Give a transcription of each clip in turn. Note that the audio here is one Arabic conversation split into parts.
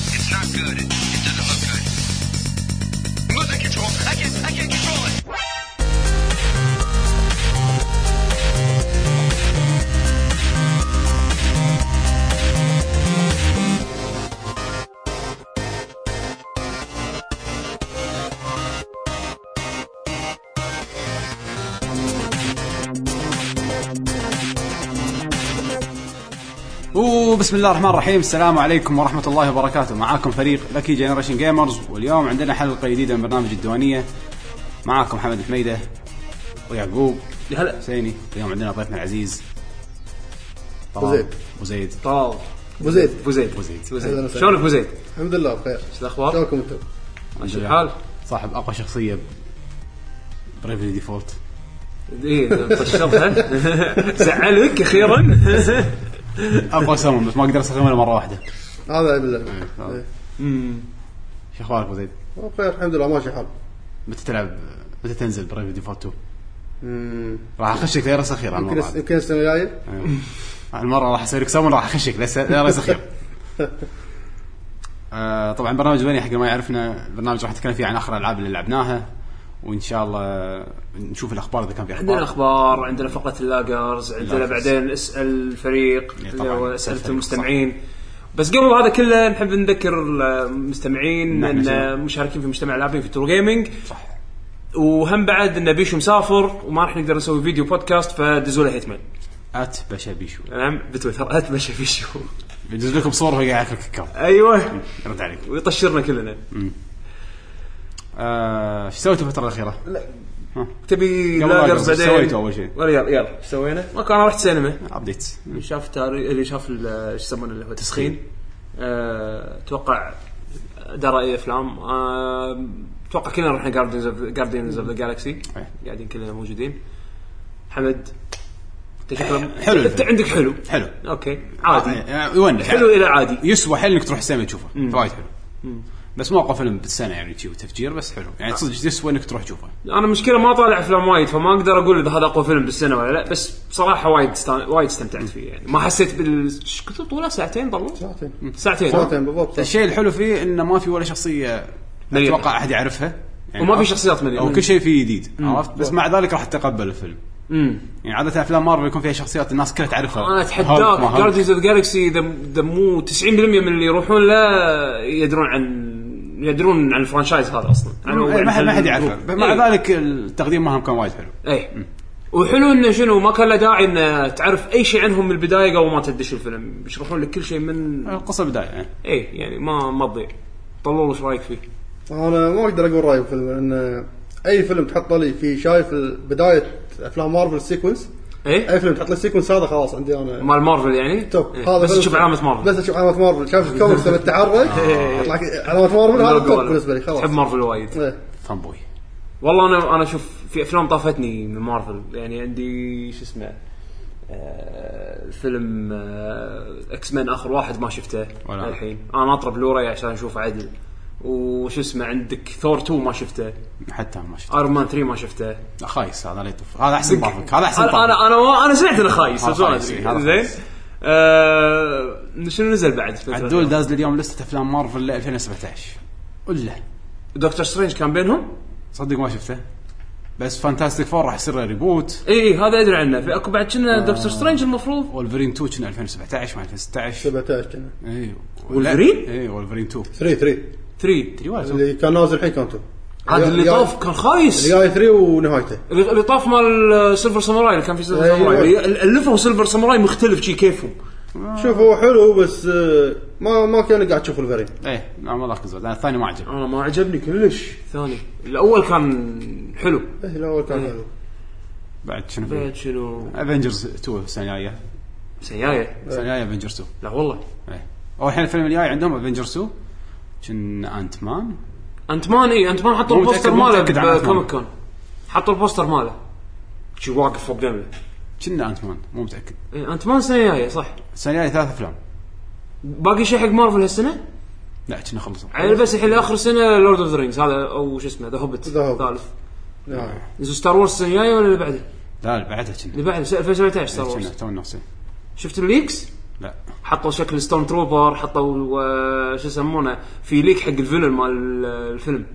good. It doesn't look good. Losing control. I can't, I can't control it. وبسم الله الرحمن الرحيم السلام عليكم ورحمة الله وبركاته معاكم فريق لكي جنريشن جيمرز واليوم عندنا حلقة جديدة من برنامج الديوانية معاكم محمد حميدة ويعقوب يا هلا حسيني اليوم عندنا ضيفنا العزيز طلال وزيد. وزيد طلال ابو زيد ابو زيد وزيد. أبو أهلاً زيد وسهلاً. شلونك ابو زيد؟ الحمد لله بخير شو الأخبار؟ شلونكم انتم؟ ماشي الحال؟ صاحب أقوى شخصية بريفلي ديفولت ايه طشرتها زعلك اخيرا أقوى سمن بس ما أقدر استخدمه إلا مرة واحدة هذا بالله آه. إيه. شو أخبارك أبو زيد؟ بخير الحمد لله ماشي الحال متى تلعب متى تنزل بريفلي ديفولت 2؟ أمم. راح أخشك ليرس أخير يمكن هالمرة يمكن السنه الجايه أيوة. هالمره راح اسوي لك سمن راح اخشك لا س- لا راس اخير آه، طبعا برنامج بني حق اللي ما يعرفنا البرنامج راح نتكلم فيه عن اخر الالعاب اللي لعبناها وان شاء الله نشوف الاخبار اذا كان في عندنا اخبار اخبار عندنا فقره اللاجرز عندنا اللاجرز. بعدين اسال الفريق إيه اللي طبعاً. هو اسأل اسئله الفريق، المستمعين بس قبل هذا كله نحب نذكر المستمعين نعم، ان نعم. مشاركين في مجتمع اللاعبين في ترو جيمنج وهم بعد ان بيشو مسافر وما راح نقدر نسوي فيديو بودكاست فدزوا له هيتمان ات باشا بيشو نعم بتويتر اتمشى بيشو بيدز لكم صور وهي قاعد ياكل كاكاو ايوه رد عليك ويطشرنا كلنا آه، شو سويتوا الفتره الاخيره؟ تبي قبل لاجرز، لاجرز بعدين سويته أول شيء. ولا يلا يلا ايش سوينا؟ ما كان أنا رحت سينما ابديتس اللي شاف تاري... اللي شاف ال- شو يسمونه اللي هو تسخين آه، اتوقع دار اي افلام آه، اتوقع كلنا رحنا جاردينز اوف جاردينز اوف ذا جالكسي إيه. قاعدين كلنا موجودين حمد انت شكلك حلو انت الفيلم. عندك حلو حلو اوكي عادي آه، يونس حلو الى عادي يسوى حيل انك تروح السينما تشوفه وايد حلو بس مو اقوى فيلم بالسنه يعني شي وتفجير بس حلو يعني صدق يسوى انك تروح تشوفه انا مشكله ما طالع افلام وايد فما اقدر اقول اذا هذا اقوى فيلم بالسنه ولا لا بس بصراحه وايد استان... وايد استمتعت فيه يعني ما حسيت بال ايش كثر طوله ساعتين ضلوا ساعتين ساعتين ساعتين بالضبط طيب. الشيء الحلو فيه انه ما في ولا شخصيه مليئة. اتوقع احد يعرفها وما في شخصيات مليئة. او كل شيء فيه جديد عرفت بس مع ذلك راح تتقبل الفيلم امم يعني عاده افلام مارفل يكون فيها شخصيات الناس كلها تعرفها انا هالك اتحداك ما هالك. جاردينز اوف جالكسي اذا إذا مو 90% من اللي يروحون لا يدرون عن يدرون عن الفرانشايز هذا اصلا عن- إيه، عن ما حد ما حد يعرفه الجروب. بس مع إيه. ذلك التقديم مالهم كان وايد حلو اي وحلو انه شنو ما كان له داعي انه تعرف اي شيء عنهم من البدايه قبل ما تدش الفيلم يشرحون لك كل شيء من القصه بدايه يعني اي يعني ما ما تضيع طلول ايش رايك فيه؟ انا ما اقدر اقول رايي بالفيلم لان اي فيلم تحطه لي في شايف ال- بدايه افلام مارفل السيكونس اي اي فيلم تحط لي السيكونس هذا خلاص عندي انا إيه؟ مال مارفل يعني؟ توب إيه. هذا بس فيلم- تشوف علامه مارفل بس اشوف علامه مارفل شايف الكوميكس لما تتحرك يطلع لك علامه مارفل هذا التوب بالنسبه لي إيه. تحب خلاص مارفل وايد إيه. فان بوي والله انا انا شوف في افلام طافتني من مارفل يعني عندي شو اسمه آه، فيلم اكس مان اخر واحد ما شفته ولا أنا. الحين انا ناطره بلوراي عشان اشوفه عدل وشو اسمه عندك ثور 2 ما شفته حتى أنا ما شفت ايرون مان 3 ما شفته لا، خايس هذا لا يطوف هذا احسن مارفل هذا احسن انا مارفل انا انا, أنا سمعت انه خايس هذا بس ما خايس، إيه، هذا ادري زين خايس. آه، شنو نزل بعد عدول داز لي اليوم لسته افلام مارفل ل 2017 قله دكتور سترينج كان بينهم صدق ما شفته بس فانتاستيك فور راح يصير له ريبوت اي إي، إيه، هذا ادري عنه في اكو بعد كنا دكتور آه. سترينج المفروض وولفرين 2 كنا 2017 ما 2016 17 كنا اي وولفرين؟ أيوة، اي إيه. وولفرين 2 3 3 3 تدري ولا اللي كان نازل الحين كان 2 عاد اللي طاف كان خايس اللي جاي 3 ونهايته اللي اللي طاف مال سيلفر ساموراي اللي كان في سيلفر أيوة. ساموراي اللي اللي الفوا سيلفر ساموراي مختلف شي كيفهم شوف هو حلو بس آه، ما ما كان قاعد تشوف الفريق ايه لا ما ركزوا لان الثاني ما عجب انا ما عجبني كلش ثاني الاول كان حلو إيه، الاول كان حلو بعد شنو في بعد شنو افنجرز 2 السنه الجايه سياية السنه الجايه افنجرز 2 لا والله ايه هو الحين الفيلم الجاي عندهم افنجرز 2 كن انت مان انت مان اي انت مان حطوا مو متأكد- إيه، البوستر مو ماله متأكد عن أنت مان. بكوميك كون حطوا البوستر ماله شي واقف فوق دمه كنا انت مان مو متاكد إي، انت مان سياية صح السنه الجايه ثلاث افلام باقي شيء حق مارفل هالسنه لا كنا خلصوا يعني بس الحين اخر سنه لورد اوف ذا رينجز هذا او شو اسمه ذا هوبت The Hobbit. الثالث نعم. زين ستار وورز السنه الجايه ولا اللي بعده؟ لا لا، بعدها اللي كنا بعده 2017 ستار كنا وورز تو نفسي شفت الليكس؟ لا حطوا شكل ستون تروبر حطوا آه، شو يسمونه في ليك حق الفيلن مال الفيلم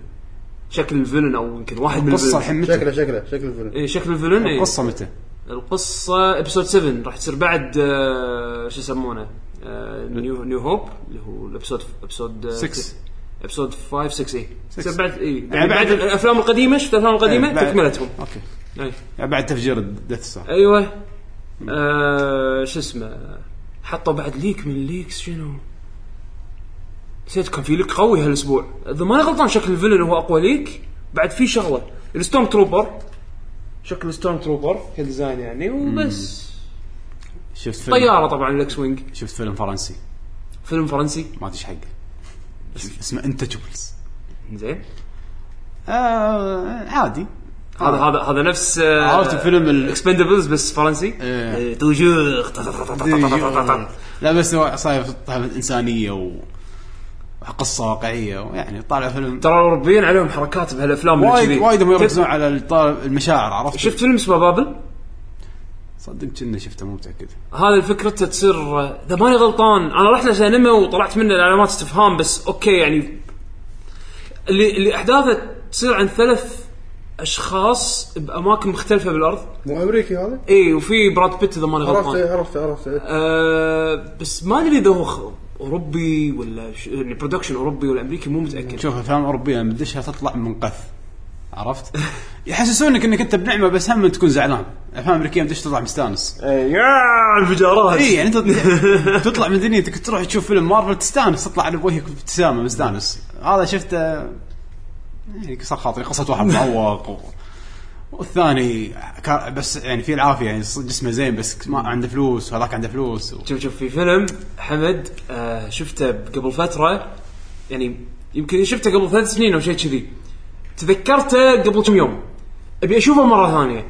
شكل الفيلن او يمكن واحد من القصه الحين الفيلن متى؟ شكله شكله شكله الفيلم إيه، شكل الفيلن إيه. القصه متى؟ القصه ابسود 7 راح تصير بعد آه، شو يسمونه آه، نيو نيو هوب اللي هو آه، الابسود ابسود 6. ابسود 5 6 اي Six. إيه. تصير بعد اي يعني يعني بعد- بعد الافلام القديمه شفت الافلام القديمه إيه، بعد- تكملتهم إيه. اوكي أي. يعني بعد تفجير الديث ستار ايوه آه شو اسمه حطوا بعد ليك من الليكس شنو نسيت كان في ليك قوي هالاسبوع اذا ماني غلطان شكل الفيلن هو اقوى ليك بعد في شغله الستورم تروبر شكل الستورم تروبر كديزاين يعني وبس شفت فيلم طياره طبعا الاكس وينج شفت فيلم فرنسي فيلم فرنسي ما ادري ايش حقه اسم- اسمه انتشبلز زين آه عادي هذا هذا هذا نفس عرفت فيلم ال- اكسبندبلز بس فرنسي إيه. آه، توجور لا بس هو صاير طابع انسانيه و- وقصه واقعيه ويعني طالع فيلم ترى الاوروبيين عليهم حركات بهالافلام اللي وايد كذي. وايد هم يركزون على الطالب- المشاعر عرفت؟ شفت فيلم اسمه بابل صدق كنا شفته مو متاكد هذا فكرته تصير اذا ماني غلطان انا رحت لسينما وطلعت منه علامات استفهام بس اوكي يعني اللي اللي احداثه تصير عن ثلاث اشخاص باماكن مختلفه بالارض مو امريكي هذا؟ اي وفي براد بيت اذا ماني عرفت غلطان إيه، عرفت عرفت إيه. أه بس ما ادري اذا هو خ- اوروبي ولا ش... يعني برودكشن اوروبي ولا امريكي مو متاكد شوف افلام اوروبيه لما تدشها تطلع منقث عرفت؟ يحسسونك انك انت بنعمه بس هم تكون زعلان الافلام الامريكيه لما تدش تطلع مستانس يا انفجارات اي يعني انت تطلع من دنيتك تروح تشوف فيلم مارفل تستانس تطلع على وجهك ابتسامه مستانس هذا شفته يعني كسر خاطري قصه واحد معوق و... والثاني كا- بس يعني فيه العافيه يعني صدق جسمه زين بس ما عنده فلوس وهذاك عنده فلوس و... شوف شوف في فيلم حمد آه شفته قبل فتره يعني يمكن شفته قبل ثلاث سنين او شيء كذي تذكرته قبل كم يوم ابي اشوفه مره ثانيه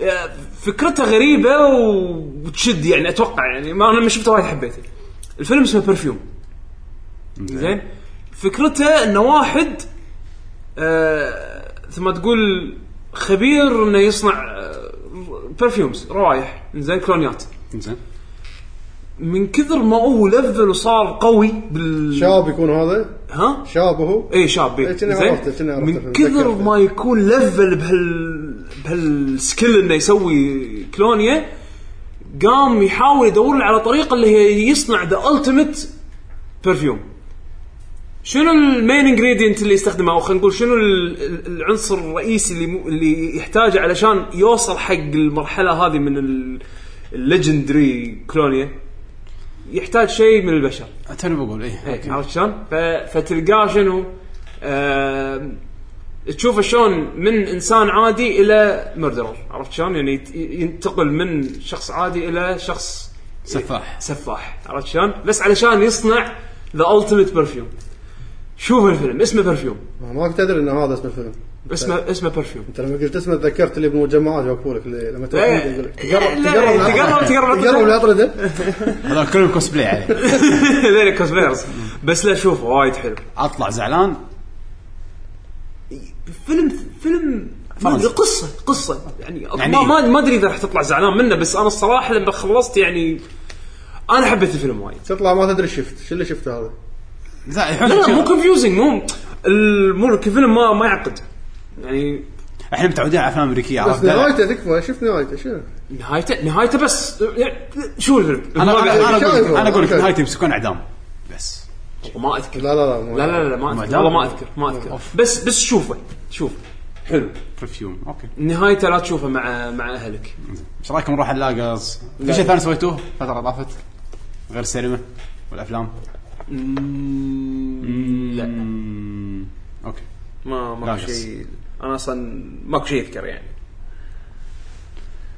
آه، فكرته غريبه و- وتشد يعني اتوقع يعني ما انا لما شفته وايد حبيته الفيلم اسمه برفيوم زين فكرته انه واحد آه ثم تقول خبير انه يصنع برفيومز روايح زين كلونيات زين من كثر ما هو لفل وصار قوي بال شاب يكون هذا ها؟ شاب هو اي شاب إيه، إيه. كنا زين؟ عرفته، كنا عرفته، من كثر تذكرته. ما يكون لفل بهال بهالسكيل انه يسوي كلونيا قام يحاول يدور له على طريقه اللي هي يصنع ذا التيمت برفيوم شنو المين انجريدينت اللي يستخدمه او خلينا نقول شنو ال- ال- العنصر الرئيسي اللي مو- اللي يحتاجه علشان يوصل حق المرحله هذه من الليجندري كلونيا يحتاج شيء من البشر توني بقول ايه إيه، أوكي. عرفت شلون؟ ف- فتلقاه شنو؟ آم، تشوفه شلون من انسان عادي الى مردرر عرفت شلون؟ يعني يت- ينتقل من شخص عادي الى شخص سفاح سفاح عرفت شلون؟ بس علشان يصنع ذا التيمت برفيوم شوف الفيلم اسمه برفيوم ما كنت ادري ان هذا اسمه الفيلم اسمه اسمه برفيوم انت لما قلت اسمه تذكرت اللي بالمجمعات يوقفوا لك اللي لما تروح إيه. يقول لك لا، تقرب تقرب- تقرب- تقرب الاطرده هذا كلهم كوسبلاي عليه ذيلا كوسبلايرز بس لا شوفه وايد حلو اطلع زعلان فيلم فيلم ما أدري، فرنسي. قصه قصه يعني, يعني يعني ما ما ادري اذا راح تطلع زعلان منه بس انا الصراحه لما خلصت يعني انا حبيت الفيلم وايد تطلع ما تدري شفت شو اللي شفته هذا لا لا لا مو الحين كونفيوزنج مو ال- مو الفيلم ما ما يعقد يعني احنا متعودين على افلام امريكيه بس عرفت لا، نهايته تكفى شفت نهايته شنو؟ نهايته نهايته بس يعني شو الفيلم؟ انا ما- انا أنا اقول لك انا اقول لك شايفه. نهايتي يمسكون اعدام بس ما اذكر لا لا لا مو- لا لا لا ما ما اذكر دام. والله ما اذكر ما اذكر أوف. بس بس شوفه شوفه حلو برفيوم اوكي نهايته لا تشوفه مع مع اهلك ايش رايكم نروح اللاقص في شيء ثاني سويتوه فتره طافت غير السينما والافلام مم، لا مم. اوكي ما لا ماكو قص. شيء انا اصلا ماكو شيء يذكر يعني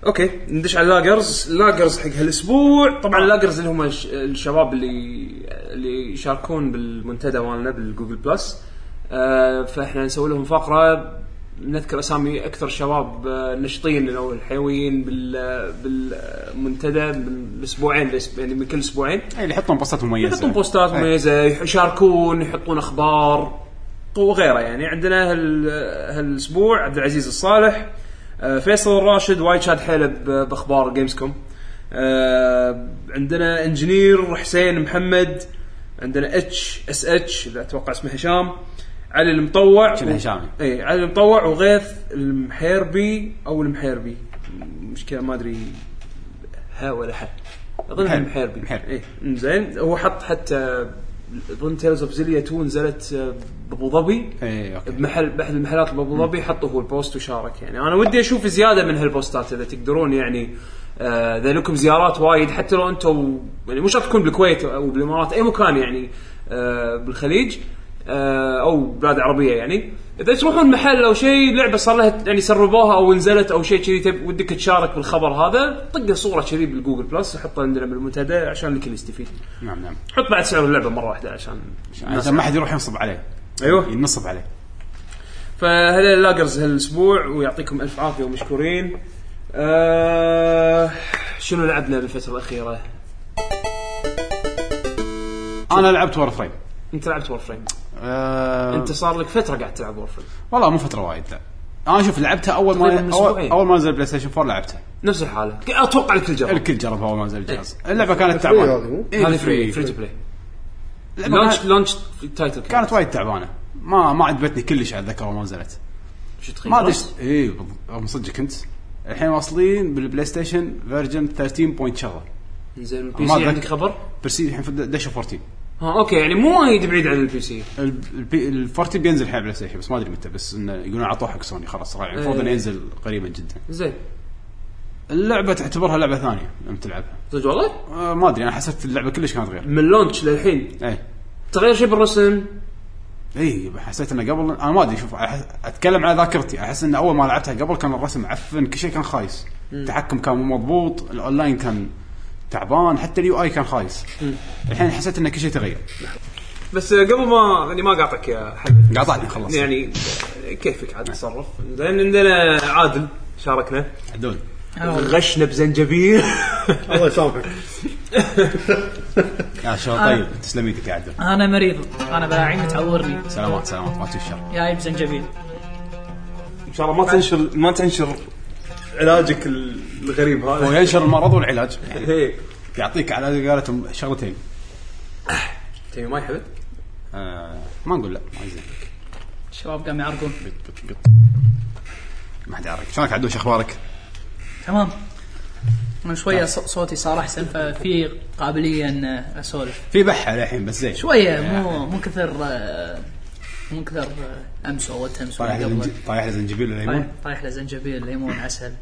اوكي ندش على اللاجرز اللاجرز حق هالاسبوع طبعا اللاجرز اللي هم الش- الشباب اللي اللي يشاركون بالمنتدى مالنا بالجوجل بلس آه فاحنا نسوي لهم فقره نذكر اسامي اكثر الشباب آه، النشطين او الحيويين بال بالمنتدى بالاسبوعين يعني من كل اسبوعين اي إيه، اللي يحطون بوستات مميزه يحطون بوستات إيه. مميزه يح- يشاركون يحطون اخبار وغيره يعني عندنا هال هالاسبوع عبد العزيز الصالح آه، فيصل الراشد وايد شاد حيله ب- باخبار جيمز كوم آه عندنا انجينير حسين محمد عندنا اتش اس اتش اذا اتوقع اسمه هشام علي المطوع شنو هشامي. اي علي المطوع وغيث المحيربي او المحيربي مشكله ما ادري ها ولا حل اظن محيربي. المحيربي محيربي. اي إيه، زين هو حط حتى اظن تيلز اوف زيليا 2 نزلت آه، بابو ظبي اي اوكي بمحل باحد المحلات بابو ظبي حطوا هو البوست وشارك يعني انا ودي اشوف زياده من هالبوستات اذا تقدرون يعني آه، اذا لكم زيارات وايد حتى لو انتم يعني مو شرط تكون بالكويت او بالامارات اي مكان يعني آه، بالخليج آه، او بلاد عربيه يعني اذا تروحون محل او شيء لعبه صار لها يعني سربوها او نزلت او شيء كذي تب- ودك تشارك بالخبر هذا طق صوره كذي بالجوجل بلس وحطها عندنا بالمنتدى عشان الكل يستفيد نعم نعم حط بعد سعر اللعبه مره واحده عشان الناس- عشان ما حد يروح ينصب عليه ايوه ينصب عليه فهذا اللاجرز هالاسبوع ويعطيكم الف عافيه ومشكورين. آه شنو لعبنا بالفتره الاخيره؟ انا لعبت وور فريم انت لعبت وور فريم، آه، انت صار لك فتره قاعد تلعب وور فريم، أه، والله مو فتره وايد لا انا شوف لعبتها اول ما تقريباً أول, أسبوعين. اول ما نزل بلاي ستيشن 4 لعبتها نفس الحاله، اتوقع الكل جرب الكل جربها اول ما نزل الجهاز اللعبه كانت فري تعبانه هذه مو؟ إيه، هذه الفري. فري فري تو بلاي اللعبة لونش كانت- لونش تايتل كانت وايد تعبانه ما ما عجبتني كلش اتذكر أول ما نزلت طيب، ما ادري إيش- اي بالضبط. أم صدق كنت الحين واصلين بالبلاي ستيشن فيرجن 13 بوينت شغله زين البي سي ما أتذكر. عندك خبر؟ برسيد الحين في د- دشوا 14 ها اوكي يعني مو وايد بعيد عن البي سي ال ال 14 بينزل الحين بلاي ستيشن بس ما ادري متى بس انه يقولون عطوه حق سوني خلاص راعي المفروض إيه. انه ينزل قريبا جدا زين اللعبه تعتبرها لعبه ثانيه لما تلعبها صدق والله؟ آه، ما ادري انا حسيت اللعبه كلش كانت غير إيه. من لونش للحين اي تغير شيء بالرسم اي إيه، حسيت انه قبل انا ما ادري شوف أح- اتكلم على ذاكرتي احس انه اول ما لعبتها قبل كان الرسم معفن كل شيء كان خايس التحكم كان مو مضبوط الاونلاين كان تعبان حتى اليو اي كان خايس الحين حسيت انه كل شيء تغير بس قبل ما يعني ما قاطعك يا حبيبي قاطعني خلاص يعني كيفك عاد تصرف زين عندنا عادل شاركنا عدول آه. غشنا بزنجبيل الله يسامحك يا شباب طيب تسلم ايدك يا عدول انا مريض انا بلاعيم تعورني سلامات سلامات ما تشوف شر جايب زنجبيل ان شاء الله ما تنشر ما تنشر علاجك الغريب هو هذا ينشر المرض والعلاج هي يعطيك على قولتهم شغلتين تبي ما يحبك آه ما نقول لا ما يزين الشباب قام يعرقون قط قط قط ما حد يعرف شلونك عدول شو اخبارك؟ تمام من نعم. شويه ص- صوتي صار احسن ففي قابليه ان اسولف في بحه للحين بس زين شويه مو مو كثر آه، مو كثر آه، امس او امس طايح لي قبل زنج- طايح لي زنجبيل وليمون طايح له زنجبيل ليمون عسل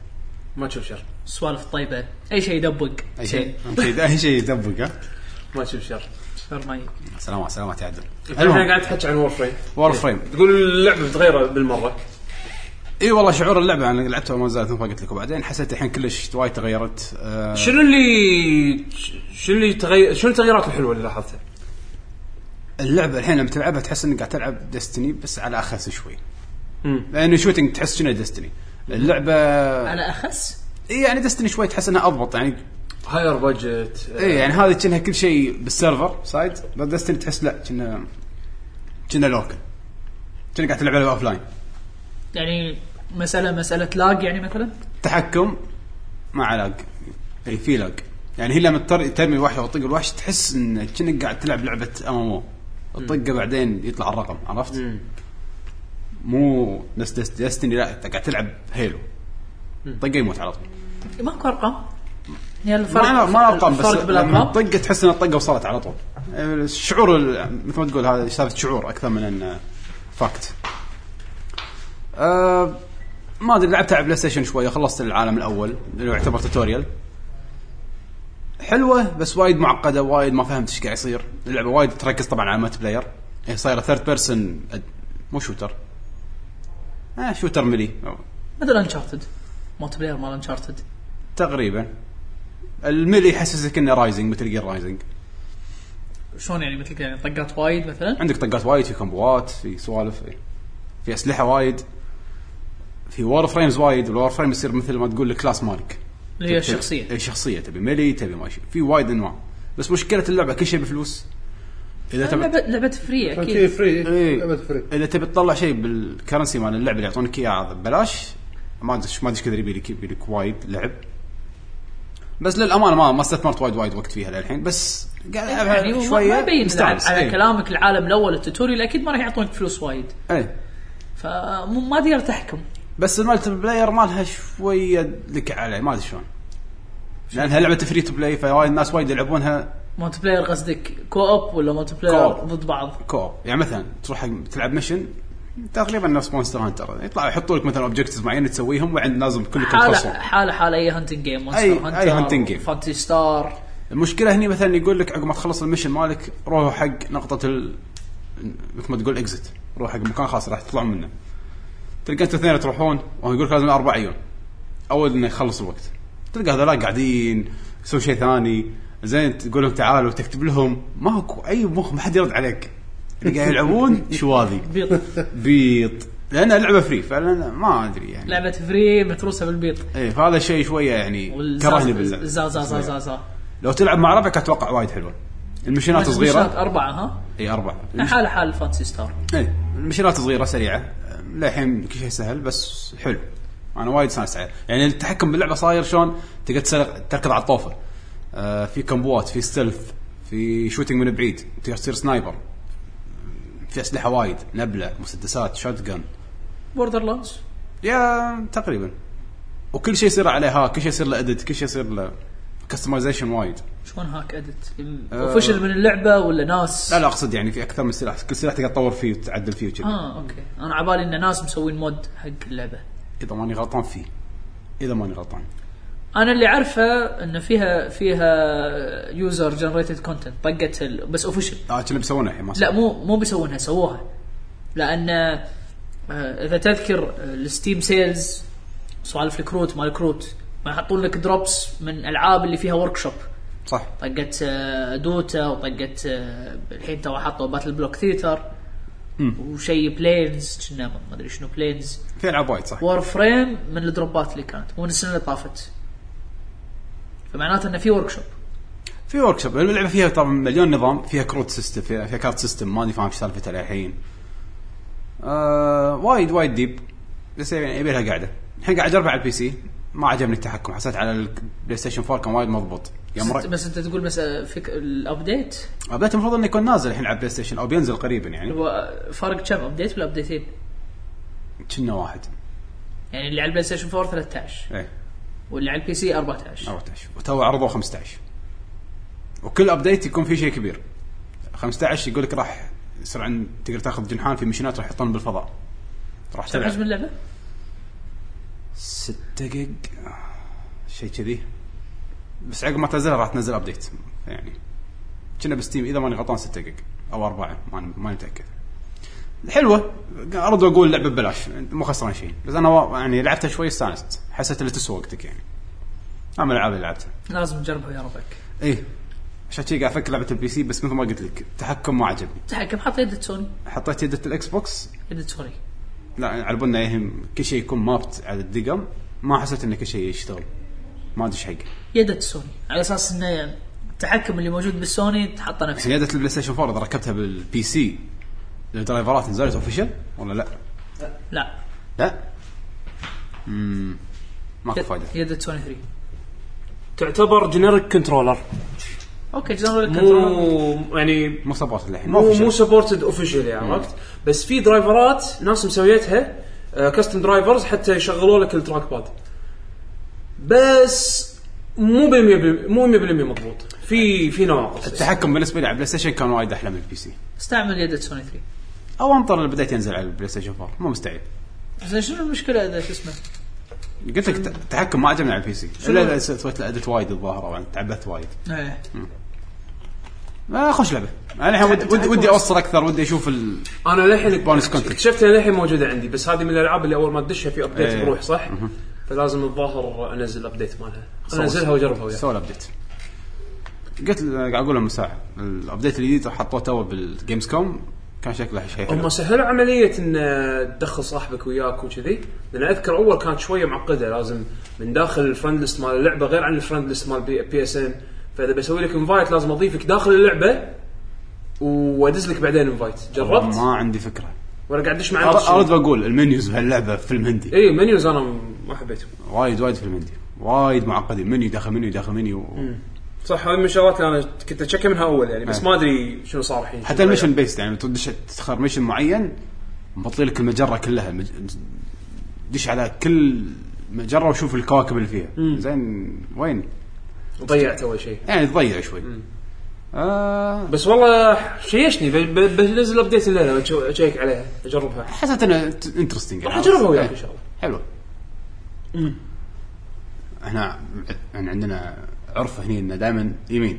ما تشوف شر سوالف طيبه اي شيء يدبق اي شيء اي شيء يدبق ها ما تشوف شر شر ما ي- سلامات سلامات يا عدل احنا قاعد نحكي عن وور فريم وور فريم تقول اللعبه بتغير بالمره اي إيه والله شعور اللعبه انا لعبتها وما زالت مثل ما قلت لكم بعدين حسيت الحين كلش وايد تغيرت آه شنو اللي شنو اللي تغير شنو التغييرات الحلوه اللي لاحظتها؟ اللعبه الحين لما تلعبها تحس انك قاعد تلعب ديستني بس على اخس شوي مم. لان شوتنج تحس شنو ديستني اللعبه على اخس اي يعني ديستني شوي تحس انها اضبط يعني هاير بادجت اي يعني هذه كأنها كل شيء بالسيرفر سايد بس ديستني تحس لا كنا كنا لوكل كنا قاعد تلعب على اوف لاين يعني مساله مساله لاج يعني مثلا تحكم مع لاج اي في لاج يعني هي لما تر- ترمي الوحش او تطق الوحش تحس ان كأنك قاعد تلعب لعبه ام ام او الطقه بعدين يطلع الرقم عرفت؟ مم. مو نفس ديست- ديستني لا انت قاعد تلعب هيلو طقه يموت على طول ماكو ارقام يعني الفرق ما ما ارقام بس الفرق لما بالارقام الطقه تحس ان الطقه وصلت على طول الشعور ال- مثل ما تقول هذا سالفه شعور اكثر من انه فاكت أه ما ادري لعبت على بلاي ستيشن شويه خلصت العالم الاول اللي هو يعتبر توتوريال حلوه بس وايد معقده وايد ما فهمت ايش قاعد يصير اللعبه وايد تركز طبعا على يعني الملتي بلاير هي صايره ثيرد بيرسون مو شوتر آه شوتر ملي مثل انشارتد موت بلاير مال انشارتد تقريبا الملي يحسسك انه رايزنج مثل جير رايزنج شلون يعني مثل يعني طقات وايد مثلا عندك طقات وايد في كومبوات في سوالف في- في اسلحه وايد في وور فريمز وايد والوور فريم يصير مثل ما تقول الكلاس مالك اللي هي تبي- الشخصيه اي شخصيه تبي ميلي تبي ماشي في وايد انواع بس مشكله اللعبه كل شيء بفلوس اذا لعبه تبي لعبه فري شيء اكيد فري إيه. لعبه فري اذا تبي تطلع شيء بالكرنسي مال اللعبه اللي يعطونك اياه ببلاش ما ادري ما ادري ايش كثر يبي لك يبي لك وايد لعب بس للامانه ما ما استثمرت وايد وايد وقت فيها للحين بس قاعد يعني العبها هو ما شويه يبين على, مستانس على إيه. كلامك العالم الاول التوتوريال اكيد ما راح يعطونك فلوس وايد ايه فما تقدر تحكم بس المالتي بلاير مالها شويه لك عليه ما ادري شلون لانها لعبه فري تو بلاي فوايد الناس وايد يلعبونها مونت بلاير قصدك كو اوب ولا مونت بلاير كوب. ضد بعض كوب يعني مثلا تروح حق- تلعب ميشن تقريبا نفس مونستر هانتر يطلع يحطوا لك مثلا اوبجكتيفز معينه تسويهم وعند لازم كلكم حاله تخلصون حاله حاله اي هانتنج جيم مونستر أي- أي hunting game. فانتسي ستار المشكله هني مثلا يقول لك عقب ما تخلص المشن مالك روح حق نقطه ال مثل ما تقول اكزت روح حق مكان خاص راح تطلعون منه تلقى انتوا اثنين تروحون وهو يقول لك لازم اربع عيون اول انه يخلص الوقت تلقى هذول قاعدين يسوي شيء ثاني زين تقول لهم تعالوا تكتب لهم ماكو اي مخ ما حد يرد عليك اللي قاعد يلعبون شواذي بيض بيط لانها لعبه فري فانا ما ادري يعني لعبه فري متروسه بالبيض ايه فهذا الشيء شويه يعني كرهني باللعب زا زا زا زا زا لو تلعب مع ربعك اتوقع وايد حلوه المشينات صغيره اربعه ها اي اربع حاله حال فانتسي ستار اي إيه، المشينات صغيره سريعه للحين كل شيء سهل بس حلو انا وايد سانس عليه يعني التحكم باللعبه صاير شلون تقدر تسرق تركض على الطوفه آه في كمبوات في ستيلث في شوتنج من بعيد تقدر تصير سنايبر في اسلحه وايد نبله مسدسات شوت جن بوردر لاندز يا تقريبا وكل شيء يصير عليه ها كل شيء يصير له اديت كل شيء يصير له كستمايزيشن وايد شلون هاك ادت آه. اوفشل من اللعبه ولا ناس لا لا اقصد يعني في اكثر من سلاح كل سلاح تقدر تطور فيه وتعدل فيه وكذا اه اوكي انا عبالي ان ناس مسوين مود حق اللعبه اذا ماني غلطان فيه اذا ماني غلطان انا اللي عارفه ان فيها فيها يوزر جنريتد كونتنت طقت ال- بس اوفشل اه كنا بيسوونها الحين ما لا صار. مو مو بيسوونها سووها لان آه، اذا تذكر آه، الستيم سيلز سوالف الكروت مال الكروت ما يحطون لك دروبس من العاب اللي فيها ورك شوب صح طقت آه، دوتا وطقت آه، الحين تو حطوا باتل بلوك ثيتر وشيء بلينز كنا ما ادري شنو بلينز في العاب وايد صح وور فريم من الدروبات اللي كانت مو من السنه اللي طافت فمعناته انه في ورك شوب في ورك شوب اللعبه فيها طبعا مليون نظام فيها كروت سيستم فيها, فيها كارت سيستم ماني فاهم ايش سالفتها للحين آه وايد وايد ديب بس يعني يبي لها قاعده الحين قاعد اجربها على البي سي ما عجبني التحكم حسيت على البلاي ستيشن 4 كان وايد مضبوط يا مرة بس انت تقول بس آه، فك... الابديت ابديت المفروض انه يكون نازل الحين على البلاي ستيشن او بينزل قريبا يعني هو فارق كم ابديت ولا ابديتين؟ كنا واحد يعني اللي على البلاي ستيشن 4 13 ايه واللي على البي سي 14 14 وتو عرضوا 15 وكل ابديت يكون في شيء كبير 15 يقول لك راح يصير عن تقدر تاخذ جنحان في مشينات راح يحطون بالفضاء راح كم حجم تلعب اللعبه؟ 6 جيج شيء كذي بس عقب ما تنزلها راح تنزل ابديت يعني كنا بستيم اذا ماني غلطان 6 جيج او 4 ماني ماني متاكد حلوه ارد اقول لعبه ببلاش مو خسران شيء بس انا وا- يعني لعبتها شوي استانست حسيت اللي تسوى وقتك يعني انا من الالعاب اللي لعبتها لازم نجربها يا ربك ايه عشان كذي قاعد افكر لعبه البي سي بس مثل ما قلت لك التحكم ما عجبني تحكم حط يد سوني حطيت يدة الاكس بوكس يد سوني لا على بالنا يهم كل شيء يكون مابت على الدقم ما حسيت ان كل شيء يشتغل ما ادري إيش حقه يد سوني على اساس انه يعني التحكم اللي موجود بالسوني تحطه نفسه يدة البلاي ستيشن 4 اذا ركبتها بالبي سي الدرايفرات نزلت اوفيشل ولا لا؟ لا لا امم ماكو فايده يد سوني 3 تعتبر جينيريك كنترولر اوكي جنرال كنترول مو يعني مو سبورت للحين ما مو مو اوفيشل سبورتد اوفشلي عرفت بس في درايفرات ناس مسويتها كاستم درايفرز حتى يشغلوا لك التراك باد بس مو ب 100% مو 100% مضبوط في في نواقص التحكم بالنسبه لي على البلاي ستيشن كان وايد احلى من البي سي استعمل يد سوني 3 او انطر اللي بديت ينزل على البلاي ستيشن 4 مو مستحيل زين شنو المشكله اذا شو اسمه؟ قلت لك الت- التحكم ما عجبني على البي سي الا إذا سويت له ادت وايد الظاهر او تعبت وايد إيه. ايه آه خوش لعبه انا الحين ودي, ودي, ودي اوصل اكثر ودي اشوف ال... انا للحين Bonus content. اكتشفت انها للحين موجوده عندي بس هذه من الالعاب اللي اول ما تدشها في ابديت إيه. بروح صح؟ فلازم الظاهر انزل الابديت مالها خلنا انزلها واجربها وياك سوى الابديت قلت ل- قاعد اقول من ساعه الابديت الجديد حطوه تو بالجيمز كوم كان شكله شيء هم حلو سهلوا عمليه ان تدخل صاحبك وياك وكذي لان اذكر اول كانت شويه معقده لازم من داخل الفرند ليست مال اللعبه غير عن الفرند ليست مال بي, بي اس ان فاذا بسوي لك انفايت لازم اضيفك داخل اللعبه وادز لك بعدين انفايت جربت ما عندي فكره ولا قاعد ادش مع أر- ناس إيه. ارد بقول المنيوز بهاللعبه فيلم هندي اي منيوز انا ما حبيتهم وايد وايد فيلم هندي وايد معقدين منيو داخل منيو داخل منيو و... صح هذه من الشغلات اللي انا كنت اتشكى منها اول يعني بس أي. ما ادري شنو صار الحين حتى المشن بيست يعني تدش تختار مشن معين مبطل لك المجره كلها مج... دش على كل مجره وشوف الكواكب اللي فيها زين وين ضيعت اول شيء يعني تضيع شوي آه بس والله شيشني ب- ب- بنزل ابديت الليله وأشو- اشيك عليها اجربها حسيت انه انترستنج راح اجربها وياك ان شاء الله حلو احنا يعني عندنا عرف هني انه دائما يمين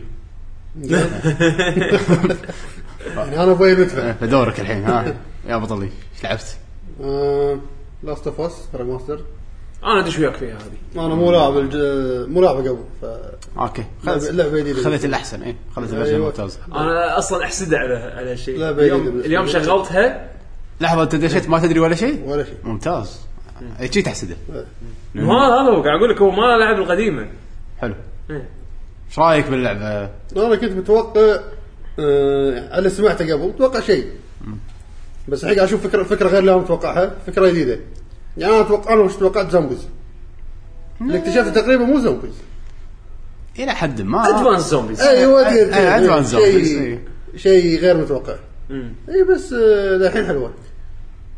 يعني انا ابوي ندفع فدورك إيه، الحين ها يا بطلي ايش لعبت؟ آه، لاست اوف اس ريماستر انا ادش وياك فيها هذه انا مو لاعب الج- مو لاعبه قبل ف اوكي لعبة- لعبه جديده خذيت إيه، الاحسن اي خذيت الفيرجن أيوة. الممتاز انا اصلا احسد على على هالشيء لا، بعيد اليوم بالنسبة اليوم لي. شغلتها لحظه انت دشيت ما تدري ولا شيء؟ ولا شيء ممتاز إيه. اي شي تحسده نعم. ما هذا هو قاعد اقول لك هو ما لعب القديمه حلو إيه. ايش رايك باللعبه؟ انا كنت متوقع آه، على اللي سمعته قبل متوقع شيء بس الحين قاعد اشوف فكره فكره غير اللي انا متوقعها فكره جديده يعني انا اتوقع لهم مش توقعت زومبيز اللي اكتشفته تقريبا مو زومبيز الى حد آه. ما ادفانس زومبيز ايوه أي- أدري- أي- أدري عن شيء- zombies، أي. شيء غير متوقع اي بس آه، للحين حلوه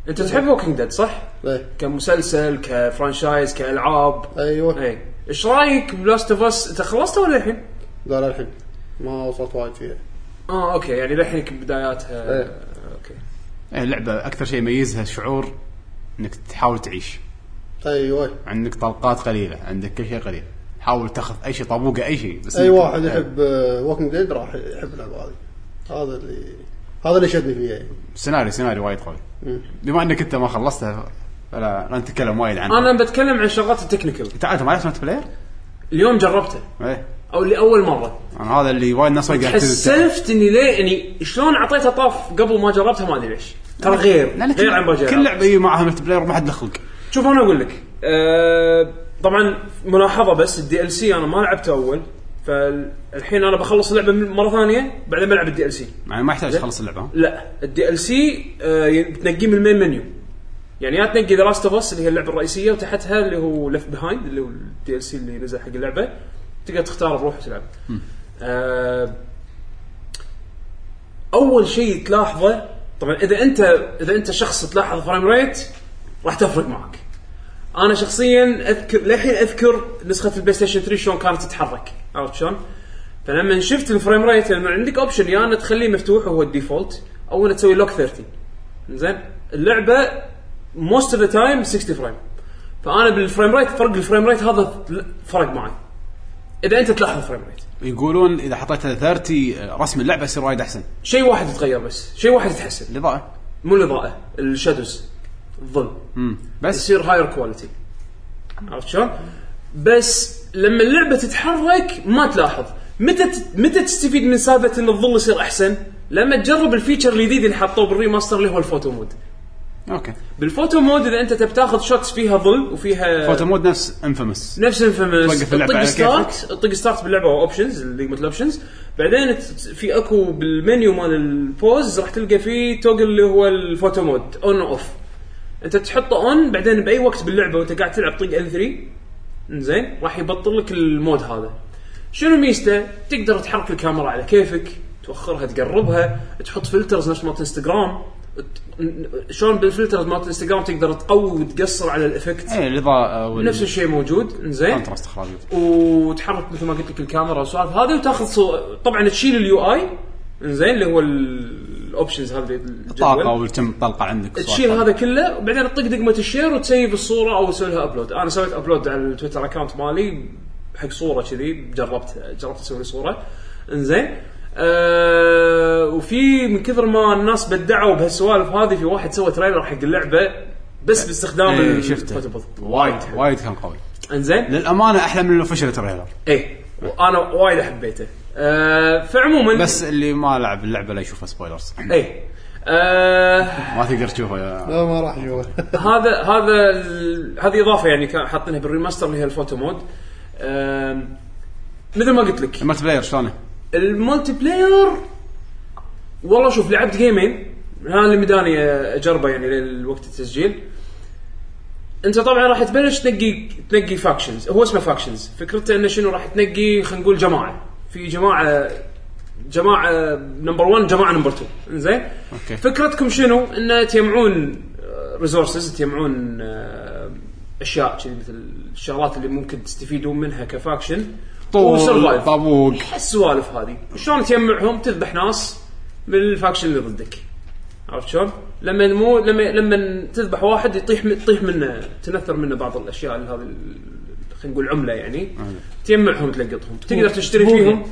انت تحب ووكينج ديد صح؟ إيه. كمسلسل كفرانشايز كالعاب ايوه اي ايش رايك بلاست اوف اس انت خلصته ولا الحين؟ لا للحين ما وصلت وايد فيها اه اوكي يعني للحين بداياتها إيه. اوكي إيه، اللعبه اكثر شيء يميزها شعور انك تحاول تعيش ايوه عندك طلقات قليله عندك كل شيء قليل حاول تاخذ اي شيء طابوقه اي شيء بس اي إنك- واحد إيه. يحب ووكينج ديد راح يحب اللعبه هذه هذا اللي هذا اللي شدني فيها يعني سيناريو سيناريو وايد قوي مم. بما انك انت ما خلصتها فلا لا نتكلم وايد عنها انا بتكلم عن شغلات التكنيكال انت عارف ما لعبت مالتي بلاير؟ اليوم جربته ايه او لاول مره انا هذا اللي وايد ناس وايد قاعد تنزل. حسفت اني ليه يعني شلون اعطيتها طاف قبل ما جربتها ما ادري ليش ترى غير لأن كل- غير عن باجي كل لعبه يجي معها مالتي بلاير وما حد له خلق شوف انا اقول لك أه طبعا ملاحظه بس الدي ال سي انا ما لعبته اول فالحين انا بخلص اللعبه مره ثانيه بعدين بلعب الدي ال سي يعني ما يحتاج تخلص اللعبه ها؟ لا الدي ال سي آه، تنقيه من المين منيو يعني يا تنقي ذا لاست اوف اس اللي هي اللعبه الرئيسيه وتحتها اللي هو ليفت بيهايند اللي هو الدي ال سي اللي نزل حق اللعبه تقدر تختار تروح تلعب آه، اول شيء تلاحظه طبعا اذا انت اذا انت شخص تلاحظ فريم ريت راح تفرق معك انا شخصيا اذكر للحين اذكر نسخه البلاي ستيشن 3 شلون كانت تتحرك عرفت شلون؟ فلما شفت الفريم ريت لانه عندك اوبشن يا انك تخليه مفتوح وهو الديفولت او انك تسوي لوك 30 زين اللعبه موست اوف ذا تايم 60 فريم فانا بالفريم ريت فرق الفريم ريت هذا فرق معي اذا انت تلاحظ الفريم ريت يقولون اذا حطيتها 30 آه، رسم اللعبه يصير وايد احسن شيء واحد يتغير بس شيء واحد يتحسن الاضاءه مو الاضاءه الشادوز الظل امم بس يصير هاير كواليتي عرفت شلون؟ بس لما اللعبه تتحرك ما تلاحظ متى ت- متى تستفيد من سالفه ان الظل يصير احسن؟ لما تجرب الفيتشر الجديد اللي حطوه بالريماستر اللي هو الفوتو مود. اوكي بالفوتو مود اذا انت تبي تاخذ شوتس فيها ظل وفيها فوتو مود نفس انفيمس نفس انفيمس توقف اللعبة تطق على ستارت تطق ستارت باللعبه او اوبشنز اللي مثل اوبشنز بعدين ت- في اكو بالمنيو مال البوز راح تلقى فيه توجل اللي هو الفوتو مود اون اوف انت تحطه اون بعدين باي وقت باللعبه وانت قاعد تلعب طق ال 3 زين راح يبطل لك المود هذا شنو ميزته؟ تقدر تحرك الكاميرا على كيفك توخرها تقربها تحط فلترز نفس مالت انستغرام ت- شلون بالفلترز مالت انستغرام تقدر تقوي وتقصر على الافكت اي الاضاءه إيه، آه، وال- نفس الشيء موجود زين كونتراست اخراج وتحرك مثل ما قلت لك الكاميرا والسوالف هذه وتاخذ صور طبعا تشيل اليو اي انزين اللي هو ال- الاوبشنز هذه الطاقه الجدول وكم طلقه عندك إيه، تشيل هذا كله وبعدين تطق دقمه الشير وتسيب الصوره او تسوي لها ابلود انا سويت ابلود على التويتر اكونت مالي حق صوره كذي جربت جربت اسوي لي صوره انزين أه وفي من كثر ما الناس بدعوا بهالسوالف هذه في واحد سوى تريلر حق اللعبه بس باستخدام إيه، ال- شفته. الفوتو بوث. وايد وايد حلو. وايد كان قوي انزين للامانه احلى من الاوفيشال تريلر ايه وانا وايد حبيته آه فعموما بس اللي ما لعب اللعبه لا يشوفها سبويلرز ايه آه ما تقدر تشوفها يا لا ما راح اشوفه هذا هذا ال- هذه اضافه يعني كان حاطينها بالريماستر اللي هي الفوتو مود آه مثل ما قلت لك المالتي بلاير شلونه؟ الملتي بلاير والله شوف آه، لعبت جيمين هذا اللي مداني اجربه يعني للوقت التسجيل انت طبعا راح تبلش تنقي تنقي فاكشنز هو اسمه فاكشنز فكرته انه شنو راح تنقي خلينا نقول جماعه في جماعه جماعه نمبر 1 جماعه نمبر 2 زين أوكي. فكرتكم شنو ان تجمعون ريسورسز تجمعون آه، اشياء شي مثل الشغلات اللي ممكن تستفيدون منها كفاكشن طول طابوق السوالف هذه شلون تجمعهم تذبح ناس من الفاكشن اللي ضدك عرفت شلون؟ لما مو لما لما تذبح واحد يطيح من- تطيح منه تنثر منه بعض الاشياء اللي هذه ال- خلينا نقول عمله يعني تجمعهم تلقطهم تقدر تشتري فيهم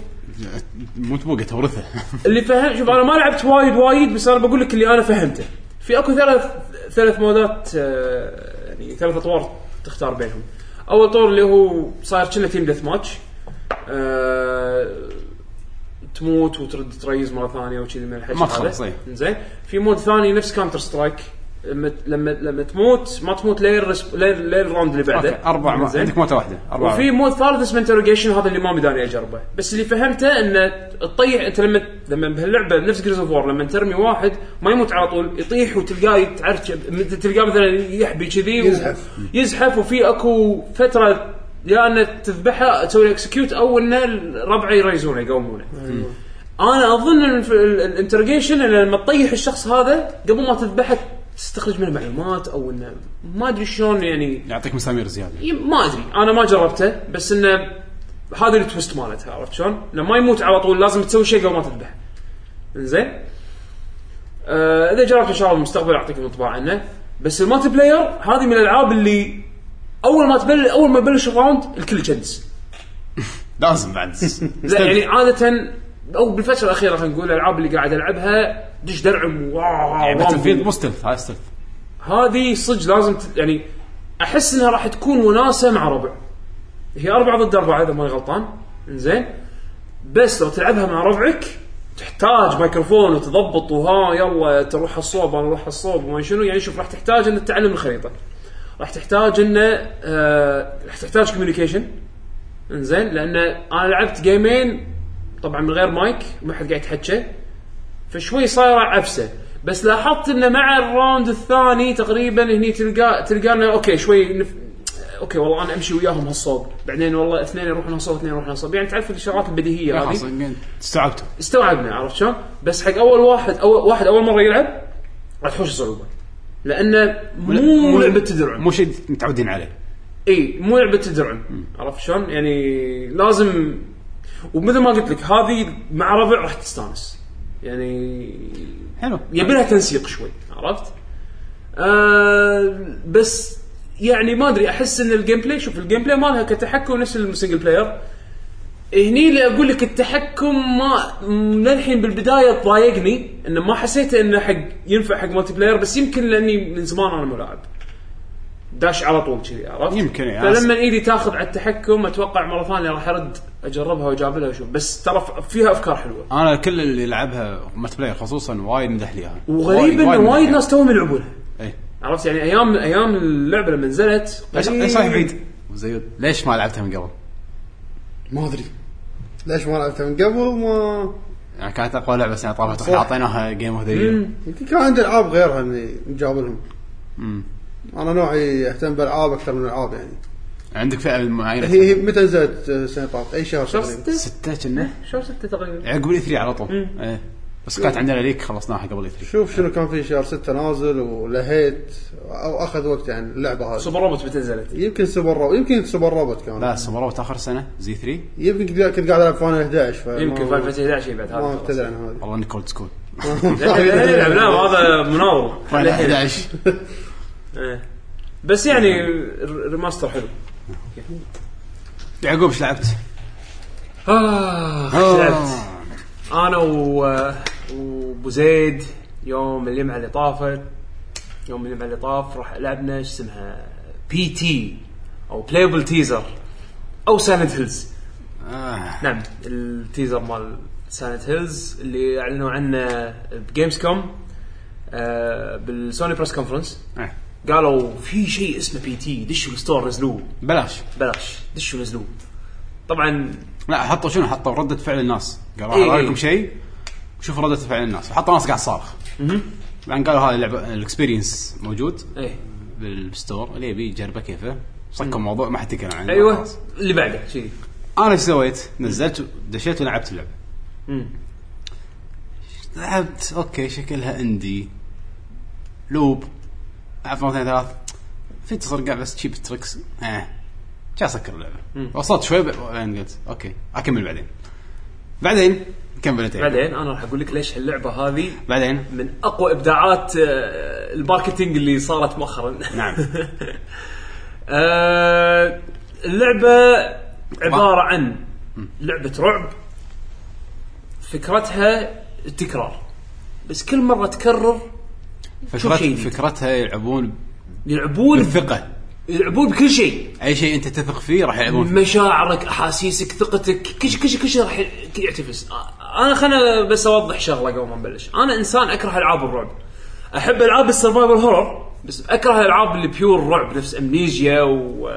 مو تبوقه تورثه اللي فهم شوف انا ما لعبت وايد وايد بس انا بقول لك اللي انا فهمته في اكو ثلاث ثلاث مودات آه، يعني ثلاث اطوار تختار بينهم اول طور اللي هو صاير كنا تيم ديث ماتش آه، تموت وترد تريز مره ثانيه وكذي من الحكي ما هذا. تخلص، إيه. زين في مود ثاني نفس كاونتر سترايك لما لما لما تموت ما تموت لين رس- لين لين الراوند اللي بعده أوكي، اربع ما- زين. عندك موته واحده اربع وفي مود ثالث اسمه انتروجيشن هذا اللي ما بداني اجربه بس اللي فهمته انه تطيح انت لما لما بهاللعبه نفس جريز اوف لما ترمي واحد ما يموت على طول يطيح وتلقاه يتعرج تلقاه مثلا يحبي كذي و- يزحف. يزحف وفي اكو فتره يا انه تذبحه تسوي اكسكيوت او انه الربع يريزونه يقومونه انا اظن إن في ال- الانترجيشن إن لما تطيح الشخص هذا قبل ما تذبحه تستخرج منه معلومات او انه ما ادري شلون يعني يعطيك مسامير زياده ي- ما ادري انا ما جربته بس انه هذا التويست مالتها عرفت شلون؟ انه ما يموت على طول لازم تسوي شيء قبل ما تذبح. زين؟ آه اذا جربت ان شاء الله بالمستقبل اعطيكم انطباع عنه بس المالتي بلاير هذه من الالعاب اللي اول ما تبل اول ما يبلش الراوند الكل جنس. لازم بعد لا يعني عاده او بالفتره الاخيره خلينا نقول الالعاب اللي قاعد العبها دش درعم واو باتل فيلد مو ستيلث هاي ستيلث هذه صدق لازم ت... يعني احس انها راح تكون وناسه مع ربع هي أربعة ضد أربعة إذا ماني غلطان زين بس لو تلعبها مع ربعك تحتاج ميكروفون وتضبط وها يلا تروح الصوب انا اروح الصوب وما شنو يعني شوف راح تحتاج ان تتعلم الخريطه راح تحتاج انه آه راح تحتاج كوميونيكيشن انزين لان انا لعبت جيمين طبعا من غير مايك ما حد قاعد يتحكى فشوي صايره عفسه بس لاحظت انه مع الراوند الثاني تقريبا هني تلقى تلقانا اوكي شوي نف... اوكي والله انا امشي وياهم هالصوب بعدين والله اثنين يروحون هالصوب اثنين يروحون هالصوب يعني تعرف الشغلات البديهيه هذه خلاص استوعبته استوعبنا عرفت شلون؟ بس حق اول واحد أول واحد اول مره يلعب راح تحوش صعوبه لانه مو لعبه تدرعم مو شيء متعودين عليه اي مو لعبه تدرعم عرفت شلون؟ يعني لازم ومثل ما قلت لك هذه مع ربع راح تستانس يعني حلو يبي لها تنسيق شوي عرفت؟ آه بس يعني ما ادري احس ان الجيم بلاي شوف الجيم بلاي مالها كتحكم نفس السنجل بلاير هني اللي اقول لك التحكم ما م- للحين بالبدايه ضايقني انه ما حسيته انه حق ينفع حق مالتي بلاير بس يمكن لاني من زمان انا ملاعب داش على طول كذي عرفت؟ يمكن، إيه. فلما ايدي تاخذ على التحكم اتوقع مره ثانيه راح ارد اجربها واجابلها واشوف بس ترى ف- فيها افكار حلوه انا كل اللي لعبها مالتي بلاير خصوصا وايد مدح لي اياها وغريب انه وايد مدح لي. ناس توهم يلعبونها إيه. عرفت يعني ايام ايام اللعبه لما نزلت ليش قليل- ليش رايح بعيد؟ وزيود ليش ما لعبتها من قبل؟ ما ادري ليش ما لعبتها من قبل ما يعني كانت اقوى لعبه سنه طافت صح. واحنا اعطيناها جيم اوف ذا يير يمكن كان عندي العاب غيرها اني نجاوب لهم انا نوعي اهتم بالالعاب اكثر من الالعاب يعني عندك فئه معينه هي هي متى نزلت آه، سنه طافت اي شهر شهر تقريبا ستة سته كنا شهر ستة تقريبا عقب الاي 3 على طول ايه بس كانت عندنا ليك خلصناها قبل E الاي 3 شوف شنو كان في شهر ستة نازل ولهيت او اخذ وقت يعني اللعبه هذه سوبر روبوت متى نزلت يمكن سوبر روبوت يمكن سوبر روبوت كان لا سوبر روبوت اخر سنه زي 3 يمكن كنت قاعد العب فاينل 11 فما- يمكن فاينل فانتسي 11 شيء بعد ما هذا ابتدى عن هذه والله انك اولد سكول لا لا هذا مناظر فاينل 11 إيه. بس يعني ر- ريماستر حلو يعقوب ايش لعبت؟ اخ آه. لعبت انا و- وابو زيد يوم الجمعه اللي طافت يوم الجمعه اللي طاف راح لعبنا ايش اسمها بي تي او بلايبل تيزر او ساند هيلز آه. نعم التيزر مال سانت هيلز اللي اعلنوا عنه بجيمز كوم آه بالسوني بريس كونفرنس إيه. قالوا في شيء اسمه بي تي دشوا الستور نزلوه بلاش بلاش دشوا نزلوه طبعا لا حطوا شنو حطوا ردة فعل الناس قالوا إيه إيه إيه. رايكم شيء شوف ردة فعل الناس حطوا ناس قاعد صارخ بعدين قالوا هذا اللعبة الاكسبيرينس موجود ايه بالستور اللي يبي يجربه كيفه سكر الموضوع ما حد يتكلم عنه ايوه خلاص. اللي بعده شي انا ايش سويت؟ نزلت دشيت ولعبت اللعبه مم. لعبت اوكي شكلها اندي لوب لعبت مرتين ثلاث في تصرقع بس تشيب تريكس اه جا سكر اللعبه وصلت شوي بعدين قلت اوكي اكمل بعدين بعدين كملت بعدين انا راح اقول لك ليش هاللعبه هذه بعدين من اقوى ابداعات آه، الماركتينج اللي صارت مؤخرا نعم آه، اللعبه عباره عن لعبه رعب فكرتها التكرار بس كل مره تكرر شوف شيء فكرت جديد. فكرتها يلعبون يلعبون بالثقه يلعبون بكل شيء اي شيء انت تثق فيه راح يلعبون فيه مشاعرك احاسيسك ثقتك كل شيء كل شيء كل شيء راح يعتفس آه، انا خلنا بس اوضح شغله قبل ما نبلش انا انسان اكره العاب الرعب احب العاب السرفايفل هورر بس اكره العاب اللي بيور رعب نفس امنيجيا و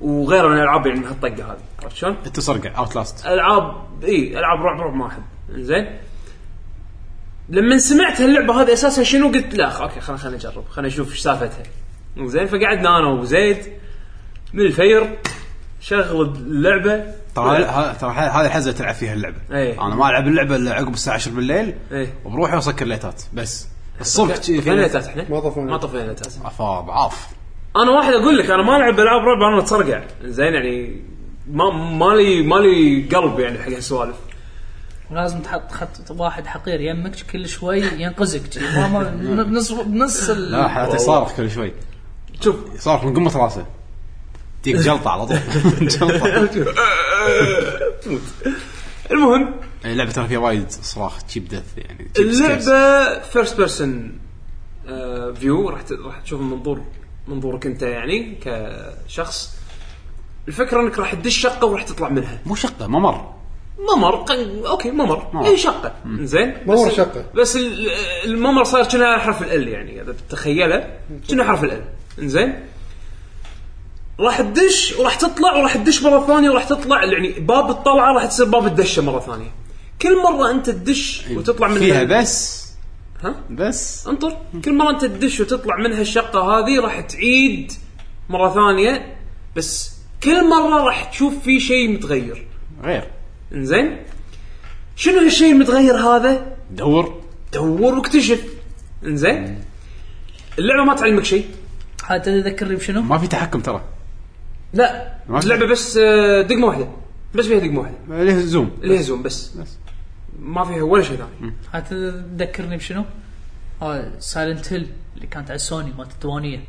وغيرها من الالعاب يعني من هالطقه هذه عرفت شلون؟ انت تصرقع اوت لاست العاب اي العاب رعب رعب ما احب زين لما سمعت هاللعبه هذه اساسها شنو قلت لا خ- اوكي خلينا خلينا نجرب خلينا نشوف ايش سالفتها زين فقعدنا انا وزيد من الفير شغل اللعبه ترى ه- ترى ه- هذه الحزه تلعب فيها اللعبه إيه. انا ما العب اللعبه الا عقب الساعه 10 بالليل إيه. وبروحي واسكر ليتات بس الصبح شي- يعني طفينا نتات احنا ما طفينا. ما طفينا نتات افا ضعاف انا واحد اقول لك انا ما العب العاب رعب انا اتصرقع زين يعني ما مالي مالي قلب يعني حق هالسوالف لازم تحط خط واحد حقير يمك كل شوي ينقذك شي. ما- ما- بنص بنص ال- لا حياتي صارخ كل شوي شوف صارخ من قمه راسه تجيك جلطه على طول جلطه تموت. المهم اللعبه إيه، ترى فيها وايد صراخ تشيب دث يعني cheap scares. اللعبه فيرست بيرسون فيو آه، راح ت- راح تشوف المنظور منظورك انت يعني كشخص الفكره انك راح تدش شقه وراح تطلع منها مو شقه ممر ممر قن- اوكي ممر ممر. اي شقه زين ممر بس- شقة. بس ال- الممر صاير كنا حرف ال يعني اذا تتخيله كنا حرف ال زين راح تدش وراح تطلع وراح تدش مره ثانيه وراح تطلع يعني باب الطلعه راح تصير باب الدشه مره ثانيه كل مره انت تدش وتطلع من فيها ال- بس ها بس انطر كل مره انت تدش وتطلع من هالشقه هذه راح تعيد مره ثانيه بس كل مره راح تشوف في شيء متغير غير انزين شنو هالشيء المتغير هذا دور دور واكتشف انزين اللعبه ما تعلمك شيء هذا تذكرني بشنو؟ ما في تحكم ترى لا ما في. اللعبه بس آه، دقمه واحده بس فيها دقمه واحده ليه الزوم اللي هي زوم بس بس. ما فيها ولا شيء ثاني هذا تذكرني بشنو؟ سايلنت هيل اللي كانت على سوني مالت الديوانيه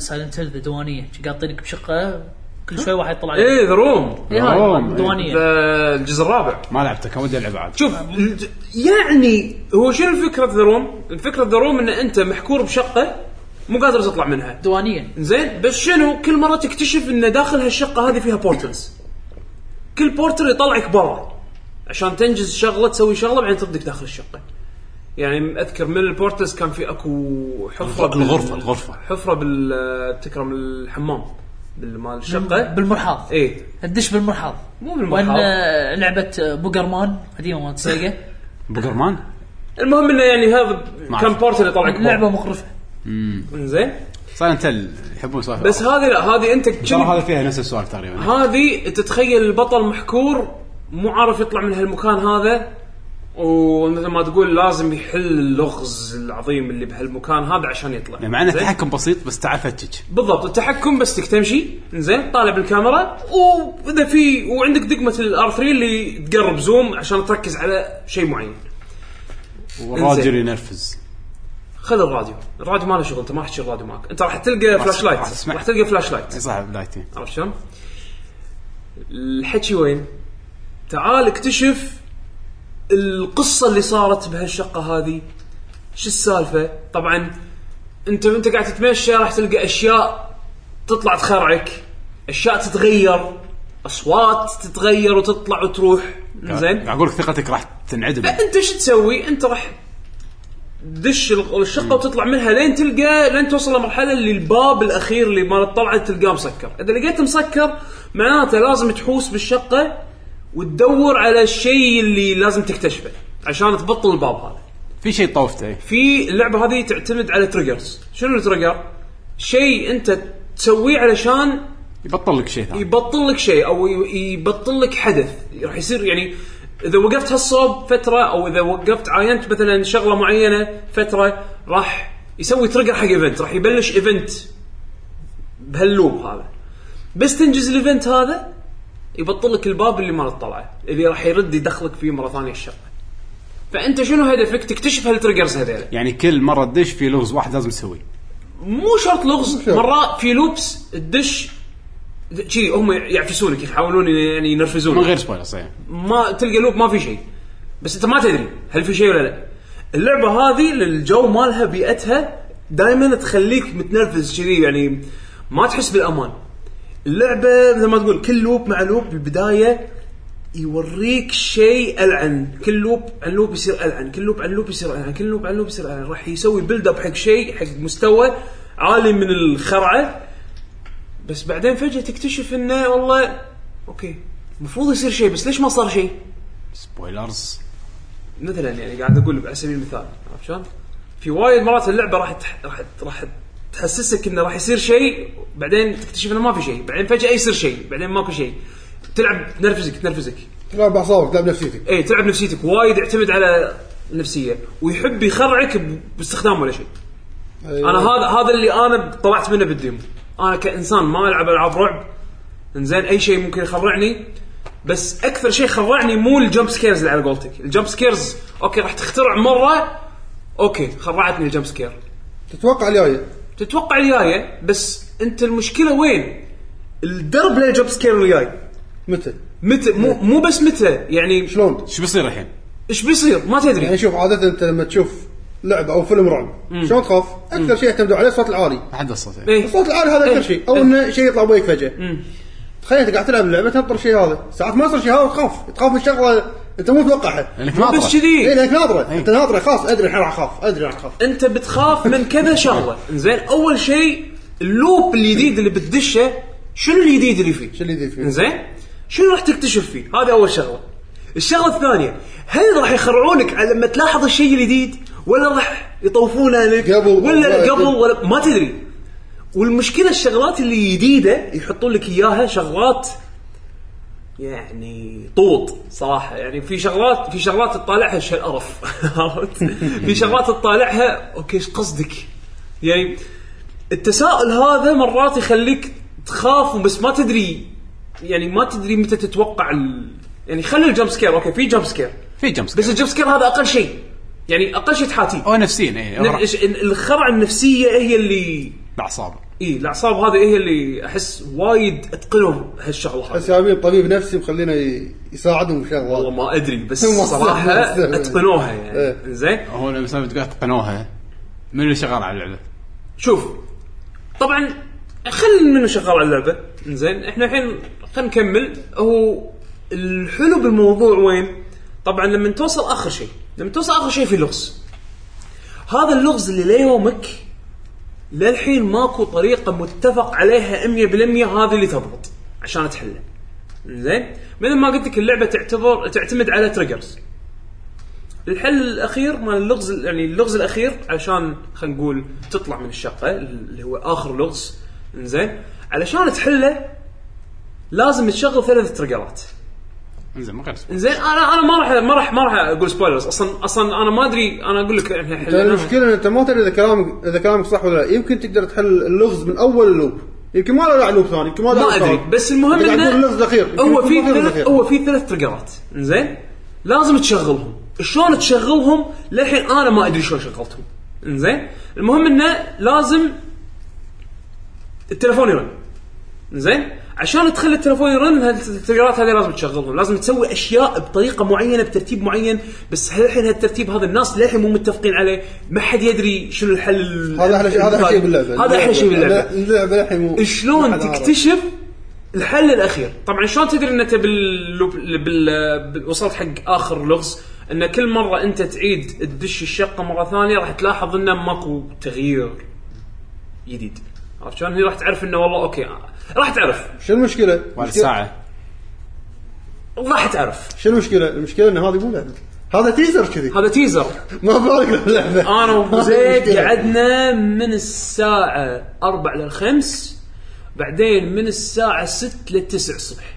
سايلنت هيل ذا ديوانيه شي قاطينك بشقه كل شوي واحد يطلع لك ايه ذا روم اي هاي إيه. أوه، إيه. مالت الديوانيه ذا- الجزء الرابع ما لعبته كان ودي العب عاد شوف يعني هو شنو الفكره ذا روم؟ الفكره ذا روم ان انت محكور بشقه مو قادر تطلع منها الديوانيه زين بس شنو كل مره تكتشف ان داخل هالشقه هذه فيها بورتلز كل بورتر يطلعك برا عشان تنجز شغله تسوي شغله بعدين تردك داخل الشقه يعني اذكر من البورتلز كان في اكو حفره بال- الغرفة- الغرفة. حفره بال تكرم الحمام بالمال الشقه بالمرحاض ايه تدش بالمرحاض مو بالمرحاض. وان آه، لعبه آه، بوجرمان قديمه مالت سيجا بوكرمان المهم انه يعني هذا ما كان أعرف. بورتر يطلعك لعبه برا مخرفه زين سايلنت هيل يحبون سوالف بس هذه لا هذه انت ترى كأنك- هذا فيها نفس السؤال تقريبا هذه تتخيل البطل محكور مو عارف يطلع من هالمكان هذا ومثل ما تقول لازم يحل اللغز العظيم اللي بهالمكان هذا عشان يطلع يعني مع انه زين؟ تحكم بسيط بس تعال فتش بالضبط التحكم بس تك تمشي زين طالع بالكاميرا واذا في وعندك دقمه الار 3 اللي تقرب زوم عشان تركز على شيء معين والراجل إنزين. ينرفز خذ الراديو الراديو ما له شغل انت ما راح تشيل الراديو معك انت راح تلقى فلاش لايت راح تسمع. راح تلقى فلاش لايت اي صح بدايتي عرفت شلون؟ الحكي وين؟ تعال اكتشف القصه اللي صارت بهالشقه هذه شو السالفه؟ طبعا انت وانت قاعد تتمشى راح تلقى اشياء تطلع تخرعك اشياء تتغير اصوات تتغير وتطلع وتروح زين قاعد اقول لك ثقتك راح تنعدم انت شو تسوي؟ انت راح تدش الغ- الشقه وتطلع منها لين تلقى لين توصل لمرحله اللي الباب الاخير اللي مال الطلعه تلقاه مسكر، اذا لقيته مسكر معناته لازم تحوس بالشقه وتدور على الشيء اللي لازم تكتشفه عشان تبطل الباب هذا. في شيء إيه. طوفته إي. في اللعبه هذه تعتمد على تريجرز، شنو التريجر؟ شيء انت تسويه علشان يبطل لك شيء ثاني يبطل لك شيء او ي- يبطل لك حدث راح يصير يعني اذا وقفت هالصوب فتره او اذا وقفت عاينت مثلا شغله معينه فتره راح يسوي تريجر حق ايفنت راح يبلش ايفنت بهاللوب هذا بس تنجز الايفنت هذا يبطل لك الباب اللي مال الطلعه اللي راح يرد يدخلك فيه مره ثانيه الشغله فانت شنو هدفك تكتشف هالتريجرز هذيلا يعني كل مره تدش في لغز واحد لازم تسويه مو شرط لغز شرط. مرات في لوبس الدش شي هم يعفسونك يحاولون يعني ينرفزونك من غير سبويلرز يعني ما تلقى لوب ما في شيء بس انت ما تدري هل في شيء ولا لا اللعبه هذه الجو مالها بيئتها دائما تخليك متنرفز كذي يعني ما تحس بالامان اللعبه مثل ما تقول كل لوب مع لوب بالبدايه يوريك شيء العن كل لوب عن لوب يصير العن كل لوب عن لوب يصير العن كل لوب عن لوب يصير العن راح يسوي بيلد اب حق شيء حق مستوى عالي من الخرعه بس بعدين فجاه تكتشف انه والله اوكي المفروض يصير شيء بس ليش ما صار شيء؟ سبويلرز مثلا يعني قاعد اقول على سبيل المثال عرفت شلون؟ في وايد مرات اللعبه راح تح... راح راح تحسسك انه راح يصير شيء بعدين تكتشف انه ما في شيء بعدين فجاه يصير شيء بعدين ماكو شيء تلعب تنرفزك تنرفزك تلعب باعصابك تلعب نفسيتك اي تلعب نفسيتك وايد يعتمد على النفسيه ويحب يخرعك ب- باستخدام ولا شيء أيوة. انا هذا هذا اللي انا طلعت منه بالديمو انا كانسان ما العب العاب رعب انزين اي شيء ممكن يخرعني بس اكثر شيء خرعني مو الجمب سكيرز اللي على قولتك الجمب سكيرز اوكي راح تخترع مره اوكي خرعتني الجمب سكير تتوقع آية؟ الجايه تتوقع الجايه بس انت المشكله وين الدرب للجمب سكير الجاي متى؟ متى مو مو بس متى يعني شلون؟ شو بيصير الحين؟ ايش بيصير ما تدري يعني شوف عاده انت لما تشوف لعبه او فيلم رعب شلون تخاف؟ اكثر شيء يعتمدوا عليه الصوت العالي ما حد وصلت يعني. إيه. الصوت العالي هذا إيه. اكثر شيء او انه شيء يطلع بيك فجاه تخيل انت قاعد تلعب لعبه تنطر شيء هذا ساعات ما يصير شيء هذا تخاف تخاف من شغله انت مو متوقعها إيه. لانك بس ناطره كذي اي لانك ناظره إيه. انت ناظره خلاص ادري الحين راح اخاف ادري راح اخاف انت بتخاف من كذا شغله زين اول شيء اللوب الجديد اللي بتدشه شنو الجديد اللي فيه شو اللي يدري فيه؟ زين شنو راح تكتشف فيه هذا اول شغله الشغله الثانيه هل راح يخرعونك على لما تلاحظ الشيء الجديد ولا راح يطوفونه لك قبل- ولا والله قبل قبل. ولا ما تدري والمشكله الشغلات اللي جديده يحطون لك اياها شغلات يعني طوط صراحه يعني في شغلات في شغلات تطالعها شيء القرف عرفت؟ في شغلات تطالعها اوكي ايش قصدك؟ يعني التساؤل هذا مرات يخليك تخاف بس ما تدري يعني ما تدري متى تتوقع ال... يعني خلي الجمب سكير اوكي في جمب سكير في جمس بس الجمب سكير هذا اقل شيء يعني اقل شيء تحاتيه او نفسيا اي نف- أو نعم، إيش- الخرع النفسيه هي اللي باعصابه اي الاعصاب هذه هي اللي احس وايد اتقنهم هالشغله هذه بس جايبين طبيب نفسي مخلينا ي- يساعدهم بشغله والله ما ادري بس هو صراحه صح. اتقنوها يعني إيه. زين هو لما سالفة تقول اتقنوها من اللي شغال على اللعبه؟ شوف طبعا خل منه شغال على اللعبه زين احنا الحين خلينا نكمل هو الحلو بالموضوع وين؟ طبعا لما توصل اخر شيء لما توصل اخر شيء في لغز هذا اللغز اللي ليومك للحين ماكو طريقه متفق عليها 100% هذه اللي تضبط عشان تحله زين مثل ما قلت لك اللعبه تعتبر تعتمد على تريجرز الحل الاخير مال اللغز يعني اللغز الاخير عشان خلينا نقول تطلع من الشقه اللي هو اخر لغز زين علشان تحله لازم تشغل ثلاث تريجرات انزين من غير سبويلرز. زين انا انا ما راح ما راح ما راح اقول سبويلرز اصلا اصلا انا ما ادري انا اقول لك احنا لأن حليناها. المشكله ان انت ما تدري اذا كلامك اذا كلامك صح ولا لا يمكن تقدر تحل اللغز من اول اللوب يمكن ما له داعي لوب ثاني يمكن ما له ما داعي ادري ثالث. بس المهم أنت قاعد انه تقول اللغز الاخير يمكن هو يكون في ما اللغز ثلاث الأخير. هو في ثلاث تريجرات زين لازم تشغلهم شلون تشغلهم للحين انا ما ادري شلون شغلتهم زين المهم انه لازم التلفون يرن زين عشان تخلي التلفون يرن هالتغييرات هذه لازم تشغلهم لازم تسوي اشياء بطريقه معينه بترتيب معين بس للحين هالترتيب هذا الناس للحين مو متفقين عليه ما حد يدري شنو الحل ال- هذا احلى شيء هذا احلى شيء باللعبه طيب. هذا احلى شيء باللعبه اللعبه للحين مو ما شلون حد عارف. تكتشف الحل الاخير طبعا شلون تدري ان انت بال... بال... بال... وصلت حق اخر لغز ان كل مره انت تعيد تدش الشقه مره ثانيه راح تلاحظ انه ماكو تغيير جديد عرفت شلون هي راح تعرف انه والله اوكي آه. راح تعرف شو المشكله؟ ولا المشكلة- ساعه راح تعرف شو المشكله؟ المشكله ان هذه مو لعبه هذا تيزر كذي هذا تيزر ما بالك اللعبه انا وابو زيد قعدنا من الساعه 4 للخمس بعدين من الساعه 6 لل 9 الصبح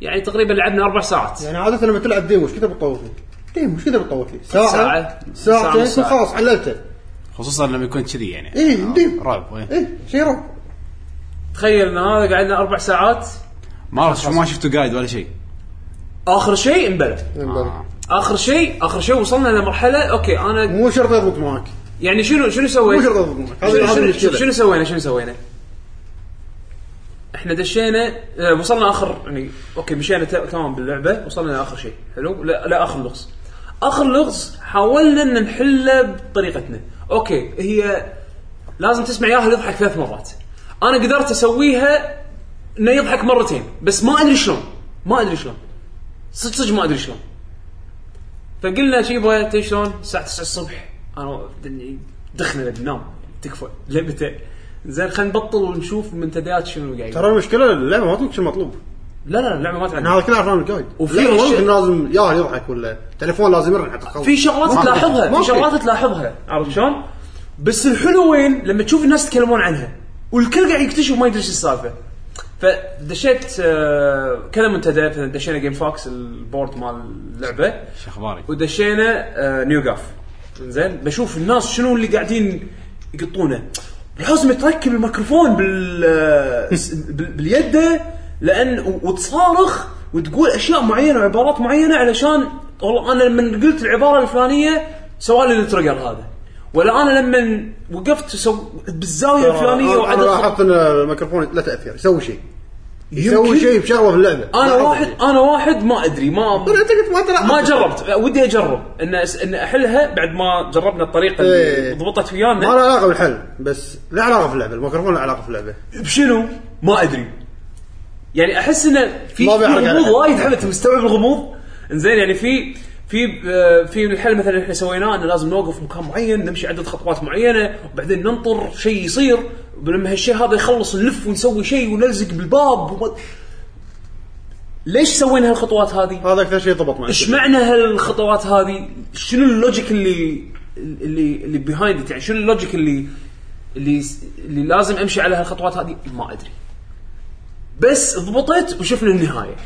يعني تقريبا لعبنا اربع ساعات يعني عاده لما تلعب ديمو ايش كذا بتطول فيك؟ ديمو ايش كذا بتطول فيك؟ ساعه ساعة. ساعة ساعتين نص يكون ساعة. خلاص حللته خصوصا لما يكون كذي يعني اي ديم رعب إيه. اي شيء رعب تخيل ان هذا قعدنا اربع ساعات ما عرفت شو- ما شفتوا قايد ولا شيء اخر شيء انبلع آه. اخر شيء اخر شيء وصلنا لمرحله اوكي انا مو شرط يضبط معك يعني شنو شنو مو سويت؟ شرط يضبط معك هذا شنو- هذا شنو- المشكله شنو سوينا شنو سوينا؟ احنا دشينا آه، وصلنا اخر يعني اوكي مشينا تا- تمام باللعبه وصلنا لاخر شيء حلو لا, لا اخر لغز اخر لغز حاولنا ان نحله بطريقتنا اوكي هي لازم تسمع ياهل يضحك ثلاث مرات انا قدرت اسويها انه يضحك مرتين بس ما ادري شلون ما ادري شلون صدق صدق ما ادري شلون فقلنا شيبا تدري شلون الساعه 9 الصبح انا دخنا نام تكفى لعبته زين خلينا نبطل ونشوف منتديات شنو قاعد ترى المشكله اللعبه ما تعطيك شيء المطلوب لا لا اللعبه ما انا تعلم هذا كله عرفان الجايد وفي وفي أشياء- ممكن لازم يا يضحك ولا تليفون لازم يرن حتى تخلص في شغلات ما في- تلاحظها ما في شغلات تلاحظها عرفت شلون؟ بس الحلو وين لما تشوف الناس يتكلمون عنها والكل قاعد يكتشف ما يدري ايش السالفه فدشيت آه، كذا منتدى مثلا دشينا جيم فوكس البورد مال اللعبه شو اخباري ودشينا آه، نيو جاف زين بشوف الناس شنو اللي قاعدين يقطونه الحزمه تركب الميكروفون بال آه، س- بال- باليده لان و- وتصارخ وتقول اشياء معينه وعبارات معينه علشان والله انا لما قلت العباره الفلانيه سوالي التريجر هذا ولا انا لما وقفت سو بالزاويه الفلانيه أنا- انا وعدد خط- لاحظت ان الميكروفون لا تاثير يسوي شيء يمكن. يسوي شيء بشغله في اللعبه انا لاحظت. واحد انا واحد ما ادري ما طلع أنت قلت ما تلاحظ. ما جربت ودي اجرب ان أس- ان احلها بعد ما جربنا الطريقه اللي إيه. ضبطت ما ويانا له علاقه بالحل بس له علاقه في اللعبه الميكروفون له علاقه في اللعبه بشنو؟ ما ادري يعني احس انه في في ما بيعرف يعني. غموض وايد حلو أنت مستوعب الغموض انزين يعني في في آه، في الحل مثلا اللي احنا سويناه انه لازم نوقف مكان معين نمشي عدد خطوات معينه وبعدين ننطر شيء يصير ولما هالشيء هذا يخلص نلف ونسوي شيء ونلزق بالباب وما... ليش سوينا هالخطوات هذه؟ هذا اكثر شيء ضبط معي ايش معنى هالخطوات هذه؟ شنو اللوجيك اللي اللي اللي بيهايند يعني شنو اللوجيك اللي اللي اللي لازم امشي على هالخطوات هذه؟ ما ادري. بس ضبطت وشفنا النهايه.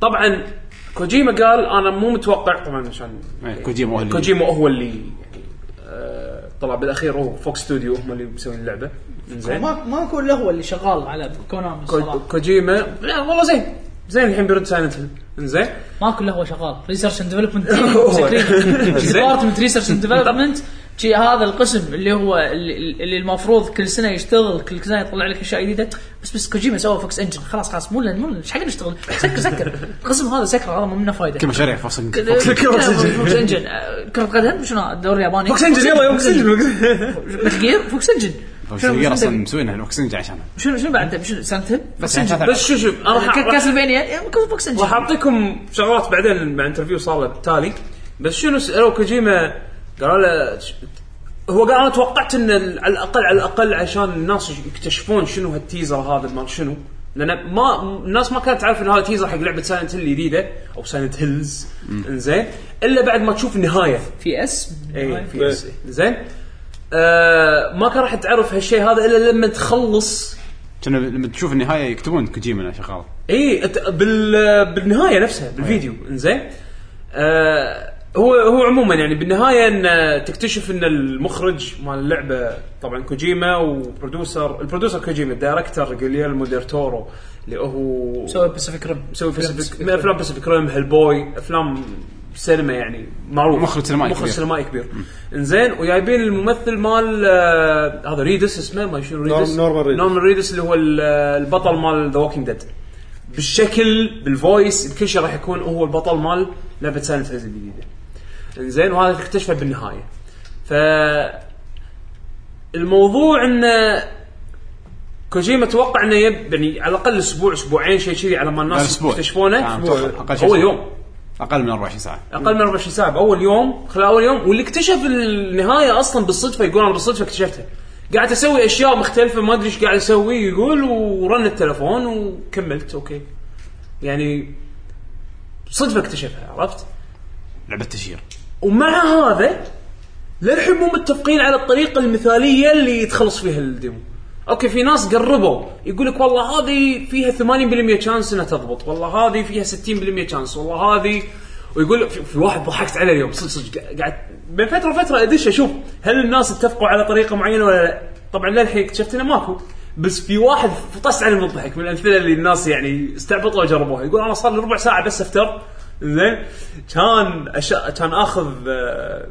طبعا كوجيما قال انا مو متوقع طبعا عشان إيه، كوجيما هو اللي- كوجيما هو اللي يعني آه، طلع بالاخير هو فوكس ستوديو هم اللي مسوين اللعبه. زين ما ما اقول هو اللي شغال على كونامي كو- الصراحه كوجيما لا والله زين زين الحين بيرد سايلنت هيل انزين ما كله هو شغال ريسيرش اند ديفلوبمنت هو. زين. ديبارتمنت ريسيرش اند ديفلوبمنت شي هذا القسم اللي هو اللي اللي المفروض كل سنه يشتغل كل سنه يطلع لك اشياء جديده بس بس كوجيما سوى فوكس انجن خلاص خلاص مو لنا- مو لنا، ايش حق نشتغل سكر سكر القسم هذا سكر هذا ما منه فايده كل مشاريع فوكس كل- فوكس- كل- فوكس إنجن. فوكس انجن آه، كره قدم شنو الدوري الياباني فوكس انجن يلا يلا فوكس انجن مثل جير فوكس انجن فوكس شنو- فوكس شنو- اصلا مسوينها فوكس نينجا عشانها شنو شنو بعد شنو سنت هيل بس عشان بس شوف شوف انا راح- راح- كاسلفينيا فوكس انجن راح اعطيكم شغلات بعدين مع انترفيو صار له التالي بس شنو سالوا كوجيما قالوا له ش- هو قال انا توقعت ان ال- على الاقل على الاقل عشان الناس يكتشفون شنو هالتيزر هذا مال شنو لان ما الناس ما كانت تعرف ان هذا تيزر حق لعبه سايلنت هيل الجديده او سايلنت هيلز انزين الا بعد ما تشوف النهايه في اس اي في اس زين آه ما كان راح تعرف هالشيء هذا الا لما تخلص كنا لما تشوف النهايه يكتبون كوجيما شغال اي إيه، أت- بال بالنهايه نفسها بالفيديو انزين آه هو هو عموما يعني بالنهايه ان تكتشف ان المخرج مال اللعبه طبعا كوجيما وبرودوسر البرودوسر كوجيما الدايركتر جليرمو ديرتورو اللي هو سوي باسيفيك ريم مسوي باسيفيك من افلام باسيفيك ريم هيل بوي افلام سينما يعني معروف مخرج سينمائي مخرج كبير. سينمائي كبير انزين وجايبين الممثل مال آه، هذا ريدس اسمه ما شنو ريدس نورم- نورمان ريدس. نورمان ريدس اللي هو ال- آه، البطل مال ذا ووكينج ديد بالشكل بالفويس بكل شيء راح يكون هو البطل مال لعبه سايلنت هيلز الجديده انزين وهذا اكتشفه بالنهايه ف الموضوع انه كوجيما توقع انه يب يعني على الاقل اسبوع اسبوعين شيء كذي على ما الناس أسبوع. يكتشفونه آه، أتوقع. أقل شيء أسبوع. اول يوم اقل من 24 ساعه اقل من 24 ساعه باول يوم خلال اول يوم واللي اكتشف النهايه اصلا بالصدفه يقول انا بالصدفه اكتشفتها قاعد اسوي اشياء مختلفه ما ادري ايش قاعد اسوي يقول ورن التلفون وكملت اوكي يعني صدفه اكتشفها عرفت لعبه تشير ومع هذا للحين مو متفقين على الطريقه المثاليه اللي يتخلص فيها الديمو اوكي في ناس قربوا يقول لك والله هذه فيها 80% شانس انها تضبط والله هذه فيها 60% شانس والله هذه ويقول في, في واحد ضحكت عليه اليوم صدق صدق قا- قاعد بين فتره وفتره ادش اشوف هل الناس اتفقوا على طريقه معينه ولا لا طبعا للحين اكتشفت انه ماكو بس في واحد فطست عليه من الضحك من الامثله اللي الناس يعني استعبطوا وجربوها يقول انا صار لي ربع ساعه بس افتر زين كان أشا... كان اخذ آه،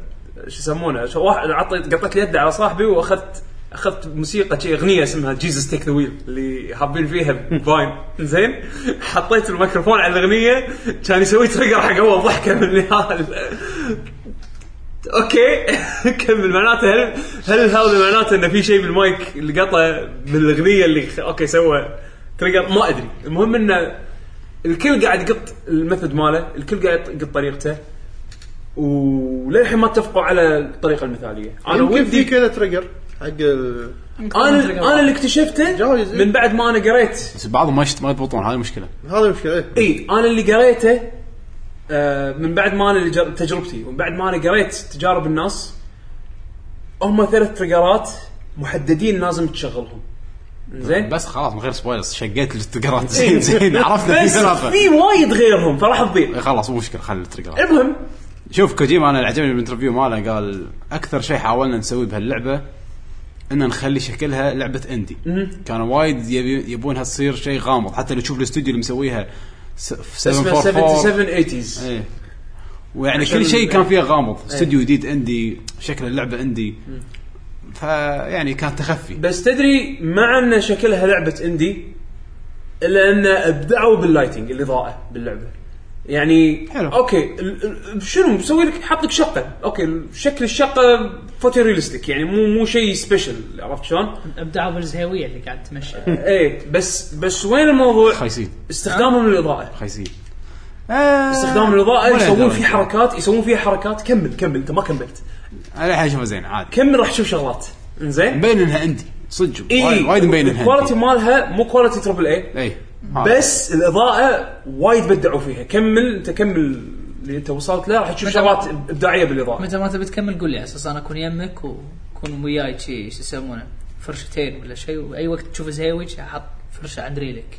شو يسمونه شو- واحد عطيت قطيت لي يده على صاحبي واخذت اخذت موسيقى شي اغنيه اسمها جيزس تيك ذا ويل اللي حابين فيها فاين زين حطيت الميكروفون على الاغنيه كان يسوي تريجر حق اول ضحكه من النهايه اوكي كمل معناته هل هل هذا معناته انه في شيء بالمايك اللي قطه بالاغنيه اللي خ- اوكي سوى تريجر ما ادري المهم انه الكل قاعد يقط الميثود ماله الكل قاعد يقط طريقته وللحين ما اتفقوا على الطريقه المثاليه انا يمكن في ودي كذا تريجر حق ال- انا انا اللي اكتشفته جايز، إيه. من بعد ما انا قريت بس بعضهم ما يشت- ما يضبطون هذه مشكله هذا مشكله إيه. اي انا اللي قريته آه، من بعد ما انا اللي جر- تجربتي ومن بعد ما انا قريت تجارب الناس هم ثلاث تريجرات محددين لازم تشغلهم زين بس خلاص من غير سبويلرز شقيت التريجرات زين زين عرفنا في إيه. بس ثلاثه في وايد غيرهم فراح تضيع إيه خلاص مو مشكله خلي التريجرات المهم شوف كوجيما انا اللي عجبني بالانترفيو ماله قال اكثر شيء حاولنا نسويه بهاللعبه ان نخلي شكلها لعبه اندي كانوا وايد يبي يبونها تصير شيء غامض حتى لو تشوف الاستوديو اللي مسويها س- في اسمه 744 7780s إيه. ويعني عشان كل شيء ال- كان فيها غامض استوديو جديد اندي شكل اللعبه اندي فيعني يعني كان تخفي بس تدري مع ان شكلها لعبه اندي الا ان ابدعوا باللايتنج الاضاءه باللعبه يعني حلو. اوكي ال- ال- شنو مسوي لك حاط لك شقه اوكي شكل الشقه فوتوريالستيك يعني مو مو شيء سبيشل عرفت شلون؟ ابدعوا بالزهاويه اللي قاعد تمشي ايه بس بس وين الموضوع؟ خايسين استخدامهم للاضاءه خايسين آه، استخدام الاضاءه ولا يسوون درجة. فيه حركات يسوون فيه حركات كمل كمل انت ما كملت انا الحين اشوفها زين عادي كمل راح تشوف شغلات انزين مبين انها اندي صدق وايد- اي وايد إيه. مبين انها الكواليتي اندي مالها مو كواليتي تربل اي اي بس الاضاءه وايد بدعوا فيها كمل انت كمل اللي انت وصلت له راح تشوف متى- شغلات ابداعيه بالاضاءه متى ما تبي تكمل قول لي على اساس انا اكون يمك وكون وياي شي شو يسمونه فرشتين ولا شيء واي وقت تشوف زهاوج احط فرشه عند ريلك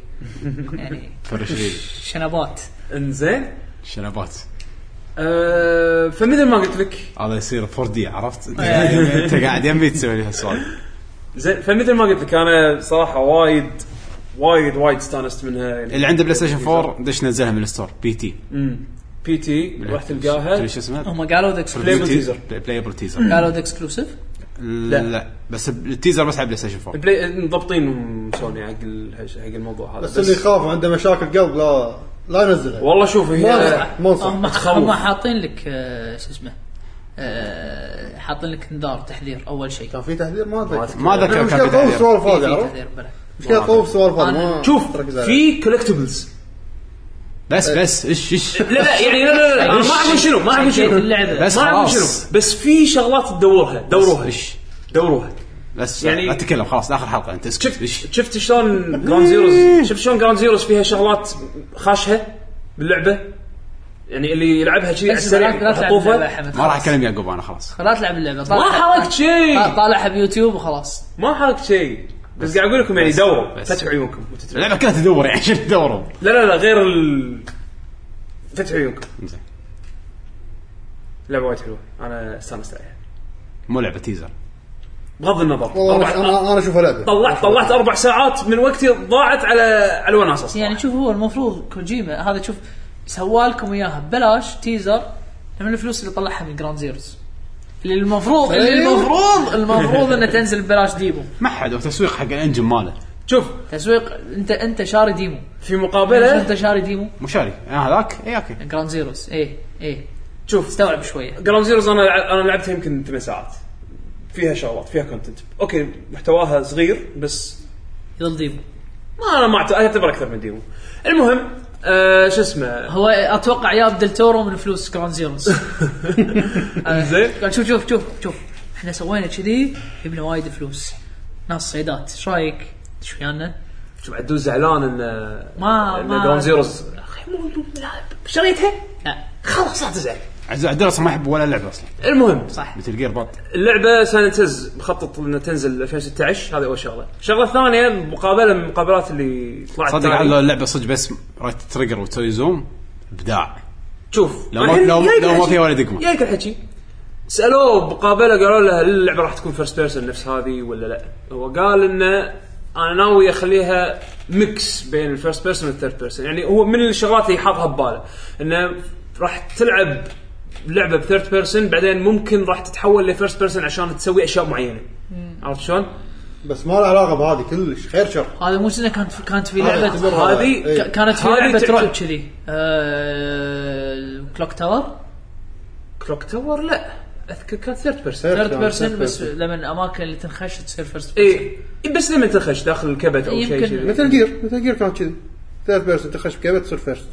يعني فرش ريلي. شنبات انزين شنبات أه فمثل ما قلت لك هذا يصير 4 دي عرفت انت قاعد يمي تسوي لي هالسؤال زين فمثل ما قلت لك انا صراحه وايد وايد وايد استانست منها يعني اللي عنده بلاي ستيشن 4 دش نزلها من الستور بي تي بي تي راح تلقاها تدري شو اسمه؟ هم قالوا ذا بلاي- اكسكلوسيف بلايبل تيزر. بلايبل تيزر قالوا ذا اكسكلوسيف لا لا بس التيزر بس على بلاي ستيشن 4 بلاي مضبطين سوني حق ال- حق الموضوع هذا بس اللي بس يخاف عنده مشاكل قلب لا لا ينزلها والله شوف هي ما- ما انصح هم تخوف. هم حاطين لك آه، شو اسمه آه، حاطين لك انذار تحذير اول شيء طيب، كان في تحذير ما اتذكر ما أذكر كان في مشكلة طوف تحذير. سوالف في- في فاضي عرفت؟ تحذير بلى مشكلة طوف سوالف فاضي ما شوف ركز عليها. في كولكتبلز بس أه. بس ايش ايش لا لا يعني لا لا لا أنا ما اعرف شنو ما اعرف شنو اللعبة. بس ما اعرف خلاص شنو بس في شغلات تدورها دوروها إيش؟ دوروها بس يعني- يعني لا تتكلم خلاص اخر حلقه انت اسكت شفت ايش شفت شلون جراوند زيروز شفت شلون جراوند زيروز فيها شغلات خاشها باللعبه يعني اللي يلعبها شيء على بس لا لا السريع تلعب اللعبة يا حطوفه حمد ما راح خلاص. اكلم يعقوب انا خلاص لا تلعب اللعبه ما طالعها- حركت شيء طالعها بيوتيوب وخلاص ما حركت شيء بس قاعد اقول لكم يعني دوروا بس. فتحوا عيونكم وتترك. اللعبه كلها تدور يعني شنو تدوروا لا لا لا غير ال فتحوا عيونكم إنزين. لعبه وايد حلوه انا استانست عليها مو لعبه تيزر بغض النظر والله أربع- أنا- انا انا اشوفها لعبه طلعت طلعت اربع ساعات من وقتي ضاعت على على الوناسه صراحة. يعني شوف هو المفروض كوجيما هذا شوف سوالكم اياها ببلاش تيزر من الفلوس اللي طلعها من جراوند زيروز اللي المفروض اللي أيوه. المفروض المفروض انه تنزل ببلاش ديمو ما حد وتسويق حق الانجن ماله شوف تسويق انت انت شاري ديمو في بس مقابله انت شاري ديمو مو شاري انا هذاك إيه، اي اوكي جراوند زيروز ايه ايه شوف استوعب شويه جراوند زيروز انا لع- انا لعبتها يمكن ثمان ساعات فيها شغلات فيها كونتنت اوكي محتواها صغير بس يظل ديمو ما انا ما أعت- اعتبر اكثر من ديمو المهم آه شو اسمه هو اتوقع ياب دلتورو من فلوس جراوند زيروز زين قال شوف شوف شوف شوف احنا سوينا كذي جبنا وايد فلوس ناس صيدات ايش رايك؟ ايش ويانا؟ شوف عدو زعلان ان ما- ان ما- جراوند زيروز أخي مو- مو- لا، شريتها لا خلاص لا تزعل عز- عدل اصلا ما يحب ولا لعبه اصلا المهم صح مثل جير بط اللعبه سانتز مخطط انها تنزل 2016 هذه اول شغله الشغله الثانيه مقابله من المقابلات اللي طلعت صدق تاني. على اللعبه صدق بس رايت تريجر وتسوي زوم ابداع شوف لو ما- الحين لو- جايك لو ما الحكي. فيها ولا دقمة. جايك الحكي سالوه بمقابله قالوا له هل اللعبه راح تكون فيرست بيرسون نفس هذه ولا لا؟ هو قال انه انا ناوي اخليها ميكس بين الفيرست بيرسون والثيرد بيرسون، يعني هو من الشغلات اللي حاطها بباله انه راح تلعب لعبه بثيرد بيرسون بعدين ممكن راح تتحول لفيرست بيرسون عشان تسوي اشياء معينه. عرفت شلون؟ بس ما له علاقه بهذه كلش خير شر هذا مو سنه كانت كانت في هذا لعبه اعتبرها- هذه إيه. ك- كانت في هذه لعبه تعتبر- رعب كذي آه، كلوك تاور كلوك تاور لا اذكر كانت ثيرد بيرسون. Third ثيرد person، بيرسون third بس person. إيه. لما الاماكن اللي تنخش تصير فيرست اي إيه، بس لما تخش داخل الكبت او شيء يمكن. كذي. مثل جير مثل جير كانت كذي ثيرد بيرسون تخش بكيبه تصير فيرست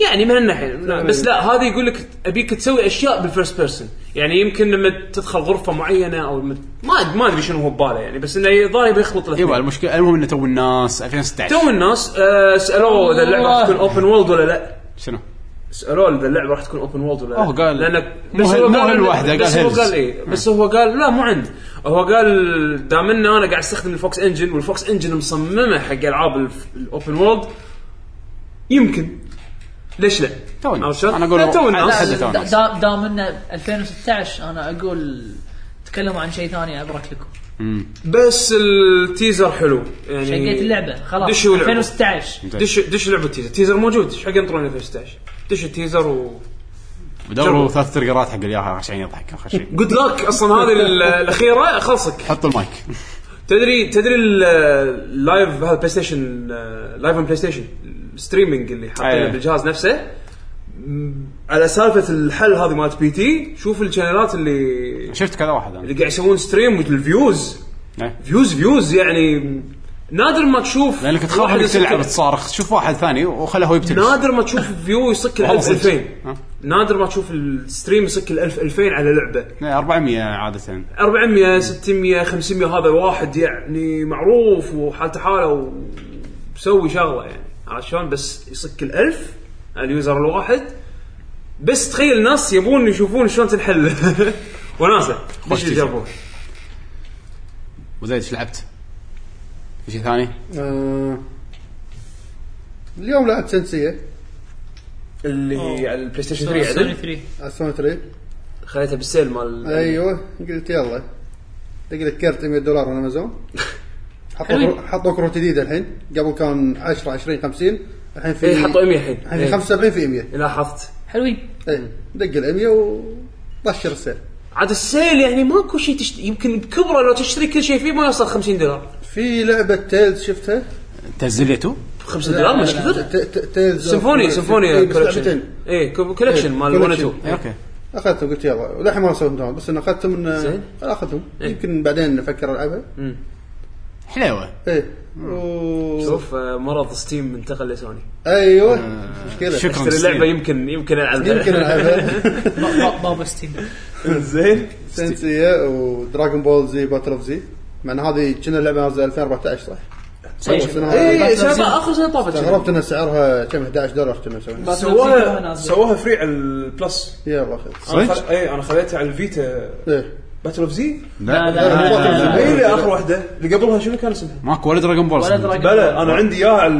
يعني من الناحيه لا، بس لا هذا يقول لك ابيك تسوي اشياء بالفيرست بيرسون يعني يمكن لما تدخل غرفه معينه او لما- ما ما ادري شنو هو بباله يعني بس انه الظاهر يبي يخلط الاثنين ايوه المشكله المهم انه تو الناس 2016 تو الناس آه، سالوه اذا اللعبه راح تكون اوبن وولد ولا لا شنو؟ سالوه اذا اللعبه راح تكون اوبن وولد ولا لا أوه، قال- لانك مو هل- مو هالواحدة، قال بس هو هيلز. قال اي بس هو قال لا مو عندي هو قال دام ان انا قاعد استخدم الفوكس انجن والفوكس انجن مصممه حق العاب الف- الاوبن وولد يمكن ليش لا؟ توني عرفت شلون؟ انا اقول لا، تو الناس. حد- حد تو الناس. دام دام انه 2016 انا اقول تكلموا عن شيء ثاني ابرك لكم بس التيزر حلو يعني شقيت اللعبه خلاص دشوا لعبة. 2016 دش دش لعبه التيزر التيزر موجود ايش حق ينطرون 2016 دش التيزر و بدوروا ثلاث تريجرات حق الياها عشان يضحك اخر شيء جود لك اصلا هذه ال- الاخيره خلصك حط المايك تدري تدري ال- اللايف هذا بلاي ستيشن آه، لايف اون بلاي ستيشن الستريمنج اللي حاطينه أيه. بالجهاز نفسه م- على سالفه الحل هذه مالت بي تي شوف الشانلات اللي شفت كذا واحد انا اللي قاعد يسوون ستريم والفيوز إيه. فيوز فيوز يعني نادر ما تشوف لانك تخاف واحد انك يسكر- تلعب تصارخ شوف واحد ثاني وخله هو يبتلش نادر ما تشوف فيو يصك ال 1000 والله صدق. 2000 ها؟ نادر ما تشوف الستريم يصك ال 1000 2000 على لعبه إيه، 400 عاده 400 600 500 هذا واحد يعني معروف وحالته حاله ومسوي شغله يعني عرفت شلون بس يصك ال 1000 على اليوزر الواحد بس تخيل ناس يبون يشوفون شلون تنحل وناسه خوش خوش يجربون وزيد ايش لعبت؟ في شيء ثاني؟ آه. اليوم لعبت سنسيه اللي على البلاي ستيشن سوني 3 عدل 3 على سوني 3 خليتها بالسيل مال ايوه قلت يلا دق لك كرت 100 دولار من امازون حلوين. حطوا حطوا كروت جديده الحين قبل كان 10 20 50 الحين في اي حطوا 100 الحين الحين 75 في 100 إيه، لاحظت حلوين اي دق ال 100 وطشر السيل عاد السيل يعني ماكو شيء تشتري يمكن بكبره لو تشتري كل شيء فيه ما يوصل 50 دولار في لعبه تيلز شفتها تنزليته؟ 5 دولار مش كثر ت- ت- تيلز سيمفوني إيه، سيمفوني كولكشن كولكشن اي كولكشن إيه، مال 1 collection. 2 اوكي اخذتهم قلت يلا وللحين ما سويت داون بس انا اخذتهم زين. من اخذتهم إيه. يمكن بعدين افكر العبها حلوه ايه و... شوف آه، مرض ستيم انتقل لسوني ايوه آه، مشكله شكرا اشتري اللعبه ستيم. يمكن يمكن العبها يمكن العبها بابا ستيم زين سنسيا ودراغون بول زي باتل اوف زي مع ان هذه كنا لعبه نازله 2014 صح؟ إيه. سنة هذه. اي سنة- اخر سنه طافت استغربت ان سعرها كم 11 دولار كنا مسوينها سووها- سووها فري على البلس يلا خذ صدق؟ اي انا خذيتها على الفيتا ايه باتل اوف زي لا آه، لا، لا، لا لا. لا. إيه، اللي اخر واحده اللي قبلها شنو كان اسمها؟ ماكو ولا دراجون بول ولا صدق. دراجون بلا انا عندي اياها على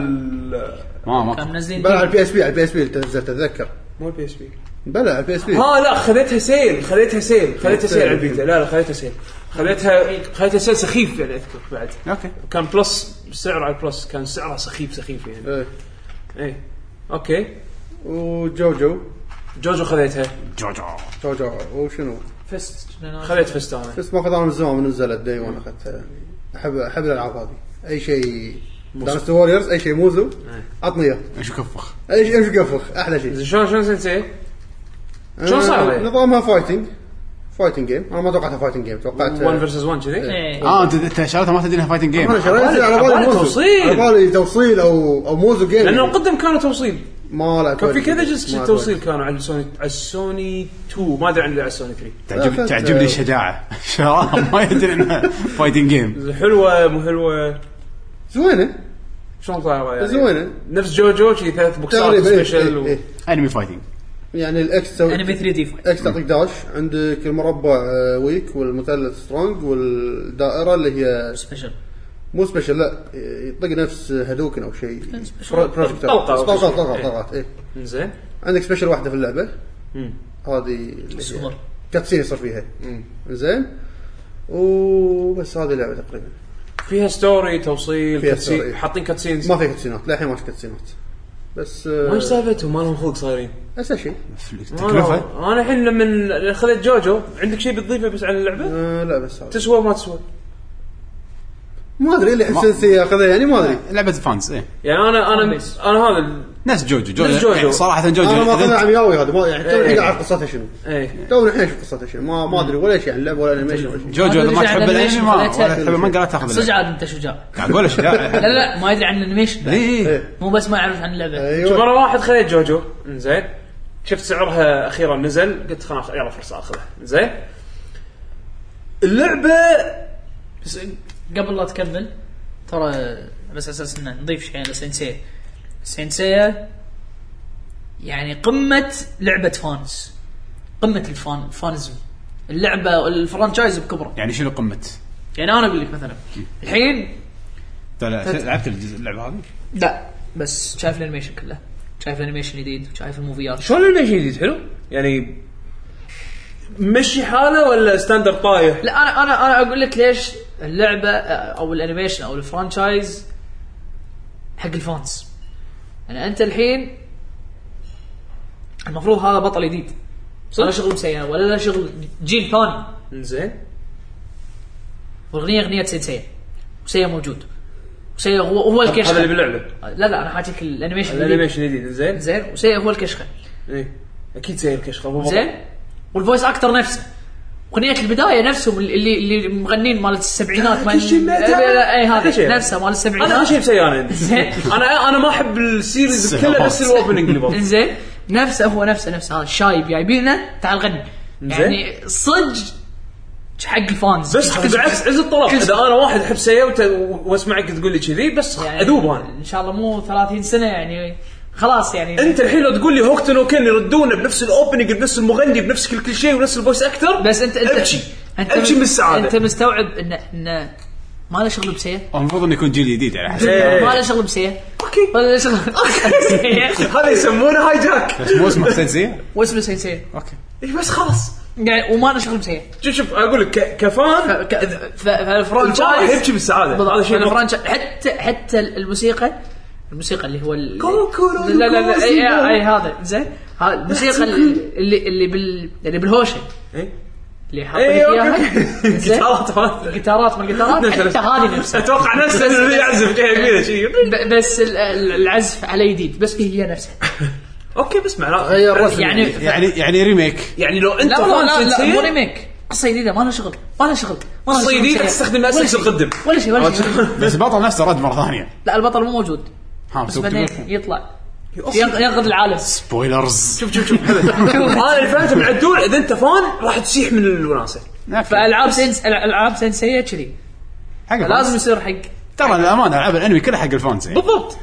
ما ماكو كانوا منزلين بلع على البي اس بي على البي اس بي تنزل تتذكر مو البي اس بي بلع على البي اس بي ها آه، لا خذيتها سيل خذيتها سيل خذيتها سيل على البيتا لا لا خذيتها سيل خذيتها خذيتها سيل سخيف يعني اذكر بعد اوكي كان بلس سعر على البلس كان سعره سخيف سخيف يعني ايه ايه اوكي وجوجو جوجو خذيتها جوجو جوجو وشنو فست خذيت فست انا بس ما اخذها من زمان من نزلت داي وان اخذتها يعني. احب احب الالعاب هذه اي شيء دانست ووريرز اي شيء موزو إيه. عطني اياه ايش كفخ؟ اي شيء امشي قفخ احلى شيء زين شلون شلون سنسي؟ شلون صعبة؟ نظامها فايتنج فايتنج جيم انا ما توقعتها فايتنج جيم توقعت 1 فيرسز 1 كذي؟ ايه اه انت انت شغلتها ما تدري انها فايتنج جيم انا شريت على بالي عبالي موزو توصيل. على بالي توصيل او او موزو جيم لانه قدم كانوا توصيل ما لعبت كان في وايد. كذا ما جزء لعبت توصيل وايد. كانوا على السوني على السوني 2 ما ادري عن اللي على السوني 3 تعجب تعجبني الشجاعه شباب ما يدري انها فايتنج جيم حلوه مو حلوه زوينه شلون طالعه يعني؟ زوينة. نفس جوجو شي ثلاث بوكسات تقريبا إيه، سبيشل إيه، و- إيه. انمي فايتنج يعني الاكس تسوي انمي 3 دي فايت اكس تعطيك داش عندك المربع آه، ويك والمثلث سترونج والدائره اللي هي سبيشل مو سبيشل لا يطق نفس هدوكن او شيء سبيشل. بروجكتر طلقة أو طلقات شيء. طلقات إيه. طلقات إيه. زين عندك سبيشل واحده في اللعبه مم. هذه اللي بس هي غر. كاتسين يصير فيها زين وبس هذه اللعبه تقريبا فيها ستوري توصيل فيها كاتسين- ستوري. حاطين كاتسينز ما في كاتسينات للحين ما في كاتسينات بس وين آه، سالفتهم ما لهم خلق صايرين اسهل شيء تكلفه انا الحين لما خذيت جوجو عندك شيء بتضيفه بس على اللعبه آه، لا بس هذا تسوى ما تسوى ما ادري اللي حسن ياخذها يعني ما ادري لعبه فانز ايه يعني انا انا بس. انا هذا ال- نفس جوجو نفس جوجو جوجو. يعني صراحه جوجو انا إذا ما اخذها أنت- عمياوي هذا ما يعني تو إيه. قاعد اعرف قصتها شنو ايه تو الحين اشوف قصتها شنو ما ما ادري ولا شيء عن اللعبه ولا انيميشن ولا شيء جوجو اذا ما أدري تحب عن الانمي الأنيميشن ما ولا خذيتها. تحب المانجا لا تاخذ صدق اللعبة. عاد انت شجاع قاعد اقول اشياء لا لا ما يدري عن الانيميشن بعد. اي مو بس ما يعرف عن اللعبه شوف ايوه انا واحد خذيت جوجو زين شفت سعرها اخيرا نزل قلت خلاص يلا فرصه اخذها زين اللعبه بس قبل لا تكمل ترى بس على اساس انه نضيف شيء على سينسيا سينسيا يعني قمه لعبه فانز قمه الفان الفانزم اللعبه الفرانشايز بكبره يعني شنو قمه؟ يعني انا اقول لك مثلا الحين ترى لعبت الجزء- اللعبه هذه؟ لا بس شايف الانيميشن كله شايف الانيميشن جديد شايف الموفيات شلون الانيميشن جديد حلو؟ يعني مشي حاله ولا ستاندرد طايح؟ لا انا انا انا اقول لك ليش اللعبه آه، او الانيميشن او الفرانشايز حق الفانس يعني انت الحين المفروض هذا بطل جديد ولا شغل مسيا ولا له شغل جيل ثاني زين والاغنيه اغنيه سينسيا مسيا موجود مسيا هو هو الكشخه هذا اللي باللعبه لا لا انا حاجيك الانيميشن الجديد. الانيميشن الجديد زين؟ زين مسيا هو الكشخه ايه اكيد سير كشخه هو بطل. زين والفويس اكتر نفسه اغنيه البدايه نفسهم اللي اللي المغنين مال السبعينات مال كل شيء ما تعرف. اي كل شيء. هذا نفسه مال السبعينات انا اخر شيء بسيارة عندي زين انا انا ما احب السيريز كلها بس الاوبننج اللي بطل. زين نفسه هو نفسه نفسه هذا الشايب جايبينه تعال غني يعني صدق حق الفانز بس كل- بالعكس عز الطلب كل- اذا انا واحد احب سيا وت- واسمعك تقول لي كذي بس يعني اذوب انا ان شاء الله مو 30 سنه يعني خلاص يعني انت الحين لو تقول لي هوكتن وكن يردونه بنفس الاوبننج بنفس المغني بنفس كل كل شيء ونفس الفويس اكتر بس انت انت ابكي انت ابكي من السعاده انت مستوعب ان ان ما له شغل بسيء هو المفروض انه يكون جيل جديد على حسب إيه. ما له شغل بسيء اوكي ولا له شغل بسيء. هذا يسمونه هاي جاك بس مو اسمه سينسي واسمه سينسي اوكي إيه بس خلاص يعني وما له شغل بسيء شوف شوف اقول لك ك- كفان الفرح فالفرانشايز يبكي بالسعاده بالضبط هذا شيء نقطة. الفرنش حتى حتى الموسيقى الموسيقى اللي هو ال... كوكورو لا لا لا اي, كوزيبو. أي هذا زين ها الموسيقى ال- اللي اللي بال اللي بالهوشه إيه؟ اللي حاطين اي اوكي اياها زين؟ جيتارات فاضية. جيتارات ما الجيتارات نفس- حتى نفس- هذه نفسها اتوقع نفسه اللي يعزف جاي كذا شيء ب- بس ال- ال- العزف على جديد بس هي نفسها اوكي بس معناته غير رسم يعني يعني يعني ريميك يعني لو انت لا فان والله لا لا مو سنسير ريميك قصه جديده ما لها شغل ما لها شغل ما لها قصة شغل جديدة بشيء. تستخدم ولا أسلحة شيء. القدم. ولا شيء ولا شيء بس البطل نفسه رد مره ثانيه لا البطل مو موجود ها بس بس بعدين بتقول- يطلع ينق- ينقذ العالم بويلرز شوف شوف شوف انا اللي فهمته من عدول اذا انت فان راح تسيح من الوناسه فالعاب سنس العاب سنسيه كذي حق لازم لازم يصير حق ترى الامانه العاب الانمي كلها حق الفانز يعني. بالضبط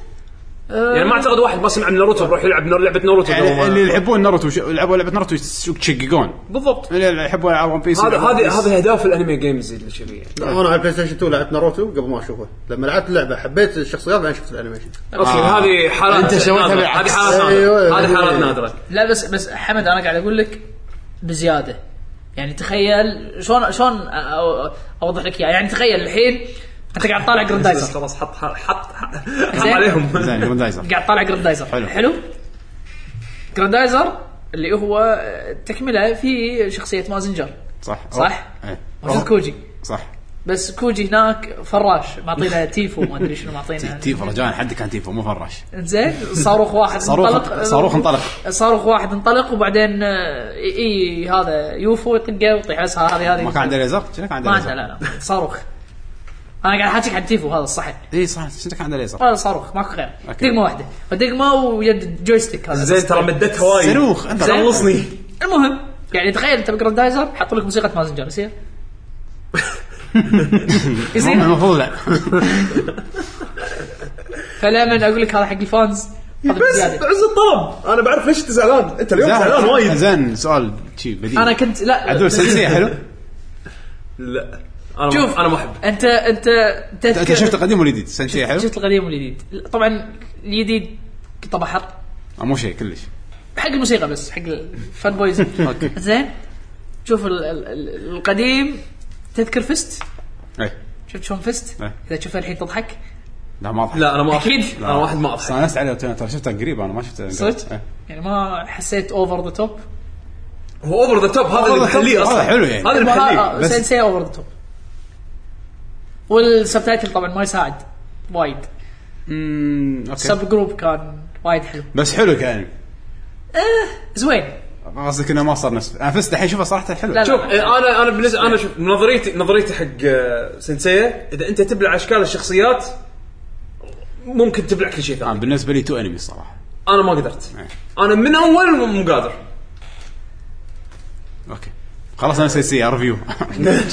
يعني ما اعتقد واحد ما سمع من ناروتو بروح يلعب نار- لعبه ناروتو يعني قبل اللي ما- يلعبون ناروتو ش- يلعبون لعبه ناروتو يس- يتشققون بالضبط اللي يحبون العاب ون بيس هذا يلعبون هذه ون بيس. هذه اهداف الانمي جيمز اللي كذي آه. يعني انا على البلاي ستيشن 2 لعبت ناروتو قبل ما اشوفه لما لعبت اللعبه حبيت الشخصيات بعدين شفت الانيميشن اوكي يعني يعني هذه حالات أنت سويتها نادرة. هذه بالعكس. حالات نادره أيوه، أيوة. هذه حالات نادره لا بس بس حمد انا قاعد اقول لك بزياده يعني تخيل شلون شلون أ- أ- اوضح لك اياه يعني تخيل الحين انت قاعد تطالع بس جراندايزر خلاص حط حط حط, حط زين. عليهم زين جراندايزر قاعد تطالع جراندايزر حلو. حلو جراندايزر اللي هو تكمله في شخصيه مازنجر صح صح. إيه. موجود كوجي صح بس كوجي هناك فراش معطينا تيفو ما ادري شنو معطينا تيفو رجاء حد كان تيفو مو فراش زين صاروخ واحد صاروخ صاروخ انطلق صاروخ واحد انطلق وبعدين آه، اي إي هذا يوفو يطقه ويطيح اسها هذه هذه ما كان عنده ليزر شنو كان عنده ما عنده ليزر لا لا صاروخ انا قاعد احكيك عن تيفو هذا الصحن اي إيه، صح شنو كان عنده ليزر هذا صاروخ ماكو غير أوكي. دقمه واحده فدقمه ويد جويستيك هذا زين ترى مدتها وايد صاروخ انت زين. خلصني المهم يعني تخيل انت بجراندايزر حطوا لك موسيقى مازنجر يصير يصير المفروض لا فلما اقول لك هذا حق الفانز هذا بس بزياده بعز الطلب انا بعرف ليش انت زعلان انت اليوم زعلان زين وايد زين سؤال شي بديل انا كنت لا عدول سلسيه حلو لا انا شوف. شوف انا ما احب انت انت انت انت شفت القديم ولا الجديد سلسيه حلو شفت القديم والجديد طبعا الجديد كنت بحر آه، مو شيء كلش حق الموسيقى بس حق الفان بويز زين شوف ال- ال- ال- القديم تذكر فست اي شفت شلون فست إيه. اذا تشوفها الحين تضحك لا ما اضحك لا انا ما اضحك أكيد. انا واحد ما اضحك استانست عليه ترى ترى شفته قريب انا ما شفته صدق؟ إيه. يعني ما حسيت اوفر ذا توب هو اوفر ذا توب هذا اللي والله مخليه هذا اصلا حلو يعني هذا اللي مخليه بس آه، سنسي اوفر ذا توب والسبتايتل طبعا ما يساعد وايد أمم، اوكي السب جروب كان وايد حلو بس حلو كان زوين قصدك انه ما صار نفس انا فزت الحين شوفه صراحه حلو لا، لا. شوف شوف إيه، انا انا بالنسبه انا شوف نظريتي نظريتي حق آه، سنسية اذا انت تبلع اشكال الشخصيات ممكن تبلع كل شيء آه، ثاني بالنسبه لي تو انمي الصراحه انا ما قدرت نعم. إيه. انا من اول مو- مو قادر اوكي خلاص انا سلسيه ريفيو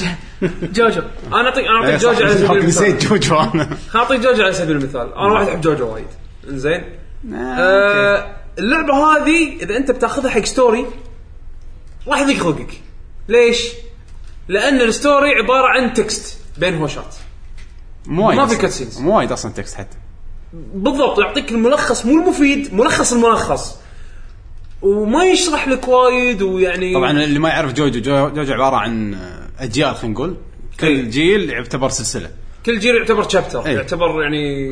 جوجو انا اعطيك انا إيه، اعطيك جوجو على سبيل نسيت المثال جوجو انا خليني اعطيك جوجو على سبيل المثال انا واحد احب جوجو وايد زين آه، أوكي. آه، اللعبه هذه اذا انت بتاخذها حق ستوري راح يضيق خلقك ليش؟ لان الستوري عباره عن تكست بين هوشات مو وايد ما في أصلاً. cutscenes. مو وايد اصلا تكست حتى بالضبط يعطيك الملخص مو المفيد ملخص الملخص وما يشرح لك وايد ويعني طبعا اللي ما يعرف جوجو جو- جوجو عباره عن آه، اجيال خلينا نقول كل إيه. جيل يعتبر سلسله كل جيل يعتبر تشابتر إيه. يعتبر يعني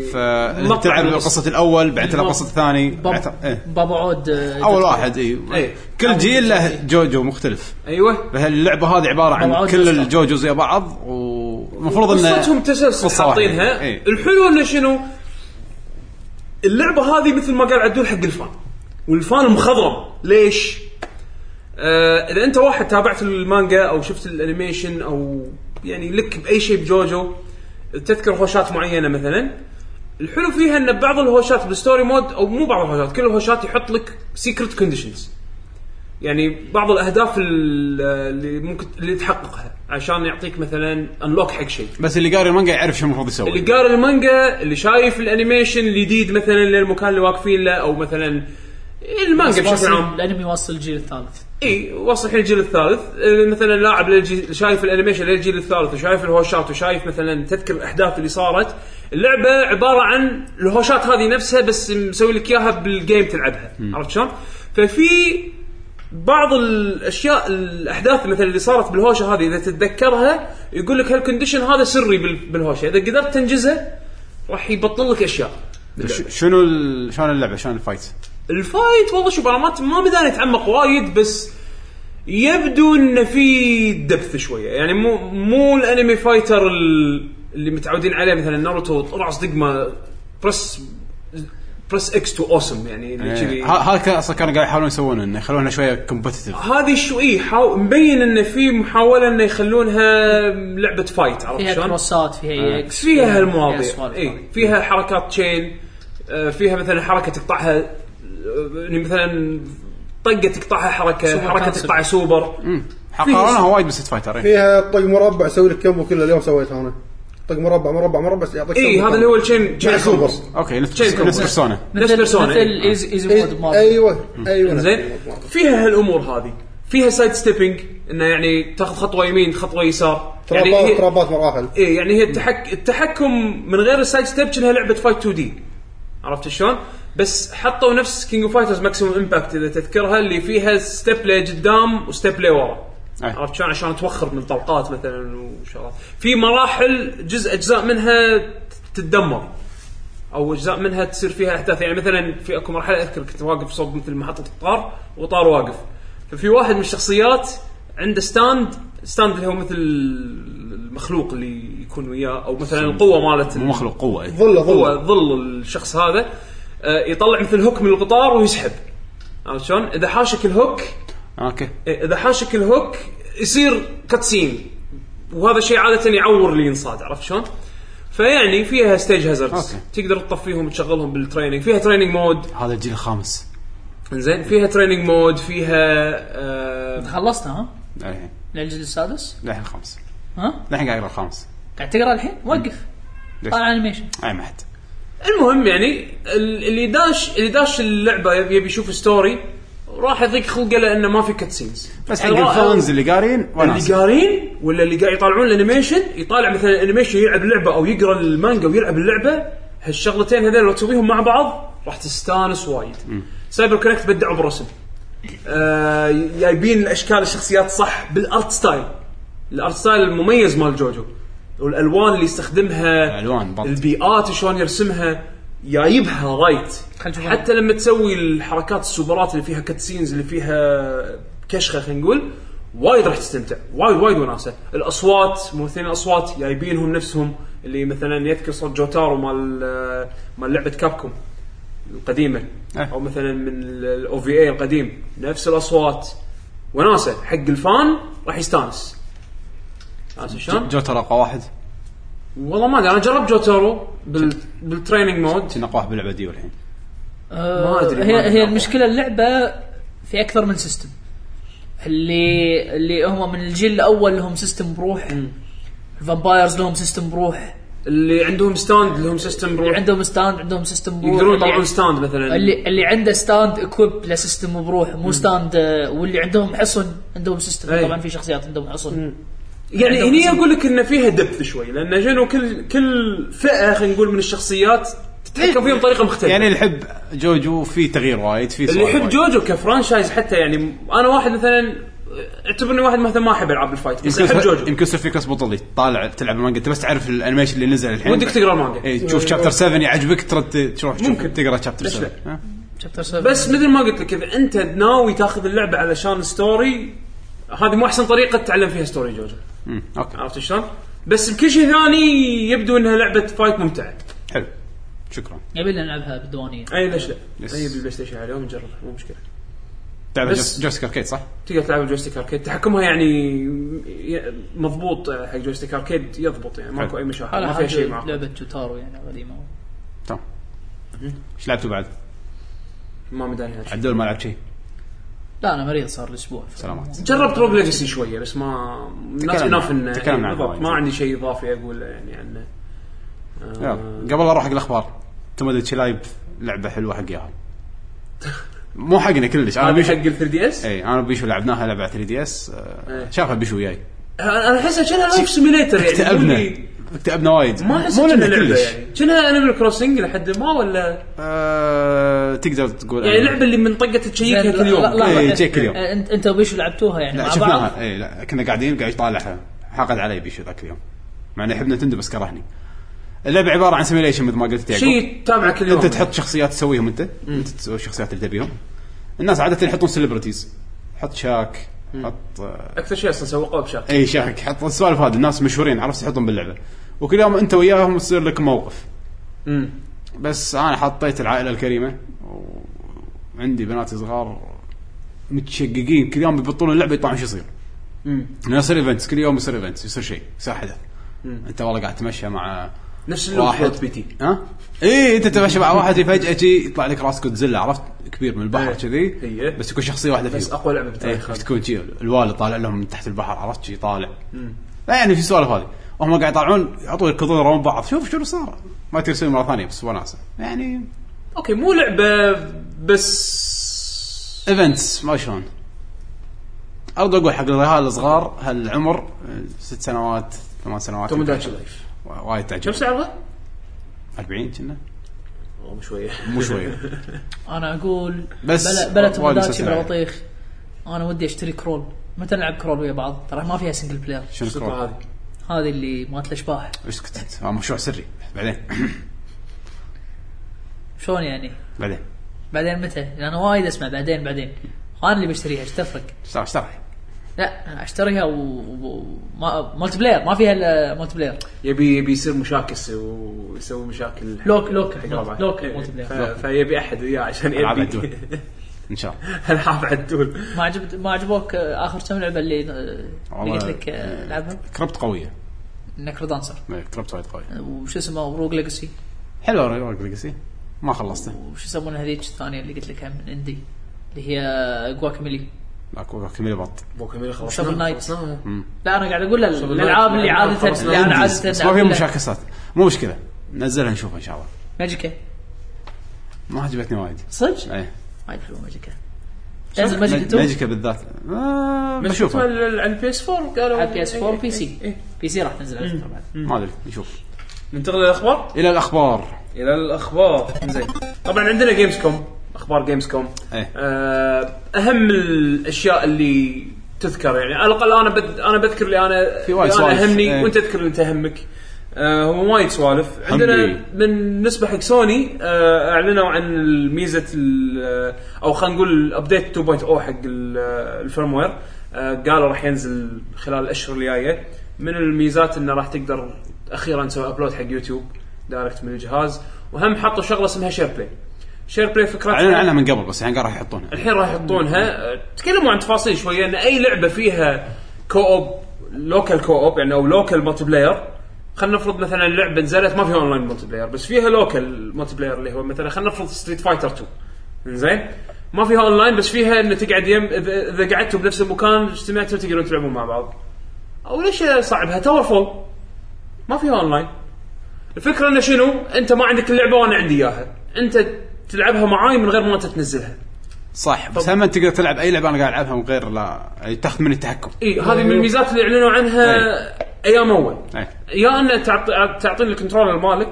مقطع فتلعب من القصة. قصه الاول بعدين تلعب قصه الثاني بعد- إيه. باب بابا عود آه، اول دوت كوم. واحد اي إيه. كل جيل له جوجو مختلف ايوه فاللعبه هذه عباره عن طبعاً كل قصة. الجوجو زي بعض والمفروض انه قصتهم تسلسل قصة واحدة. حاطينها إيه. الحلو انه شنو اللعبه هذه مثل ما قال عدول حق الفان والفان مخضرم ليش؟ آه اذا انت واحد تابعت المانجا او شفت الانيميشن او يعني لك باي شيء بجوجو تذكر هوشات معينه مثلا الحلو فيها ان بعض الهوشات بالستوري مود او مو بعض الهوشات كل الهوشات يحط لك سيكرت كونديشنز يعني بعض الاهداف ال- اللي ممكن اللي تحققها عشان يعطيك مثلا انلوك حق شيء بس اللي قاري المانجا يعرف شو المفروض يسوي اللي قاري المانجا اللي شايف الانيميشن الجديد مثلا للمكان اللي واقفين له او مثلا المانجا بس بشكل واصل- عام الانمي واصل الجيل الثالث اي وصل الحين الجيل الثالث آه، مثلا لاعب للجي- شايف الانيميشن للجيل الثالث وشايف الهوشات وشايف مثلا تذكر الاحداث اللي صارت اللعبه عباره عن الهوشات هذه نفسها بس مسوي لك اياها بالجيم تلعبها عرفت شلون؟ ففي بعض الاشياء الاحداث مثلا اللي صارت بالهوشه هذه اذا تتذكرها يقول لك هالكونديشن هذا سري بال- بالهوشه اذا قدرت تنجزه راح يبطل لك اشياء ش- شنو ال- شلون اللعبه شلون الفايت الفايت والله شوف انا ما ما بداني اتعمق وايد بس يبدو ان في دبث شويه يعني مو مو الانمي فايتر ال- اللي متعودين عليه مثلا ناروتو طلع صدق ما برس برس اكس تو اوسم يعني اللي كذي إيه. ه- هذا كان اصلا كانوا قاعد يحاولون يسوونه انه يخلونها شويه كومبتتف هذه شوي حاو... مبين ان في محاوله انه يخلونها لعبه فايت عرفت فيها شلون؟ كروسات فيها اكس فيها هالمواضيع سوالف إيه. اي هذه. فيها حركات تشين آه، فيها مثلا حركه تقطعها آه، يعني مثلا طقه تقطعها حركه سوبر حرقه كانسل. تقطعها سوبر حققونها وايد بس فايتر إيه. فيها طق مربع اسوي لك كمبو كله اليوم سويته انا طق مربع مربع مربع بس يعطيك اي كمبو إيه، هذا كامل. اللي هو الشين مع شين سوبر اوكي نفس شيء نفس كومبو. بيرسونا نفس بيرسونا مثل إيه. ايزي ايزي مود إيه، مارفل ايوه ايوه زين فيها هالامور هذه فيها سايد ستيبنج انه يعني تاخذ خطوه يمين خطوه يسار يعني ترابات هي- ترابات مراحل ايه يعني هي التحك... التحكم من غير السايد ستيب كأنها لعبه فايت 2 دي عرفت شلون؟ بس حطوا نفس كينج اوف فايترز ماكسيموم امباكت اذا تذكرها اللي فيها ستيب لقدام وستيب لورا أي. عرفت شلون عشان توخر من طلقات مثلا وشغلات في مراحل جزء اجزاء منها تتدمر او اجزاء منها تصير فيها احداث يعني مثلا في اكو مرحله اذكر كنت واقف صوب مثل محطه قطار وطار واقف ففي واحد من الشخصيات عنده ستاند ستاند اللي هو مثل المخلوق اللي يكون وياه او مثلا القوه مالت مو مخلوق قوه إيه. ظله هو ظله ظل الشخص هذا آه، يطلع مثل هوك من القطار ويسحب عرفت شلون؟ اذا حاشك الهوك اوكي إيه، اذا حاشك الهوك يصير كاتسين وهذا الشيء عاده يعور اللي ينصاد عرفت شلون؟ فيعني فيها ستيج هازاردز أوكي. تقدر تطفيهم وتشغلهم بالتريننج فيها تريننج مود هذا الجيل الخامس زين فيها تريننج مود فيها آه خلصنا ها للحين للجزء السادس إيه. للحين الخامس ها للحين قاعد اقرا الخامس قاعد تقرا الحين وقف ليش؟ طالع انيميشن اي ما حد المهم يعني ال- اللي داش اللي داش اللعبه يبي يبي يشوف ستوري راح يضيق خلقه لانه ما في كت سينز بس حق الفانز اللي قارين اللي وناس قارين ولا اللي قاعد يطالعون الانيميشن يطالع مثلا الانيميشن يلعب لعبه او يقرا المانجا ويلعب اللعبه هالشغلتين هذول لو تسويهم مع بعض راح تستانس وايد سايبر كونكت بدعوا بالرسم آه جايبين الاشكال الشخصيات صح بالارت ستايل الارت ستايل المميز مال جوجو والالوان اللي يستخدمها الألوان بالضبط. البيئات شلون يرسمها جايبها رايت خلنا نشوف حتى لما تسوي الحركات السوبرات اللي فيها كاتسينز اللي فيها كشخه خلينا نقول وايد راح تستمتع وايد وايد وناسه الاصوات ممثلين الاصوات جايبينهم نفسهم اللي مثلا يذكر صوت جوتارو مال مال لعبه كابكوم القديمه أه. او مثلا من الاو في اي القديم نفس الاصوات وناسه حق الفان راح يستانس عرفت شلون؟ جوتر اقوى واحد والله ما ادري انا جربت جوتارو بال بالتريننج مود كنا اقوى واحد باللعبه دي والحين آه، ما أدري، ما هي أدري هي والله. المشكله اللعبه في اكثر من سيستم اللي اللي هم من الجيل الاول لهم سيستم بروح الفامبايرز لهم سيستم بروح اللي عندهم ستاند لهم سيستم اللي بروح عندهم ستاند عندهم سيستم بروح يقدرون اللي يطلعون عن- ستاند مثلا اللي اللي عنده ستاند اكويب له سيستم بروح مو ستاند آه، واللي عندهم حصن عندهم سيستم أي. طبعا في شخصيات عندهم حصن يعني عندهم هني اسم. اقول لك ان فيها دبث شوي لان شنو كل كل فئه خلينا نقول من الشخصيات تتحكم فيهم بطريقه مختلفه يعني اللي يحب جوجو في تغيير وايد في اللي سوالف يحب وايد. جوجو كفرانشايز حتى يعني انا واحد مثلا اعتبرني واحد مثلا ما احب العاب الفايت بس يمكن احب يصير- جوجو يمكن يصير فيك ناس بطل طالع تلعب المانجا انت بس تعرف الانيميشن اللي نزل الحين ودك تقرا المانجا اي تشوف شابتر 7 يعجبك ترد تروح تشوف ممكن. تقرا شابتر ليش 7 لا؟ ها؟ شابتر 7 بس مثل ما قلت لك اذا انت ناوي تاخذ اللعبه علشان ستوري هذه مو احسن طريقه تتعلم فيها ستوري جوجو مم، اوكي عرفت شلون؟ بس بكل شيء ثاني يبدو انها لعبه فايت ممتعه حلو شكرا يبي لنا نلعبها بالديوانيه اي ليش لا؟ يس. اي بالبلاي ستيشن عليهم نجربها مو مشكله تلعب بس- جويستيك اركيد صح؟ تقدر تلعب الجويستيك اركيد تحكمها يعني مضبوط حق جويستيك اركيد يضبط يعني ماكو اي مشاكل ما فيها شيء معقد لعبه جوتارو يعني قديمه تمام ايش لعبتوا بعد؟ ما مداني عن شيء. عدول ما لعبت شيء لا انا مريض صار الاسبوع سلامات. جربت روب ليجسي شويه بس ما نوت تكلمنا- انف انه تكلمنا يعني عنها بالضبط وايد. ما عندي شيء اضافي اقول يعني عنه آه، يلا قبل لا اروح حق الاخبار تمدتشي لايف لعبه حلوه حق ياهل مو حقنا كلش انا هذا حق بيشو ال 3 دي اس اي انا بيشو لعبناها لعبه 3 دي اس إيه. شافها بيشو وياي انا احسها كانها لايف سيميليتر يعني اكتئبنا يقول لي اكتئبنا وايد ما احس مو كأنها لنا لعبه كلش يعني كانها انيمال كروسنج لحد ما ولا آه، تقدر تقول يعني أنا- لعبه اللي من طقه تشيكها كل لا- يوم لا- إيه، تشيك اليوم. آه، انت انت وبيشو لعبتوها يعني لا مع بعض آه، شفناها اي لا كنا قاعدين قاعد يطالعها حاقد علي بيشو ذاك اليوم مع انه يحب نتندو بس كرهني اللعبه عباره عن سيميليشن مثل ما قلت يعقوب. شيء تتابعه كل يوم انت تحط شخصيات تسويهم انت انت تسوي الشخصيات اللي تبيهم الناس عاده يحطون سيلبرتيز حط شاك حط آه، اكثر شيء اصلا سوقوه بشاك اي شاك حط السوالف هذه الناس مشهورين عرفت تحطهم باللعبه وكل يوم انت وياهم يصير لك موقف مم. بس انا حطيت العائله الكريمه وعندي بناتي صغار متشققين كل يوم يبطلون اللعبه يطلعون شو يصير مم. انه يصير ايفنتس كل يوم يصير ايفنتس يصير شيء يصير حدث انت والله قاعد تتمشى مع نفس اللي واحد بي تي ها؟ اي انت تتمشى مع واحد فجاه شي يطلع لك راس جودزيلا عرفت كبير من البحر إيه. كذي إيه. بس يكون شخصيه واحده فيهم بس اقوى لعبه إيه، بتاريخ تكون شي الوالد طالع لهم من تحت البحر عرفت شي طالع لا يعني في سوالف هذه وهم قاعد يطلعون يعطون يركضون يرون بعض شوف شنو صار ما ترسل مره ثانيه بس وناسه يعني اوكي مو لعبه بس ايفنتس ما شلون ارجو اقول حق الرجال الصغار هالعمر آه، ست سنوات ثمان سنوات توموداتشي لايف وا- وايد كم تعجب سعرها؟ 40 كنا والله شويه مو شويه انا اقول بس بلا بلا وايد تمداتشي مسلسل بلا يعني. بطيخ انا ودي اشتري كرول متى نلعب كرول ويا بعض ترى ما فيها سنجل بلاير شنو السلطة كرول؟ هذه هذه اللي مالت الاشباح اسكت انت آه، مشروع سري بعدين شلون يعني بعدين بعدين متى انا وايد اسمع بعدين بعدين انا اللي بشتريها ايش تفرق اشتغل اشتغل لا اشتريها و... و... ما... مالتي بلاير ما فيها الا مالتي بلاير يبي يبي يصير مشاكس ويسوي مشاكل لوك- لوك- حق ربعه. لوك- إيه، مالتي بلاير. ف- فيبي احد وياه عشان العاب يبي عدول ان شاء الله العاب عدول ما عجبت ما عجبوك آه، اخر كم لعبه اللي آه، اللي والله، إيه. قلت لك آه، لعبها كربت قويه نكر دانسر إيه، كربت وايد قويه وش اسمه وروج ليجسي حلو روج ليجاسي ما خلصته وش يسمونها هذيك الثانيه اللي قلت لك هم من اندي اللي هي جواكاميلي اكو كمية بط بوكيميل وشفل خلصنا نايت. خلصناها. لا انا قاعد اقول ال- شغل الالعاب لا- اللي لا- عاده خلاص، اللي انا عاده بس ما في أقولها. مشاكسات مو مشكله نزلها نشوفها ان شاء الله ماجيكا ما عجبتني وايد صدق؟ اي وايد حلوه ماجيكا نزل ماجيكا 2 ماجيكا بالذات آه، بس شوف بشوفها على البي اس 4 قالوا على بي اس 4 بي إيه. سي بي سي راح تنزل على فكرة بعد ما ادري نشوف ننتقل للاخبار الى الاخبار الى الاخبار زين طبعا عندنا جيمز كوم اخبار جيمز كوم إيه. آه، اهم الاشياء اللي تذكر يعني على الاقل انا بد... انا بذكر اللي انا في وايد اللي انا سوالف. اهمني إيه. وانت تذكر اللي انت يهمك آه، هو وايد سوالف عندنا حمدي. من نسبه حق سوني آه، اعلنوا عن ميزه ال- او خلينا نقول الابديت 2.0 حق ال- الفيرموير آه، قالوا راح ينزل خلال الاشهر الجايه من الميزات انه راح تقدر اخيرا تسوي ابلود حق يوتيوب دايركت من الجهاز وهم حطوا شغله اسمها شير بلاي شير بلاي فكرتها اعلنوا عنها من قبل بس الحين قاعد راح يحطونها الحين راح يحطونها أه، تكلموا عن تفاصيل شويه ان اي لعبه فيها كو اوب لوكال كو اوب يعني او لوكال مالتي بلاير خلينا نفرض مثلا لعبه نزلت ما فيها اونلاين مالتي بلاير بس فيها لوكال مالتي بلاير اللي هو مثلا خلينا نفرض ستريت فايتر 2 زين ما فيها اونلاين بس فيها انه تقعد يم اذا إذا قعدتوا بنفس المكان اجتمعتوا تقدرون تلعبون مع بعض او ليش صعبها تاور فول ما فيها اونلاين الفكره انه شنو انت ما عندك اللعبه وانا عندي اياها انت تلعبها معاي من غير ما انت تنزلها صح بس هم تقدر تلعب اي لعبه انا قاعد العبها من غير لا يعني تاخذ مني التحكم اي هذه من الميزات اللي اعلنوا عنها ايام اول أي. يا انه تعط- تعطيني الكنترولر مالك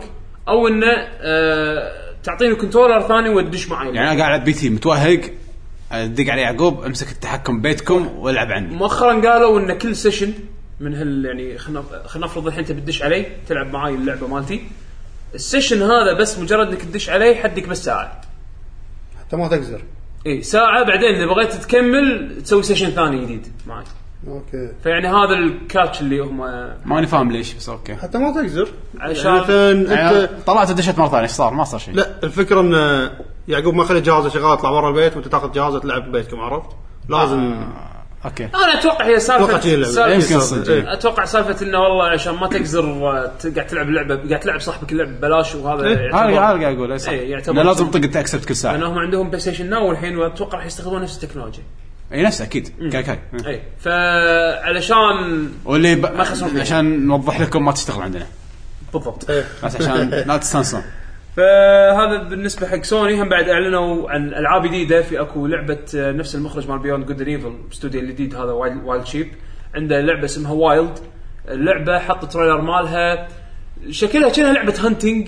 او انه آه، تعطيني كنترولر ثاني وتدش معي يعني انا قاعد العب بي تي متوهق ادق على يعقوب امسك التحكم بيتكم والعب عني مؤخرا قالوا ان كل سيشن من هال يعني خلينا خلينا نفرض الحين انت بتدش علي تلعب معاي اللعبه مالتي السيشن هذا بس مجرد انك تدش علي حدك بس ساعه حتى ما تقزر اي ساعه بعدين اذا بغيت تكمل تسوي سيشن ثاني جديد معي اوكي فيعني هذا الكاتش اللي هم ماني فاهم ليش بس اوكي حتى ما تقزر عشان- مثلا انت يعني طلعت ودشت مره ثانيه ايش صار ما صار شيء لا الفكره ان يعقوب ما خلى جهازه شغال اطلع برا البيت وانت تاخذ جهازه تلعب ببيتكم عرفت؟ لازم اوكي انا اتوقع هي سالفه أتوقع شي اللعبة. سالفة- يمكن صدق. إيه. اتوقع سالفه انه والله عشان ما تقزر آه، ت- قاعد تلعب لعبه قاعد تلعب صاحبك اللعبه ببلاش وهذا إيه، هذا يعتبر- هذا قاعد اقول اي صح إيه، يعتبر إنه لازم شيء. تطق انت اكسبت كل لان ساعه هم عندهم بلاي ستيشن ناو الحين واتوقع راح يستخدمون نفس التكنولوجيا اي نفسه اكيد كاي كاي إيه. اي فعلشان واللي ب... خسروا فيها. عشان نوضح لكم ما تشتغل عندنا بالضبط إيه. بس عشان لا تستانسون فهذا بالنسبه حق سوني هم بعد اعلنوا عن العاب جديده في اكو لعبه آه، نفس المخرج مال بيوند جود ايفل الاستوديو الجديد هذا وايلد شيب عنده لعبه اسمها وايلد اللعبه حط تريلر مالها شكلها كأنها لعبه هانتنج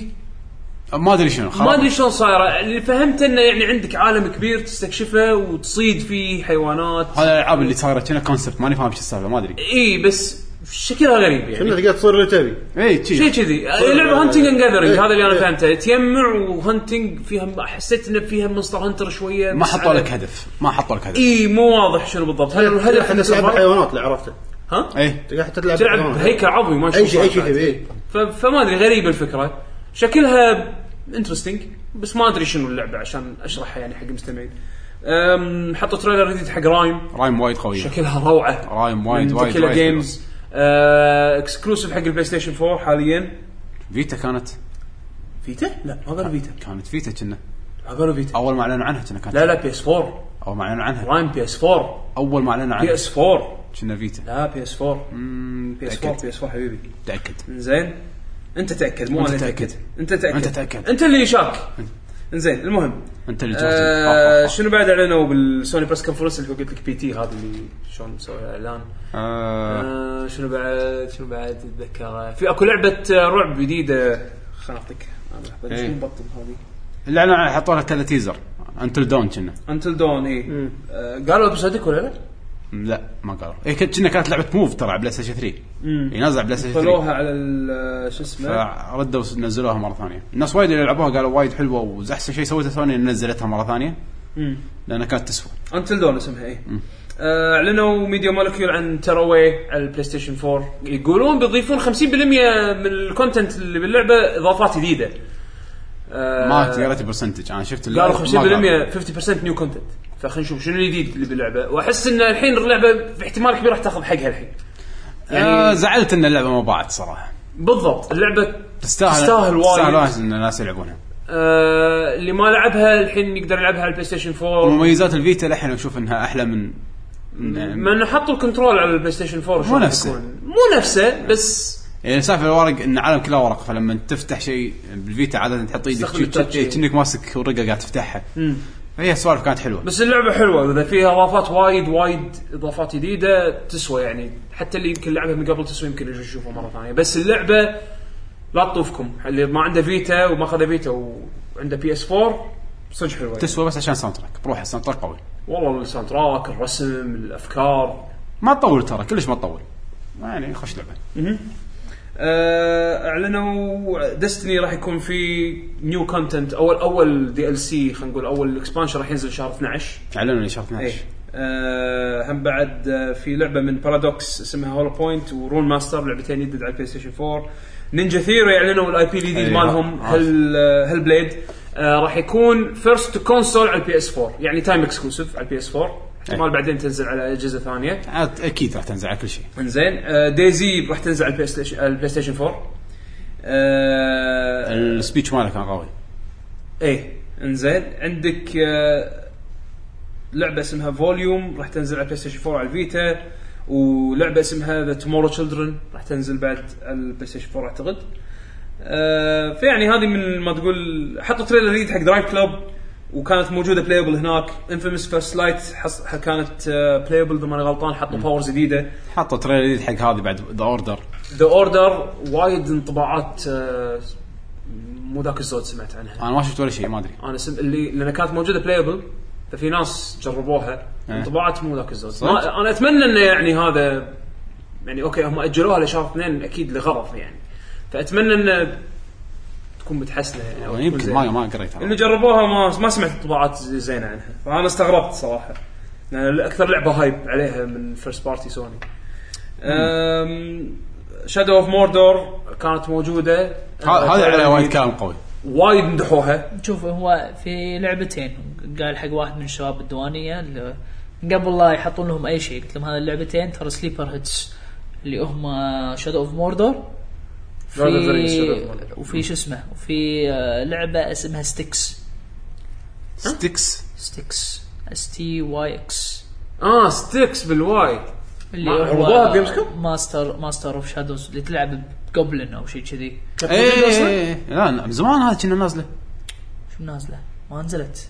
ما ادري شنو خلاص ما ادري شلون صايره اللي فهمت انه يعني عندك عالم كبير تستكشفه وتصيد فيه حيوانات هذا الالعاب اللي صايره كنا كونسبت ماني فاهم شو السالفه ما ادري اي بس شكلها غريب انت يعني تقدر تصير اللي تبي اي شيء إيه، شي كذي هي لعبه هانتنج اند جاذرنج إيه. هذا اللي انا إيه. فهمته تجمع وهانتنج فيها حسيت انه فيها مونستر هانتر شويه ما بس حطوا على- لك هدف ما حطوا لك هدف اي مو واضح شنو بالضبط هل الهدف حتى إنه تلعب تلعب- حيوانات اللي عرفته ها اي تقدر حتى تلعب تلعب حيوانات. هيكل عظمي ما اي شيء اي شيء بعد. تبي إيه. ف- فما ادري غريبه الفكره شكلها انترستنج بس ما ادري شنو اللعبه عشان اشرحها يعني حق المستمعين أم، حطوا تريلر جديد حق رايم رايم وايد قويه شكلها روعه رايم وايد وايد كيلا وايد حلوة. جيمز اكسكلوسيف أه، حق البلاي ستيشن 4 حاليا فيتا كانت فيتا؟ لا ما قالوا فيتا كانت فيتا كنا ما قالوا فيتا اول ما اعلنوا عنها كنا كانت لا لا بي اس 4 اول ما اعلنوا عنها رايم بي اس 4 اول ما اعلنوا بي عنها اس 4 كنا فيتا لا بي اس 4 بي اس 4 متأكد بي اس 4 حبيبي متاكد زين انت تاكد مو أنت انا تأكد. اتاكد انت تاكد أنت تأكد. انت اللي شاك زين المهم انت اللي آه جاهز شنو بعد اعلنوا بالسوني بريس كونفرنس اللي هو قلت لك بي تي هذا اللي شلون مسوي اعلان آه شنو بعد شنو بعد اتذكر في اكو لعبه آه، رعب جديده خليني اعطيك أنا لحظة، إيه. شنو مبطل هذه اللي اعلنوا عنها حطوا لها كذا تيزر انتل دون كنا انتل دون اي أه، قالوا بصدق ولا لا؟ لا ما قالوا اي كنت كنا كانت لعبه موف ترى على بلاي ستيشن 3 ينزل على بلاي ستيشن 3 طلوها على ال- آه، شو اسمه فردوا نزلوها مره ثانيه الناس وايد اللي لعبوها قالوا وايد حلوه واحسن شيء سويته سوني إن نزلتها مره ثانيه لانها كانت تسوى انتل دون اسمها اي آه، اعلنوا ميديا مولكيول عن تراوي على البلاي ستيشن 4 يقولون بيضيفون 50% من الكونتنت اللي باللعبه اضافات جديده آه، ما قريت برسنتج انا شفت اللعبة، ما قالوا 50% 50% نيو كونتنت فخلينا نشوف شنو الجديد اللي باللعبه واحس ان الحين اللعبه باحتمال كبير راح تاخذ حقها الحين يعني آه، زعلت ان اللعبه ما باعت صراحه بالضبط اللعبه تستاهل تستاهل تستاهل وايد وايد ان الناس يلعبونها آه، اللي ما لعبها الحين يقدر يلعبها على البلاي ستيشن 4 مميزات الفيتا الحين اشوف انها احلى من من- ما انه حطوا الكنترول على البلاي ستيشن 4 شلون نفسه. بيكون. مو نفسه بس يعني السالفه الورق ان العالم كله ورق فلما تفتح شيء بالفيتا عاده تحط ايدك تستخدم التاتش. شي- شي- كأنك ماسك ورقه قاعد تفتحها فهي السوالف كانت حلوه بس اللعبه حلوه اذا فيها اضافات وايد وايد اضافات جديده تسوى يعني حتى اللي يمكن لعبها من قبل تسوى يمكن يجي يشوفها مره ثانيه بس اللعبه لا تطوفكم اللي ما عنده فيتا وما اخذ فيتا وعنده بي اس 4 صدق حلوه تسوى بس عشان ساوند تراك بروح الساوند تراك قوي والله الساوند تراك الرسم الافكار ما تطول ترى كلش ما تطول يعني خوش لعبه آه، اعلنوا ديستني راح يكون في نيو كونتنت اول اول دي ال سي خلينا نقول اول اكسبانشن راح ينزل شهر 12 اعلنوا لي شهر ايه 12 آه، هم بعد آه، في لعبه من بارادوكس اسمها هولو بوينت ورون ماستر لعبتين جدد على البلاي ستيشن 4 نينجا ثيرو يعلنوا الاي بي الجديد أي، مالهم عارف. هل آه، هل بليد آه، راح يكون فيرست تو كونسول على البي اس 4 يعني تايم اكسكلوسيف على البي اس 4 احتمال بعدين تنزل على اجهزه ثانيه عاد اكيد راح تنزل على كل شيء انزين آه، ديزي راح تنزل على البلاي ستيشن على البلاي ستيشن 4 آه، السبيتش ماله كان قوي ايه انزين عندك آه، لعبه اسمها فوليوم راح تنزل على بلاي ستيشن 4 على الفيتا ولعبه اسمها ذا تومورو تشيلدرن راح تنزل بعد على البلاي ستيشن 4 اعتقد آه، فيعني هذه من ما تقول حطوا تريلر جديد حق درايف كلوب وكانت موجوده بلايبل هناك انفيمس فيرست لايت كانت بلايبل اذا ماني غلطان حطوا باورز جديده حطوا تريلر جديد حق هذه بعد ذا اوردر ذا اوردر وايد انطباعات آه، مو ذاك الزود سمعت عنها انا ما شفت ولا شيء ما ادري انا سم... اللي لان كانت موجوده بلايبل ففي ناس جربوها إيه. انطباعات مو ذاك الزود صدق؟ ما... انا اتمنى انه يعني هذا يعني اوكي هم اجلوها لشهر اثنين اكيد لغرض يعني فاتمنى انه تكون متحسنه يعني أو يعني تكون يمكن ما زينة. ما قريتها اللي جربوها ما ما سمعت انطباعات زي- زينه عنها فانا استغربت صراحه لان اكثر لعبه هايب عليها من فيرست بارتي سوني شادو اوف موردور كانت موجوده ه- هذا على وايد كلام قوي وايد مدحوها شوف هو في لعبتين قال حق واحد من الشباب الديوانيه اللي قبل لا يحطون لهم اي شيء قلت لهم هذه اللعبتين ترى سليبر هيتس اللي هم شادو اوف موردر Lord of the Rings, Shadow في of Mordor. وفي شو اسمه وفي آه، لعبه اسمها ستيكس ستيكس ستيكس اس تي واي اكس اه ستيكس بالواي اللي ما- هو عرضوها بجيمز كوم؟ ماستر ماستر اوف شادوز اللي تلعب بجوبلن او شيء كذي إيه. اي إيه، لا من زمان هذا كنا نازله شو نازله؟ ما نزلت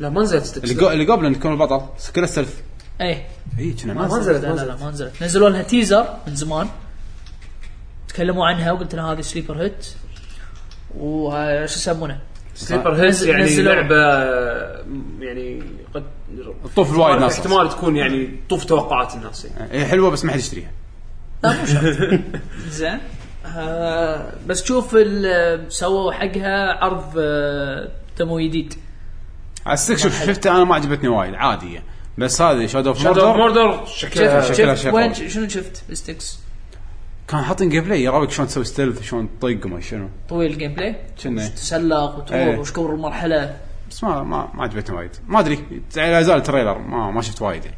لا ما نزلت ستيكس اللي جو- اللي قبل ان تكون البطل كله سلف ايه اي كنا ما نازله نزلت نزلت، لا ما لا, لا ما نزلت نزلوا لها تيزر من زمان تكلموا عنها وقلت لها هذه سليبر هيت وها- شو يسمونه؟ سليبر هيلز نزل- يعني نزلوا. لعبه م- يعني قد الطوف الوايد ناس احتمال تكون يعني طوف توقعات الناس يعني. هي حلوه بس ما حد يشتريها لا مو شرط زين آه، بس تشوف ال- سووا حقها عرض آه، دمو جديد على السك شوف شفتها انا ما عجبتني وايد عاديه بس هذه شادو اوف شادو اوف موردر موردر شكلها شكلها شفت شيء وين قوي. شنو شفت بستكس كان حاطين جيم بلاي يراويك شلون تسوي ستيلث شلون تطق وما شنو طويل الجيم بلاي نعم. كنا. تسلق وتروح إيه. وش كور المرحله بس ما ما, ما عجبتني وايد ما ادري لا زال تريلر ما ما شفت وايد يعني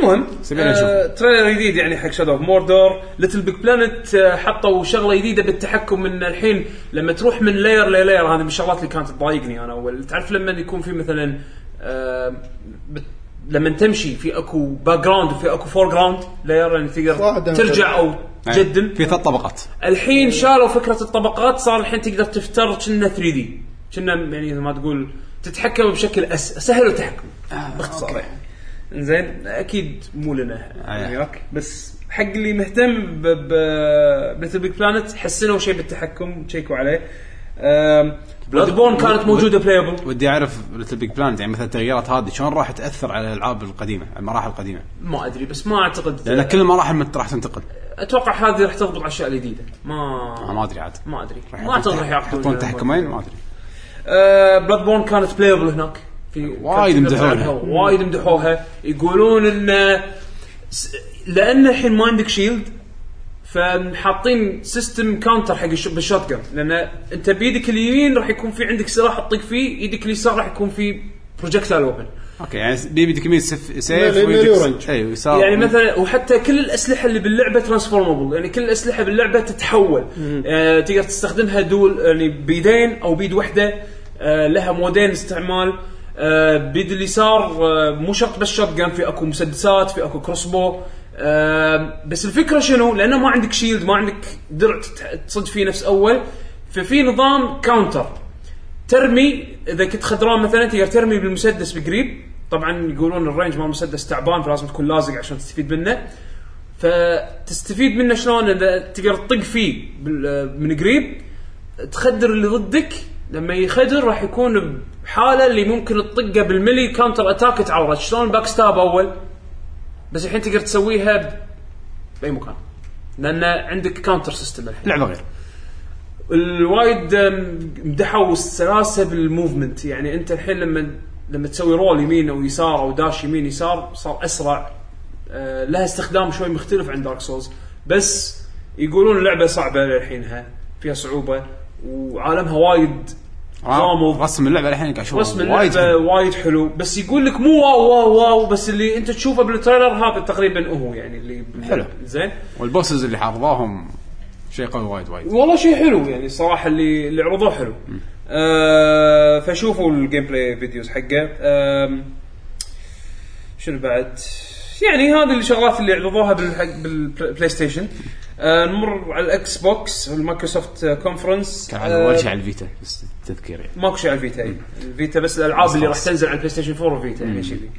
المهم سيبينا آه تريلر جديد يعني حق شادو اوف موردور ليتل بيج بلانت آه حطوا شغله جديده بالتحكم من الحين لما تروح من لاير للاير هذه من الشغلات اللي كانت تضايقني انا اول تعرف لما يكون في مثلا آه بت- لما تمشي في اكو باك جراوند وفي اكو فور جراوند لاير يعني واحدة تقدر من ترجع او يعني تجدم في ثلاث طبقات الحين شالوا فكره الطبقات صار الحين تقدر تفتر كنا 3 دي كنا يعني مثل ما تقول تتحكم بشكل أس... سهل التحكم آه، باختصار يعني زين اكيد مو لنا آه. وياك بس حق اللي مهتم ب ب بليتل بيج بلانت حسنوا شيء بالتحكم تشيكوا عليه بلاد بورن كانت موجوده بلايبل ودي اعرف ليتل بيج بلانت يعني مثلا التغييرات هذه شلون راح تاثر على الالعاب القديمه على المراحل القديمه ما ادري بس ما اعتقد لان كل المراحل مت- راح تنتقل اتوقع هذه راح تضبط الاشياء الجديده أنا ما ما ادري عاد ما ادري راح ما اعتقد راح يعقدون يحطون تحكمين ما ادري بلاد بورن آه، كانت بلايبل هناك في وايد كانت مدحوها. تلعبها، وايد مدحوها يقولون ان س- لان الحين ما عندك شيلد فحاطين سيستم كاونتر حق الش- بالشوت جن لان انت بيدك اليمين راح يكون في عندك سلاح تطق فيه يدك اليسار راح يكون في بروجكتايل ويبن اوكي يعني بيبي كمية سيف سيف لا، لا، ويدك- لا، أورنج. اي إيه، ويسار يعني مثلا وحتى كل الاسلحه اللي باللعبه ترانسفورمبل يعني كل الاسلحه باللعبه تتحول آه تقدر تستخدمها دول يعني بيدين او بيد واحده آه لها مودين استعمال آه بيد اليسار آه مو شرط بس شوت جان في اكو مسدسات في اكو كروس بو آم، بس الفكره شنو؟ لانه ما عندك شيلد ما عندك درع تت- تصد فيه نفس اول ففي نظام كاونتر ترمي اذا كنت خدران مثلا تقدر ترمي بالمسدس بقريب طبعا يقولون الرينج مال المسدس تعبان فلازم تكون لازق عشان تستفيد منه فتستفيد منه شلون اذا تقدر تطق فيه بال- من قريب تخدر اللي ضدك لما يخدر راح يكون بحاله اللي ممكن تطقه بالملي كاونتر اتاك تعورت شلون باك ستاب اول بس الحين تقدر تسويها ب- باي مكان لان عندك كاونتر سيستم الحين لعبه غير الوايد أم، مدحوا السلاسه بالموفمنت يعني انت الحين لما لما تسوي رول يمين او يسار او داش يمين يسار صار اسرع أه، لها استخدام شوي مختلف عن دارك سولز بس يقولون اللعبه صعبه للحينها فيها صعوبه وعالمها وايد غامض رسم اللعبه الحين قاعد اشوف رسم اللعبه وايد حلو بس يقول لك مو واو واو واو بس اللي انت تشوفه بالتريلر هذا تقريبا هو يعني اللي حلو. زين والبوسز اللي حافظاهم شيء قوي وايد وايد والله شيء حلو يعني الصراحه اللي اللي عرضوه حلو آه فشوفوا الجيم بلاي فيديوز حقه آم، شنو بعد يعني هذه الشغلات اللي عرضوها بالحق بالبلاي ستيشن آه نمر على الاكس بوكس والمايكروسوفت كونفرنس كان على وجه على الفيتا بس تذكير يعني ماكو شيء على الفيتا أي. الفيتا بس الالعاب اللي راح تنزل على البلاي ستيشن 4 وفيتا يعني شيء ذي.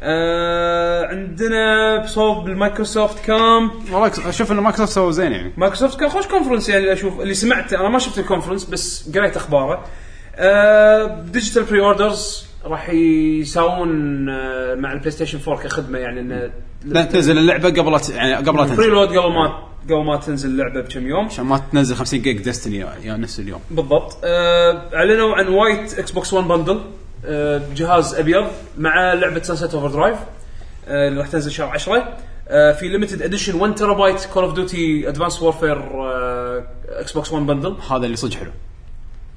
آه عندنا بصوب بالمايكروسوفت كامب والله اشوف ان مايكروسوفت سووا زين يعني مايكروسوفت كان خوش كونفرنس يعني اللي اشوف اللي سمعته انا ما شفت الكونفرنس بس قريت اخباره آه ديجيتال بري اوردرز راح يساوون آه مع البلاي ستيشن 4 كخدمه يعني انه لا تنزل اللعبه قبل لا ت- يعني قبل لا بري تنزل لود قبل ما قبل ما تنزل اللعبه بكم يوم عشان ما تنزل 50 جيج ديستني يا نفس اليوم بالضبط آه اعلنوا عن وايت اكس بوكس 1 بندل آه جهاز ابيض مع لعبه سانسيت اوفر درايف آه اللي راح تنزل شهر 10 آه في ليمتد اديشن 1 تيرابايت كول اوف ديوتي ادفانس وورفير اكس بوكس 1 بندل هذا اللي صدق حلو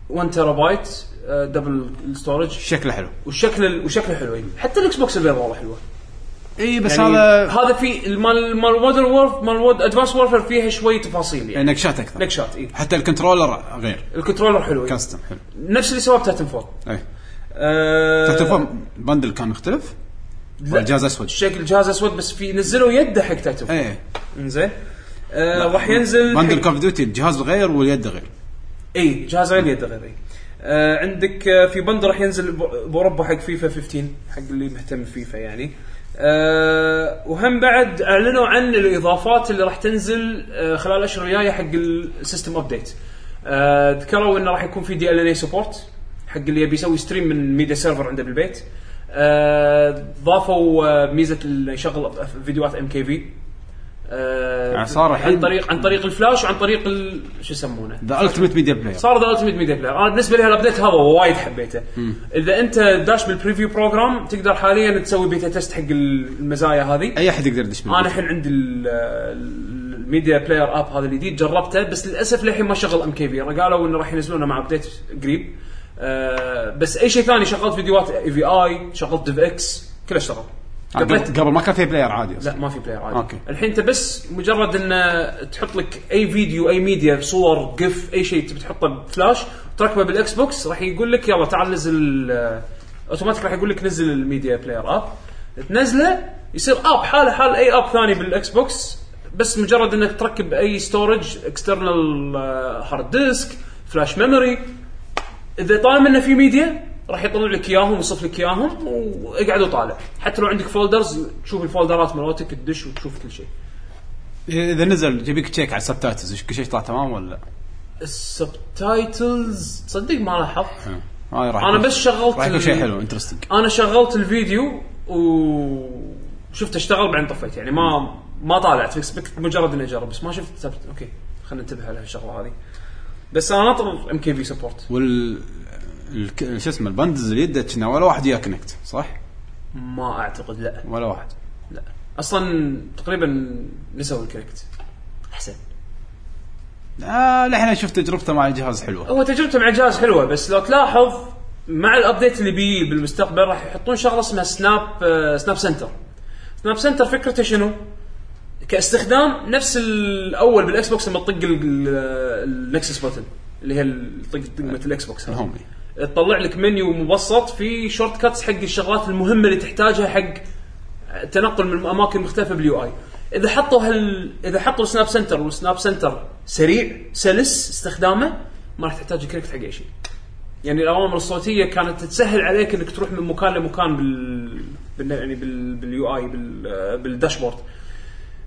1 تيرابايت آه، دبل ستورج شكله حلو والشكل وشكله حلو أي. حتى الاكس بوكس البيضاء والله حلوه اي بس يعني هذا هذا في مال مال مودرن وورف مال ادفانس وورفير فيها شوي تفاصيل يعني نقشات اكثر نكشات اي حتى الكنترولر غير الكنترولر حلو أي. كاستم حلو نفس اللي سواه بتاتن فول اي أه تاتفورم بندل كان مختلف لا. الجهاز اسود شكل جهاز اسود بس في نزلوا يده حق تاتن فول اي انزين آه، راح ينزل بندل حق- كوف ديوتي الجهاز غير واليد غير اي إيه، جهاز غير يده غير اي آه عندك آه في بند راح ينزل ب- باوروبا حق فيفا 15 حق اللي مهتم فيفا يعني آه وهم بعد اعلنوا عن الاضافات اللي راح تنزل آه خلال الاشهر الجايه حق السيستم ابديت آه ذكروا انه راح يكون في دي ال ان اي سبورت حق اللي يبي يسوي ستريم من ميديا سيرفر عنده بالبيت آه ضافوا آه ميزه اللي يشغل أف- فيديوهات ام كي في يعني صار آه، عن الحين- طريق عن طريق الفلاش وعن طريق ال- شو يسمونه ذا التمت ميديا بلاير صار ذا التيميت ميديا بلاير انا بالنسبه آه، لي هالابديت هذا وايد حبيته اذا انت داش بالبريفيو بروجرام تقدر حاليا تسوي بيتا تيست حق المزايا هذه اي احد يقدر يدش انا بالبيت. الحين عندي ال- ال- الميديا بلاير اب هذا الجديد جربته بس للاسف للحين ما شغل ام كي في قالوا انه راح ينزلونه مع ابديت قريب آه بس اي شيء ثاني شغلت فيديوهات اي في اي شغلت ديف اكس كله اشتغل قبلت آه، قبل قبل ما كان في بلاير عادي لا اصلا ما في بلاير عادي أوكي. الحين انت بس مجرد ان تحط لك اي فيديو اي ميديا صور قف اي شيء تبي تحطه بفلاش تركبه بالاكس بوكس راح يقول لك يلا تعال نزل آه، اوتوماتيك راح يقول لك نزل الميديا بلاير اب تنزله يصير اب حاله حال اي اب ثاني بالاكس بوكس بس مجرد انك تركب اي ستورج اكسترنال هارد ديسك فلاش ميموري اذا طالما انه في ميديا راح يطلع لك اياهم ويصف لك اياهم واقعد وطالع حتى لو عندك فولدرز تشوف الفولدرات مالتك تدش وتشوف كل شيء اذا نزل جيبيك تشيك على السبتايتلز إيش- كل شيء طلع تمام ولا السبتايتلز تصدق ما لاحظت ها. هاي راح انا يكون- بس شغلت آه. راح يكون ال- شيء حلو انترستنج انا شغلت الفيديو وشفت اشتغل بعدين طفيت يعني ما ما طالعت فكت مجرد اني اجرب بس ما شفت سبت اوكي خلينا ننتبه على هالشغله هذه بس انا ناطر ام كي في سبورت وال ال- شو اسمه البندز اللي يده كنا ولا واحد يا كونكت صح؟ ما اعتقد لا ولا واحد لا اصلا تقريبا نسوا الكونكت احسن آه لحين اشوف تجربته مع الجهاز حلوه هو تجربته مع الجهاز حلوه بس لو تلاحظ مع الابديت اللي بيه بالمستقبل راح يحطون شغله اسمها سناب آه، سناب سنتر سناب سنتر فكرته شنو؟ كاستخدام نفس الاول بالاكس بوكس لما تطق ال- ال- النكسس بوتن اللي هي ال- طق دقمه الاكس بوكس هذه. الهومي تطلع لك منيو مبسط فيه شورت كاتس حق الشغلات المهمه اللي تحتاجها حق التنقل من اماكن مختلفه باليو اي اذا حطوا هال اذا حطوا سناب سنتر والسناب سنتر سريع سلس استخدامه ما راح تحتاج كريكت حق اي شيء. يعني الاوامر الصوتيه كانت تسهل عليك انك تروح من مكان لمكان بال, بال... يعني بال... باليو اي بال... بالداشبورد.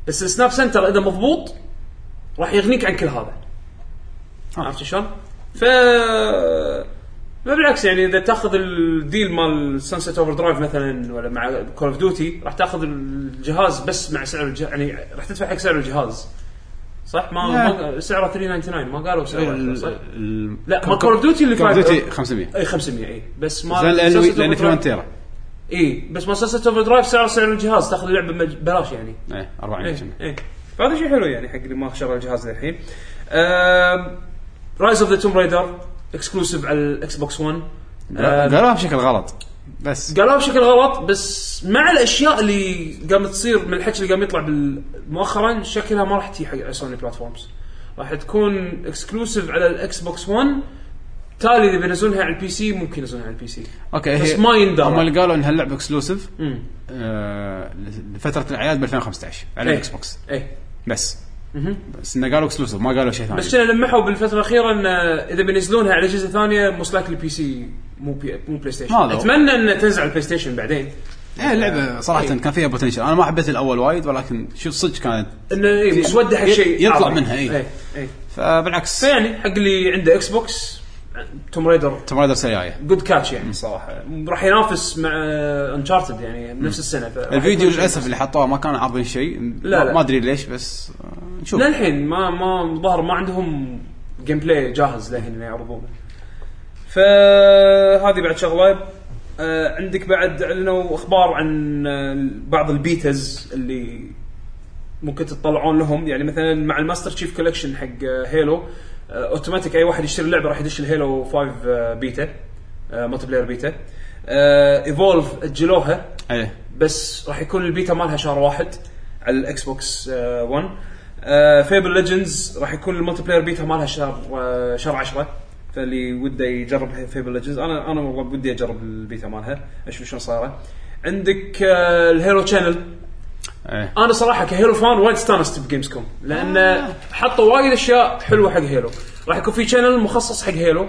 بس السناب سنتر اذا مضبوط راح يغنيك عن كل هذا. عرفت شلون؟ ف بالعكس يعني اذا تاخذ الديل مال سانست اوفر درايف مثلا ولا مع كول اوف ديوتي راح تاخذ الجهاز بس مع سعر الجهاز يعني راح تدفع حق سعر الجهاز صح ما, ما سعره 399 ما قالوا إيه، سعره صح؟ لا ما كول اوف ديوتي اللي كول اوف فايف- ديوتي 500 اي 500 اي بس ما زين لانه Sunset لانه Overdrive- 8 تيرا اي بس ما سانست اوفر درايف سعر سعر الجهاز تاخذ اللعبه بمج- ببلاش يعني ايه 40 كنا. ايه فهذا شيء حلو يعني حق اللي ما شرى الجهاز للحين رايز اوف ذا توم رايدر اكسكلوسيف على الاكس بوكس 1 آه، قالوها بشكل غلط بس قالوها بشكل غلط بس مع الاشياء اللي قامت تصير من الحكي اللي قام يطلع بال- مؤخرا شكلها ما راح تجي حق سوني بلاتفورمز راح تكون اكسكلوسيف على الاكس بوكس 1 تالي اذا بينزلونها على البي سي ممكن ينزلونها على البي سي اوكي بس هي- ما يندرى. هم اللي قالوا ان هاللعبه اكسلوسيف امم آه، لفتره الاعياد ب 2015 على إيه. الاكس بوكس ايه بس بس انه قالوا اكسلوسيف ما قالوا شيء ثاني بس شنو لمحوا بالفتره الاخيره ان اذا بينزلونها على اجهزه ثانيه مسلاك البي سي مو بي مو بلاي ستيشن هذا هو. اتمنى ان تنزل على البلاي ستيشن بعدين ايه اللعبه صراحه إيه. كان فيها بوتنشل انا ما حبيت الاول وايد ولكن شوف صدق كانت انه إيه مسوده حق يط- شيء يطلع أعظم. منها، إيه. ايه ايه فبالعكس فيعني حق اللي عنده اكس بوكس توم رايدر توم رايدر سيايه جود كاتش يعني صراحه راح ينافس مع انشارتد يعني بنفس السنه فراح الفيديو يكون شيء. للاسف اللي حطوه ما كانوا عارضين شيء لا، لا. ما ادري ليش بس آه، نشوف للحين ما ما ظهر ما عندهم جيم بلاي جاهز للحين انه يعرضونه. فهذه بعد شغله آه عندك بعد اعلنوا اخبار عن آه، بعض البيتز اللي ممكن تطلعون لهم يعني مثلا مع الماستر تشيف كولكشن حق آه، هيلو آه، اوتوماتيك اي واحد يشتري اللعبه راح يدش الهيلو 5 آه، بيتا آه، مالتي بلاير بيتا آه، ايفولف اجلوها ايه بس راح يكون البيتا مالها شهر واحد على الاكس بوكس 1 آه فيبل ليجندز راح يكون الملتي بلاير بيتا مالها شهر آه شهر 10 فاللي وده يجرب فيبل ليجندز انا انا والله ودي اجرب البيتا مالها اشوف شلون صايره عندك آه الهيرو شانل ايه انا صراحه كهيرو فان وايد استانست بجيمز كوم لان حطوا وايد اشياء حلوه حق هيلو راح يكون في شانل مخصص حق هيلو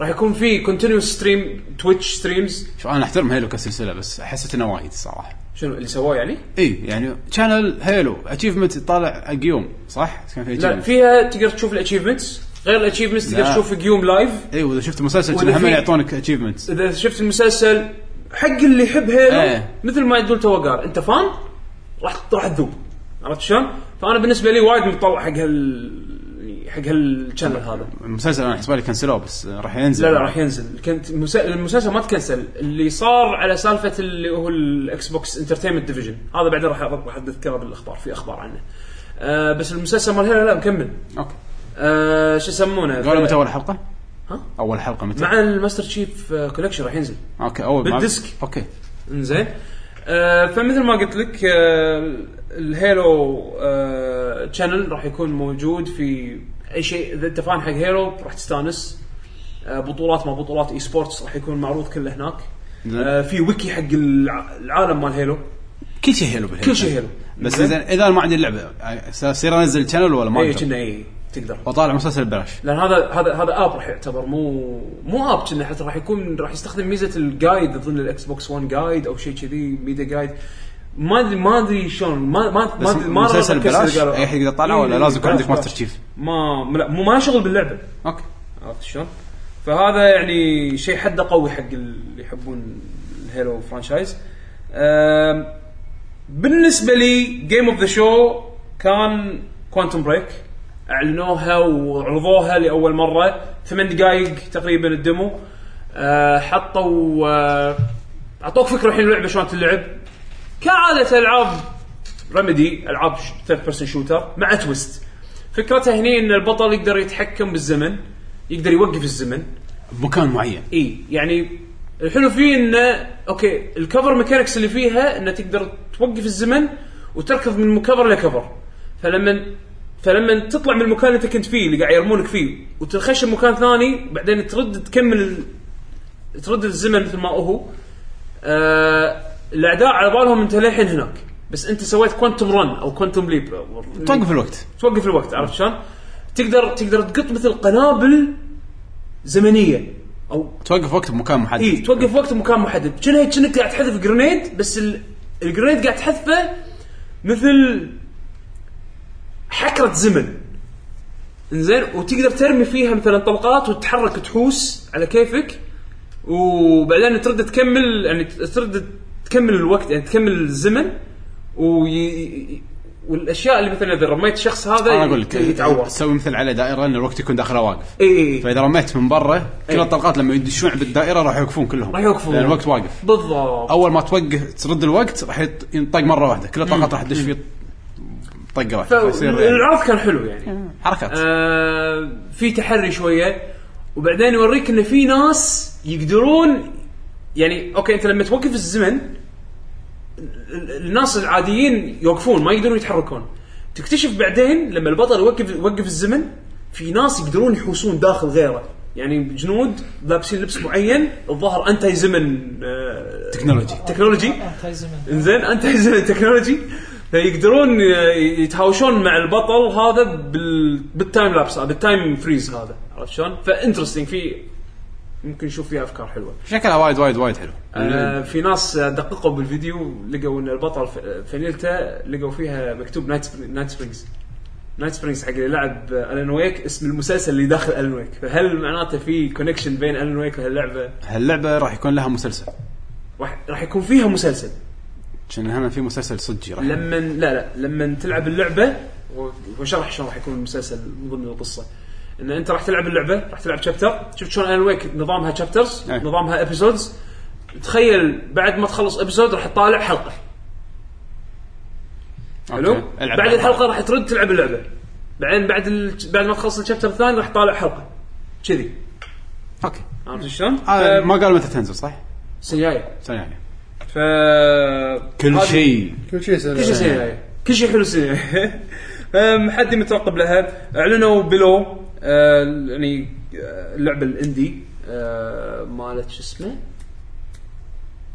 راح يكون في كونتينيوس ستريم تويتش ستريمز شوف انا احترم هيلو كسلسله بس حسيت انه وايد صراحه شنو اللي سواه يعني؟ اي يعني شانل هيلو اتشيفمنت طالع حق يوم صح؟ كان في لا achievement. فيها تقدر تشوف الاتشيفمنت غير الاتشيفمنت تقدر لا. تشوف جيوم لايف اي واذا إيه، شفت المسلسل وإذا كنا هم في- يعطونك اتشيفمنتس اذا شفت المسلسل حق اللي يحب هيلو إيه. مثل ما يقول تو قال انت فان راح راح تذوب عرفت شلون؟ فانا بالنسبه لي وايد متطلع حق هال حق هالشانل هذا المسلسل انا حسبالي كنسلوه بس آه، راح ينزل لا لا راح ينزل كنت المس- المسلسل ما تكنسل اللي صار على سالفه اللي هو الاكس بوكس انترتينمنت ديفيجن هذا بعدين راح راح اذكره بالاخبار في اخبار عنه آه بس المسلسل مال هيلو لا مكمل اوكي آه شو يسمونه قالوا ف- متى اول حلقه؟ ها؟ اول حلقه متى؟ مع الماستر تشيف آه، كولكشن راح ينزل اوكي اول ما- بالديسك. اوكي انزين آه فمثل ما قلت لك آه الهيلو آه تشانل راح يكون موجود في اي شيء اذا انت فان حق هيلو راح تستانس آه بطولات ما بطولات اي سبورتس راح يكون معروض كله هناك زين. آه في ويكي حق الع- العالم مال هيلو كل شيء هيلو بالهيلو كل شيء هيلو بس زين اذا أنا ما عندي اللعبه اصير انزل شانل ولا ما اي اقدر؟ إيه، كنا اي تقدر وطالع مسلسل ببلاش لان هذا هذا هذا اب راح يعتبر مو مو اب كنا حتى راح يكون راح يستخدم ميزه الجايد اظن الاكس بوكس 1 جايد او شيء كذي ميديا جايد ما ادري ما ادري شلون ما ما ما بس أدري- ما مسلسل ركزت اللي ببلاش قالوا. اي احد يقدر يطالعه إي، ولا إي، لازم يكون بلاش، عندك ماستر بلاش. تشيف؟ ما لا مو ما شغل باللعبه اوكي عرفت شلون؟ فهذا يعني شيء حده قوي حق اللي يحبون الهيلو فرانشايز. أم، بالنسبه لي جيم اوف ذا شو كان كوانتم بريك اعلنوها وعرضوها لاول مره ثمان دقائق تقريبا الدمو أه، حطوا أه، اعطوك فكره الحين اللعبه شلون تلعب كعاده العاب رمدي العاب ثيرد بيرسون شوتر مع تويست فكرتها هني ان البطل يقدر يتحكم بالزمن يقدر يوقف الزمن بمكان معين اي يعني الحلو فيه انه اوكي الكفر ميكانكس اللي فيها انه تقدر توقف الزمن وتركض من كفر لكفر فلما فلما تطلع من المكان اللي انت كنت فيه اللي قاعد يرمونك فيه وتنخش مكان ثاني بعدين ترد تكمل ال- ترد الزمن مثل ما هو آه الاعداء على بالهم انت للحين هناك بس انت سويت كوانتم رن او كوانتم ليب توقف الوقت توقف الوقت عرفت شلون؟ تقدر تقدر تقط مثل قنابل زمنيه او توقف وقت بمكان محدد اي إيه، توقف وقت بمكان محدد شنو هيك شنك قاعد تحذف جرينيد بس ال... الجرينيد قاعد تحذفه مثل حكره زمن انزين وتقدر ترمي فيها مثلا طلقات وتتحرك تحوس على كيفك وبعدين ترد تكمل يعني ترد تكمل الوقت يعني تكمل الزمن وي... والاشياء اللي مثلا اذا رميت الشخص هذا انا اقول لك إيه، يتعور تسوي مثل على دائره ان الوقت يكون داخله واقف اي اي فاذا رميت من برا كل إيه. الطلقات لما يدشون بالدائره راح يوقفون كلهم راح يوقفون. لان الوقت واقف بالضبط اول ما توقف ترد الوقت راح يط- ينطق مره واحده كل الطلقات راح تدش فيه طقه واحده فيصير يعني العرض كان حلو يعني حركات آه في تحري شويه وبعدين يوريك ان في ناس يقدرون يعني اوكي انت لما توقف الزمن ال- الناس العاديين يوقفون ما يقدرون يتحركون تكتشف بعدين لما البطل يوقف يوقف الزمن في ناس يقدرون يحوسون داخل غيره يعني جنود لابسين لبس معين الظاهر انتي زمن آه تكنولوجي تكنولوجي انتهي الزمن انزين انت حزن التكنولوجي فيقدرون يتهاوشون مع البطل هذا بال... بالتايم لابس بالتايم فريز هذا عرفت شلون؟ فانترستنج في ممكن نشوف فيها افكار حلوه. شكلها وايد وايد وايد حلو آه في ناس دققوا بالفيديو لقوا ان البطل ف- فنيلته لقوا فيها مكتوب نايت سبرينج- نايت سبرينجز. نايت سبرينجز حق اللي لعب الان ويك اسم المسلسل اللي داخل الان ويك، فهل معناته في كونكشن بين الان ويك وهاللعبه؟ هاللعبه راح يكون لها مسلسل راح راح يكون فيها مسلسل. عشان هم في مسلسل صجي راح لما لا لا لما تلعب اللعبه و- وشرح شلون راح يكون المسلسل من ضمن القصه ان انت راح تلعب اللعبه راح تلعب شابتر شفت شلون ان ويك نظامها شابترز أي. نظامها ابيسودز تخيل بعد ما تخلص ابيسود راح تطالع حلقه حلو أوكي. العب بعد الحلقه راح ترد تلعب اللعبه بعدين بعد ال... بعد ما تخلص الشابتر الثاني راح تطالع حلقه كذي اوكي عرفت شلون؟ آه، ف- ما قالوا متى تنزل صح؟ السنه الجايه السنه الجايه ف كل هذه- شيء كل شيء كل شيء سهل سيء كل شيء حلو سيء أم، حد مترقب لها اعلنوا بلو أه، يعني أه، اللعبه الاندي أه، مالت شو اسمه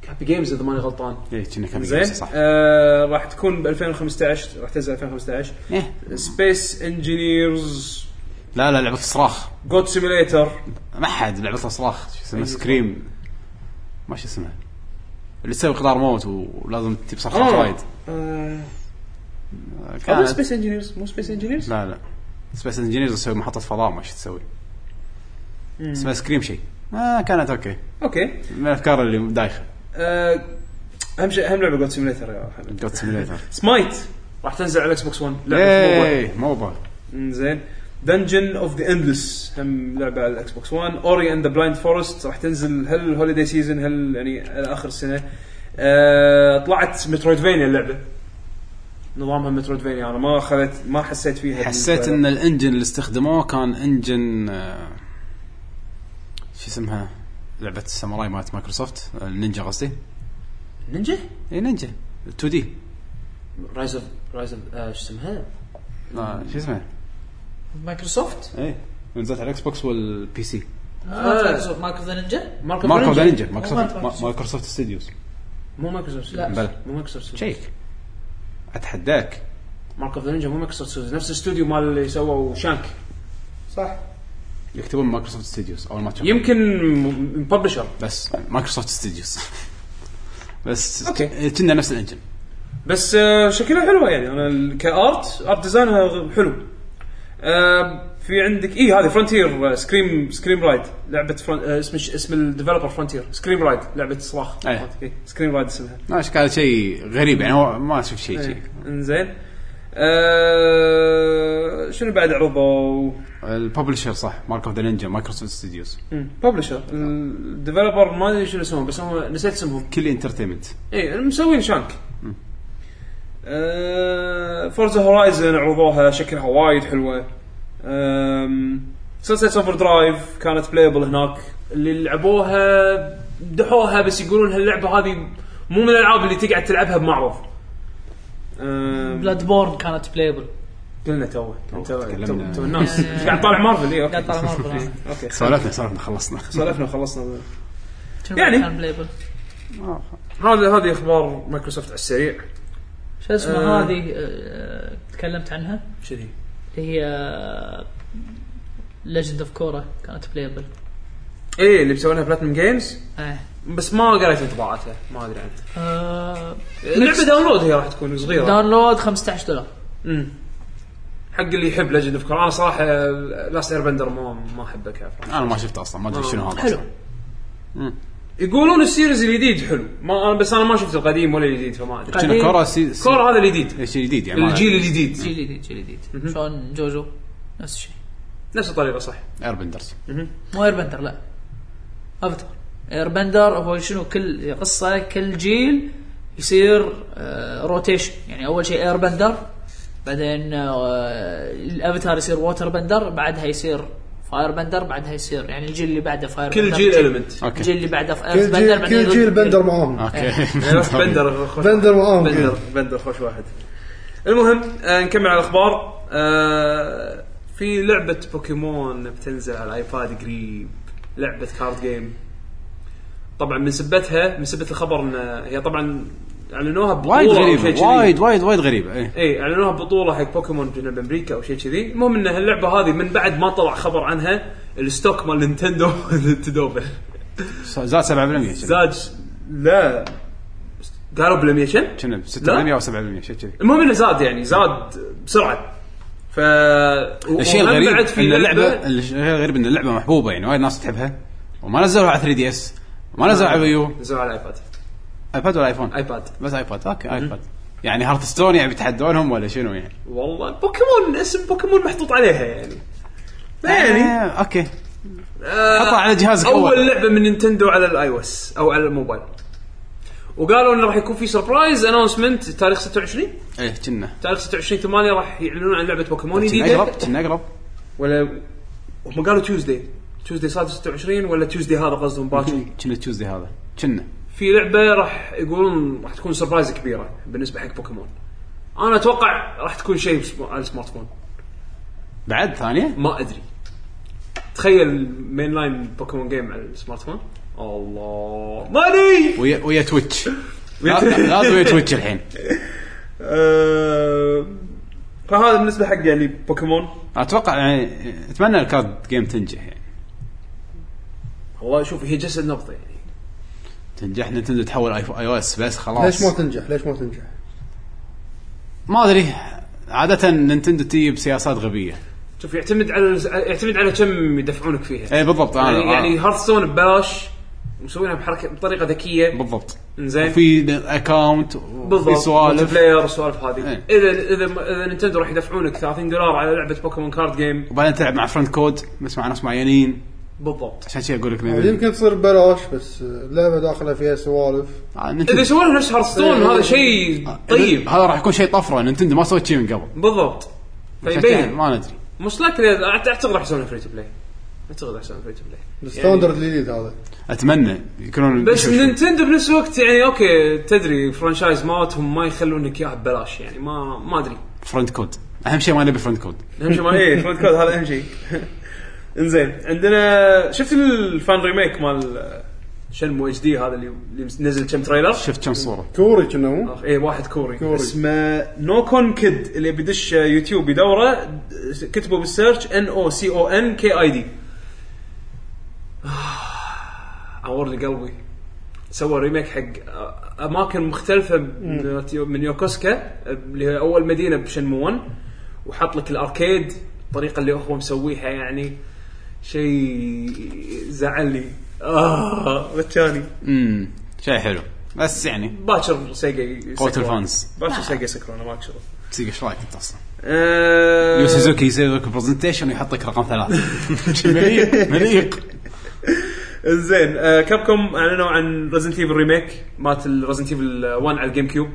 كابي جيمز اذا ماني غلطان اي إيه، كنا كم زين صح أه، راح تكون ب 2015 راح تنزل 2015 إيه. سبيس انجينيرز لا لا لعبه صراخ جود سيميليتر ما حد لعبه صراخ شو اسمها سكريم ما شو اسمها اللي تسوي قطار موت ولازم تجيب صخرات آه. وايد أه، مو كانت سبيس انجينيرز مو سبيس انجينيرز لا لا سبيس انجينيرز تسوي محطه فضاء ما شو تسوي اسمها سكريم شيء ما كانت اوكي اوكي من الافكار اللي دايخه أه، اهم شيء اهم لعبه جود سيميليتر يا حمد جوت سيميليتر سمايت راح تنزل على الاكس بوكس 1 لعبه ايه موبا زين دنجن اوف ذا اندلس هم لعبه على الاكس بوكس 1 اوري اند ذا بلايند فورست راح تنزل هل الهوليدي سيزون هل يعني على اخر السنه آه طلعت مترويدفينيا اللعبه نظامها مترويدفينيا انا ما اخذت ما حسيت فيها حسيت بالنسبة- ان الانجن اللي استخدموه كان انجن آه، شو اسمها لعبه الساموراي مالت مايكروسوفت آه، النينجا قصدي نينجا اي نينجا 2 دي رايز اوف رايز اوف آه، شو اسمها آه، شو إيه. اسمها مايكروسوفت اي نزلت على الاكس بوكس والبي سي آه. مايكروسوفت مايكرو ذا نينجا ماركو ماركو ذا نينجا نينجا مايكروسوفت ما- مايكروسوفت ستوديوز مو مايكروسوفت لا. بلى. مو مايكروسوفت شيك اتحداك ماركو ذا نينجا مو مايكروسوفت نفس الاستوديو مال اللي سووا شانك صح يكتبون مايكروسوفت ستوديوز اول ما تشوف يمكن ببلشر بس مايكروسوفت ستوديوز بس إيه، أوكي. كنا نفس الانجن بس آه، شكلها حلوه يعني انا ال- كارت ارت ديزاينها غ- حلو آه، في عندك اي هذه آه، فرونتير سكريم سكريم رايد لعبه فرن... آه، اسم الش- اسم الديفلوبر فرونتير سكريم رايد لعبه صراخ أيه. سكريم رايد اسمها ما إيش كان شيء غريب يعني هو ما اشوف شيء شيء انزين آه، شنو بعد عرضوا؟ الببلشر صح مارك اوف ذا نينجا مايكروسوفت ستوديوز ببلشر الديفلوبر ما ادري شنو اسمهم بس هم نسيت اسمهم كل انترتينمنت اي إيه، مسوين شانك فورزا هورايزن عرضوها شكلها وايد حلوه سنسيت اوفر درايف كانت بلايبل هناك اللي لعبوها دحوها بس يقولون هاللعبه هذه مو من الالعاب اللي تقعد تلعبها بمعرض أم، بلاد بورن كانت بلايبل قلنا تو تو تكلمنا. تو- تو الناس إيش قاعد طالع مارفل اي قاعد اوكي طالع مارفل اوكي سولفنا سولفنا خلصنا سولفنا وخلصنا شنو يعني. كان بلايبل هذا هذه اخبار مايكروسوفت على السريع شو اسمه آه. هذه آه، تكلمت عنها كذي اللي هي آه، ليجند اوف كورا كانت بلايبل ايه اللي مسوينها بلاتنم جيمز ايه بس ما قريت انطباعاتها ما ادري عنها آه، اللعبه داونلود هي راح تكون صغيره داونلود 15 دولار امم حق اللي يحب ليجند اوف انا صراحه لاست اير بندر ما ما احبه كافر انا ما شفته اصلا ما ادري شنو هذا حلو أصلاً. يقولون السيريز الجديد حلو ما انا بس انا ما شفت القديم ولا الجديد فما ادري شنو كورة سي سي- كور هذا الجديد شيء جديد يعني ما- الجيل الجديد جيل جديد جيل جديد شلون جوجو نفس الشيء نفس الطريقه صح ايربندرز مو ايربندر لا افاتار ايربندر هو شنو كل قصه كل جيل يصير آه روتيشن يعني اول شيء ايربندر بعدين آه الافاتار يصير ووتر بندر بعدها يصير فاير بندر بعدها يصير يعني الجيل اللي بعده فاير كل بندر جيل element. أوكي. الجيل اللي بعده كل فاير بندر جيل بعدين كل جيل بندر معاهم بس اوكي بندر خوش بندر معاهم بندر بندر خوش واحد المهم آه نكمل على الاخبار آه في لعبه بوكيمون بتنزل على الايباد قريب لعبه كارد جيم طبعا من سبتها من سبت الخبر ان هي طبعا اعلنوها ببطولة وايد أو شيء غريبه كذي. وايد وايد وايد غريبه ايه اي اعلنوها ببطوله حق بوكيمون جنوب امريكا او شيء كذي المهم ان هاللعبه هذه من بعد ما طلع خبر عنها الستوك مال نينتندو تدوبل زاد 7% شنو. زاد لا قالوا بال 100 شن؟ شنو ب 6% لا. او 7% شيء كذي المهم انه زاد يعني زاد بسرعه ف الشيء وهم الغريب بعد في ان لعبه اللعبه الشيء الغريب ان اللعبه محبوبه يعني وايد ناس تحبها وما نزلوها على 3 دي اس ما نزلوها على يو نزلوا على الايباد ايباد ولا ايفون ايباد بس ايباد اوكي ايباد يعني هارت ستون يعني بيتحدونهم ولا شنو يعني والله بوكيمون اسم بوكيمون محطوط عليها يعني يعني آه، اوكي آه، حطها على جهازك اول اول لعبه من نينتندو على الاي او اس او على الموبايل وقالوا انه راح يكون في سربرايز اناونسمنت تاريخ 26 ايه كنا تاريخ 26 8 راح يعلنون عن لعبه بوكيمون كنا جديده اقرب كنا اقرب ولا هم قالوا تيوزداي تيوزداي صار 26 ولا تيوزداي هذا قصدهم باكر كنا تشوزدي هذا كنا في لعبه راح يقولون راح تكون سربرايز كبيره بالنسبه حق بوكيمون انا اتوقع راح تكون شيء بسم- على السمارت فون بعد ثانيه ما ادري تخيل مين لاين بوكيمون جيم على السمارت فون الله ماني ويا ويا تويتش لا- لازم ويا تويتش الحين أه، فهذا بالنسبه حق يعني بوكيمون اتوقع يعني اتمنى الكارد جيم تنجح يعني والله شوف هي جسد نبضه يعني تنجح نتندو تحول اي او اس بس خلاص ليش ما تنجح ليش ما تنجح ما ادري عاده نينتندو تجي بسياسات غبيه شوف يعتمد على يعتمد على كم يدفعونك فيها اي بالضبط انا يعني, يعني يعني هارثستون ببلاش مسوينها بحركه بطريقه ذكيه آه، بالضبط زين في اكونت وفي بالضبط سوالف بلاير والسوالف هذه إيه. اذا اذا اذا نينتندو راح يدفعونك 30 دولار على لعبه بوكيمون كارد جيم وبعدين تلعب مع فرند كود بس مع ناس معينين بالضبط عشان شي اقول لك يعني نينتندو يمكن تصير ببلاش بس اللعبه داخله فيها سوالف آه، اذا نينتندو- يسوون نفس هارستون هذا شيء طيب هذا راح يكون شيء طفره نينتندو ما سويت شيء من قبل بالضبط عشان طيب، إيه. كذا فيبين ما ندري مش لاكلي اعتقد راح يسوونها فري تو بلاي اعتقد راح يسوونها فري تو بلاي الستاندرد الجديد هذا اتمنى يكونون بس يشوفون. نينتندو بنفس الوقت يعني اوكي تدري فرانشايز مالتهم ما يخلونك اياها ببلاش يعني ما ما ادري فرند كود اهم شيء ما نبي فرند كود اهم شيء ما ايه فرونت كود هذا اهم شيء انزين عندنا شفت الفان ريميك مال شنمو اتش دي هذا اللي اللي نزل كم تريلر شفت كم صوره كوري كنا مو اي إيه، واحد كوري, كوري. اسمه نوكون كيد اللي بيدش آه، يوتيوب يدوره د- كتبه بالسيرش ان او سي او ان كي اي دي عور لي قلبي آه، سوى ريميك حق أ- اماكن مختلفه من يوتيو- من يوكوسكا اللي هي اول مدينه بشنمو 1 وحط لك الاركيد الطريقه اللي هو مسويها يعني شيء زعلني اه متاني امم شيء حلو بس يعني باكر سيجا قوة يسكرون. الفانز. باكر سيجا يسكرون ما اكشر تسيق ايش رايك انت اصلا؟ أه، يو سوزوكي يسوي لك برزنتيشن ويحط لك رقم ثلاثة مليق مليق زين أه، كابكوم اعلنوا عن ريزنت ايفل ريميك مالت ريزنت ايفل 1 على الجيم كيوب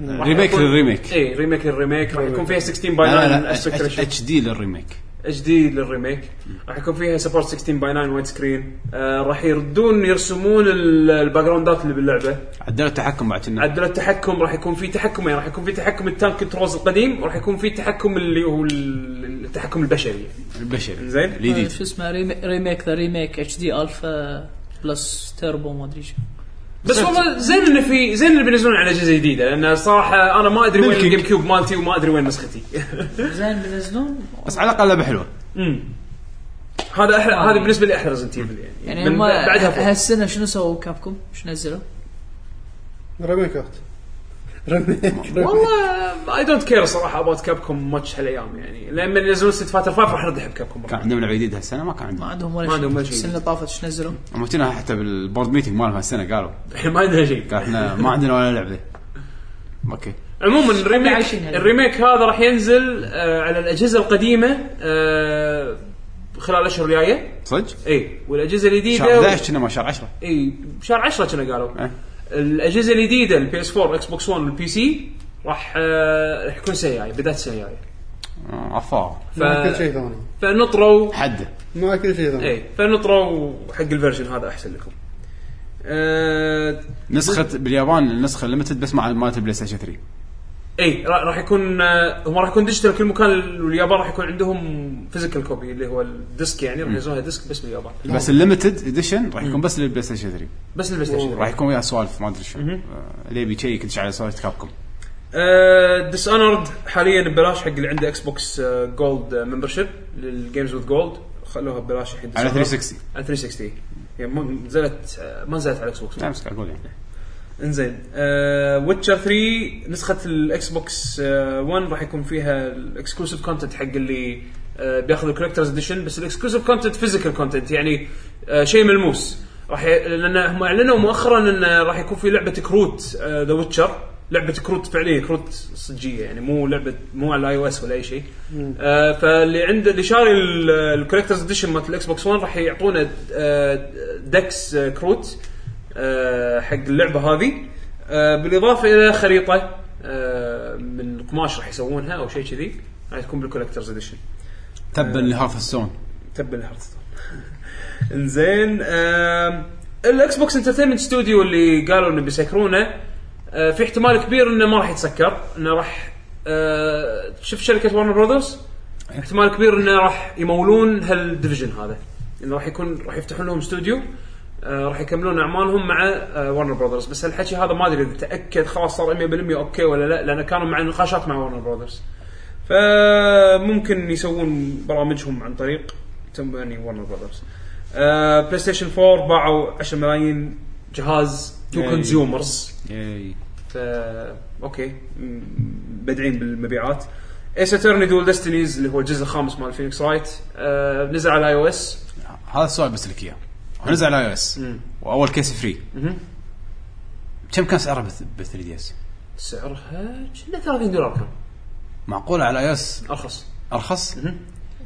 ريميك للريميك اي ريميك للريميك إيه، راح يكون فيها 16 باي لا لا 9 لا aspect ratio. اتش دي للريميك اتش دي للريميك راح يكون فيها سبورت 16 باي 9 وايد سكرين آه، راح يردون يرسمون ال- الباك جراوندات اللي باللعبه عدلوا التحكم بعد كنا عدلوا التحكم راح يكون في تحكمين راح يكون في تحكم التانك كنترولز القديم وراح يكون في تحكم اللي هو ال- التحكم البشري البشري زين. الجديد شو اسمه ريميك ذا ريميك اتش دي الفا بلس تربو ما ادري شو بس والله زين انه في زين انه بينزلون على اجهزه جديده لان صراحه انا ما ادري وين ملكي. الجيم كيوب مالتي وما ادري وين نسختي زين بينزلون بس على الاقل لعبه حلوه هذا احلى هذا بالنسبه لي احلى ريزنت ايفل يعني يعني من هم بعدها فوق. هالسنه شنو سووا كابكم؟ شنو نزلوا؟ رميك اخت رميك والله اي دونت كير صراحه اباوت كابكم ماتش هالايام يعني لما ينزلون ست فاتر 5 راح ارد احب كابكم كان عندهم لعبه جديده هالسنه ما كان عندهم ما عندهم ولا ما عندهم ولا شيء. السنه اللي طافت شنو نزلوا؟ هم جينا حتى بالبورد ميتنج مالهم هالسنه قالوا الحين ما عندنا شيء قال احنا ما عندنا ولا لعبه اوكي عموما الريميك عايشين هاليوم. الريميك هذا راح ينزل آه على الاجهزه القديمه آه خلال إيه، الاشهر الجايه صدق؟ اي والاجهزه شهر الجديده 11 كنا ما شهر 10 اي بشهر 10 إيه، كنا قالوا إيه. الاجهزه الجديده البي اس 4 اكس بوكس 1 والبي سي راح آه، راح يكون السنه الجايه بدايه السنه الجايه آه، عفا ما كل ف... شيء ثاني فنطروا حده ما كل شيء ثاني اي فنطروا حق الفيرجن هذا احسن لكم آه... نسخه باليابان النسخه ليمتد بس مع مالت البلاي ستيشن 3 اي إيه، را- راح يكون آه، هم راح يكون ديجيتال كل مكان واليابان راح يكون عندهم فيزيكال كوبي اللي هو الديسك يعني راح ينزلونها ديسك بس باليابان بس الليمتد اديشن راح يكون بس للبلاي ستيشن 3 بس البلاي ستيشن راح يكون وياه سوالف ما ادري شو آه، اللي يبي يشيك يدش على سوالف كابكم ديس اونرد حاليا آه، ببلاش حق اللي عنده آه، اكس بوكس جولد ممبرشيب للجيمز وذ جولد خلوها ببلاش الحين على Dishonored. 360 على 360 يعني ما نزلت آه، ما نزلت على الاكس بوكس لا بس قاعد اقول يعني انزين آه، ويتشر 3 نسخه الاكس بوكس 1 آه، راح يكون فيها الاكسكلوسيف كونتنت حق اللي آه، بياخذ الكولكترز اديشن بس الاكسكلوسيف كونتنت فيزيكال كونتنت يعني آه، شيء ملموس راح ي... لان هم اعلنوا مؤخرا ان راح يكون في آه، لعبه كروت ذا ويتشر لعبه كروت فعليه كروت صجيه يعني مو لعبه مو على الاي او اس ولا اي شيء آه فاللي عنده اللي شاري الكولكترز اديشن مالت الاكس بوكس 1 راح يعطونا آه، دكس كروت آه، حق اللعبه هذه آه، بالاضافه الى خريطه آه، من قماش راح يسوونها او شيء كذي راح تكون بالكولكترز اديشن تبا لهاف السون تب الهارتستون انزين آم، الاكس بوكس انترتينمنت ستوديو اللي قالوا انه بيسكرونه آه، في احتمال كبير انه ما راح يتسكر انه راح آه، شوف شركه ورنر براذرز احتمال كبير انه راح يمولون هالديفيجن هذا انه راح يكون راح يفتحون لهم استوديو آه، راح يكملون اعمالهم مع ورنر براذرز بس هالحكي هذا ما ادري اذا تاكد خلاص صار 100% اوكي ولا لا لان كانوا مع نقاشات مع ورنر براذرز فممكن يسوون برامجهم عن طريق تم يعني ورنر براذرز آه بلاي ستيشن 4 باعوا 10 ملايين جهاز تو أي. كونسيومرز ياي فا اوكي م- بادعين بالمبيعات ايس اترني دول ديستنيز اللي هو الجزء الخامس مال فينيكس رايت آه نزل على اي او اس هذا السؤال بس لك اياه هو نزل على اي اس واول كيس فري كم كان سعره بال 3 دي اس؟ سعرها كنا 30 دولار كان معقوله على اي اس ارخص ارخص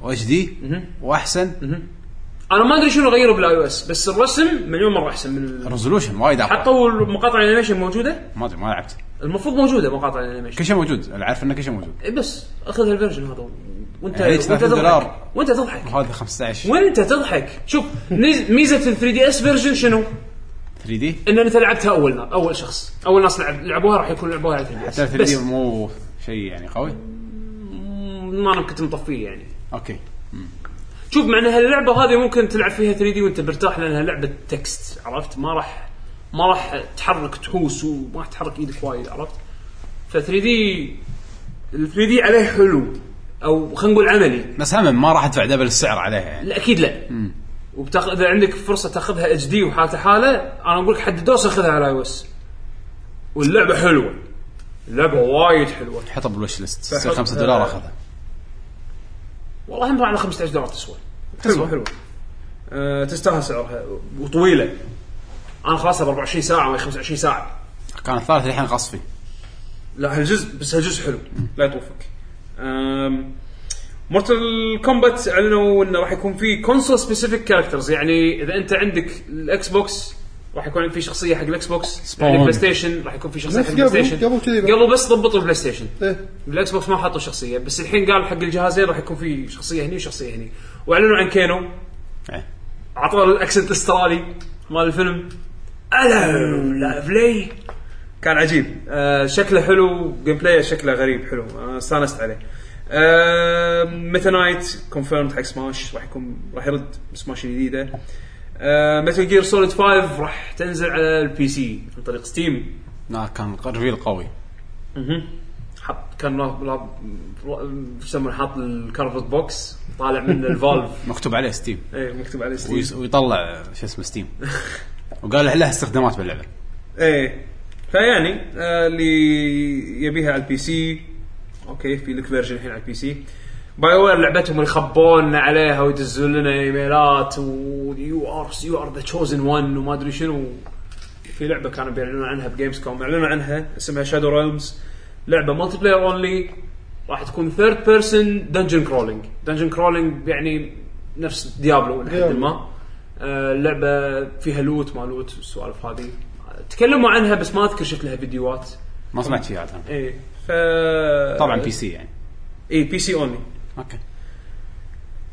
واتش دي واحسن انا ما ادري شنو غيروا بالاي او اس بس الرسم مليون مره احسن من ال- ريزولوشن وايد اعلى حطوا مقاطع الانيميشن موجوده ما ادري ما لعبت المفروض موجوده مقاطع الانيميشن كل شيء موجود انا عارف انه كل شيء موجود إيه بس اخذ هالفيرجن هذا وانت يعني وانت 30 تضحك دولار. وانت تضحك وهذا 15 وانت تضحك شوف نز- ميزه ال 3 دي اس فيرجن شنو؟ 3 دي ان انت لعبتها اول نار اول شخص اول ناس لعب لعبوها راح يكون لعبوها على 3 حتى دي 3 اس دي بس مو شيء يعني قوي ما انا كنت مطفيه يعني اوكي شوف مع ان هاللعبه هذه ممكن تلعب فيها 3 دي وانت مرتاح لانها لعبه تكست عرفت ما راح ما راح تحرك تحوس وما راح تحرك ايدك وايد عرفت ف 3 دي ال 3 دي عليه حلو او خلينا نقول عملي بس هم ما راح ادفع دبل السعر عليها يعني لا اكيد لا وبتاخذ اذا عندك فرصه تاخذها اتش دي وحالته حاله انا اقول لك حد دوس اخذها على اي اس واللعبه حلوه اللعبه وايد حلوه حطها بالوش ليست فحط- تصير 5 دولار اخذها والله هم على 15 دولار تسوى تسوى حلوه أه تستاهل سعرها وطويله انا خلاص ب 24 ساعه ما هي 25 ساعه كان الثالث الحين غصفي لا هالجزء بس هالجزء حلو لا يطوفك مورتال كومبات اعلنوا انه راح يكون في كونسول سبيسيفيك كاركترز يعني اذا انت عندك الاكس بوكس راح يكون في شخصيه حق الاكس بوكس Spawn. يعني بلاي ستيشن راح يكون في شخصيه بس حق البلاي قبل- ستيشن قبل كذي بس. قبل بس ضبطوا البلاي ستيشن إيه. بالاكس بوكس ما حطوا شخصيه بس الحين قال حق الجهازين راح يكون في شخصيه هني وشخصيه هني واعلنوا عن كينو إيه. عطوه الاكسنت الاسترالي مال الفيلم الو لافلي كان عجيب آه شكله حلو جيم بلاي شكله غريب حلو انا استانست عليه أه، آه ميتا نايت كونفيرمد حق سماش راح يكون راح يرد سماش الجديده متل جير سوليد 5 راح تنزل على البي سي عن طريق ستيم لا كان ريفيل قوي حط كان راب- راب- راب- شو يسمونه حاط الكارفت بوكس طالع من الفالف مكتوب عليه ستيم اي مكتوب عليه ستيم ويس- ويطلع شو اسمه ستيم وقال له استخدامات باللعبه ايه فيعني آه، اللي يبيها على البي سي اوكي في لك فيرجن الحين على البي سي باي وير لعبتهم اللي خبونا عليها ويدزون لنا ايميلات ويو ار يو ار ذا تشوزن وان وما ادري شنو في لعبه كانوا بيعلنون عنها بجيمز كوم اعلنوا عنها اسمها شادو ريلمز لعبه مالتي بلاير اونلي راح تكون ثيرد بيرسون دنجن كرولينج دنجن كرولينج يعني نفس ديابلو لحد ديابلو. ما آه، اللعبه فيها لوت ما لوت السوالف هذه تكلموا عنها بس ما اذكر شفت لها فيديوهات إيه. ما سمعت فيها عاد أنا. اي ف طبعا إيه. بي سي يعني اي بي سي اونلي اوكي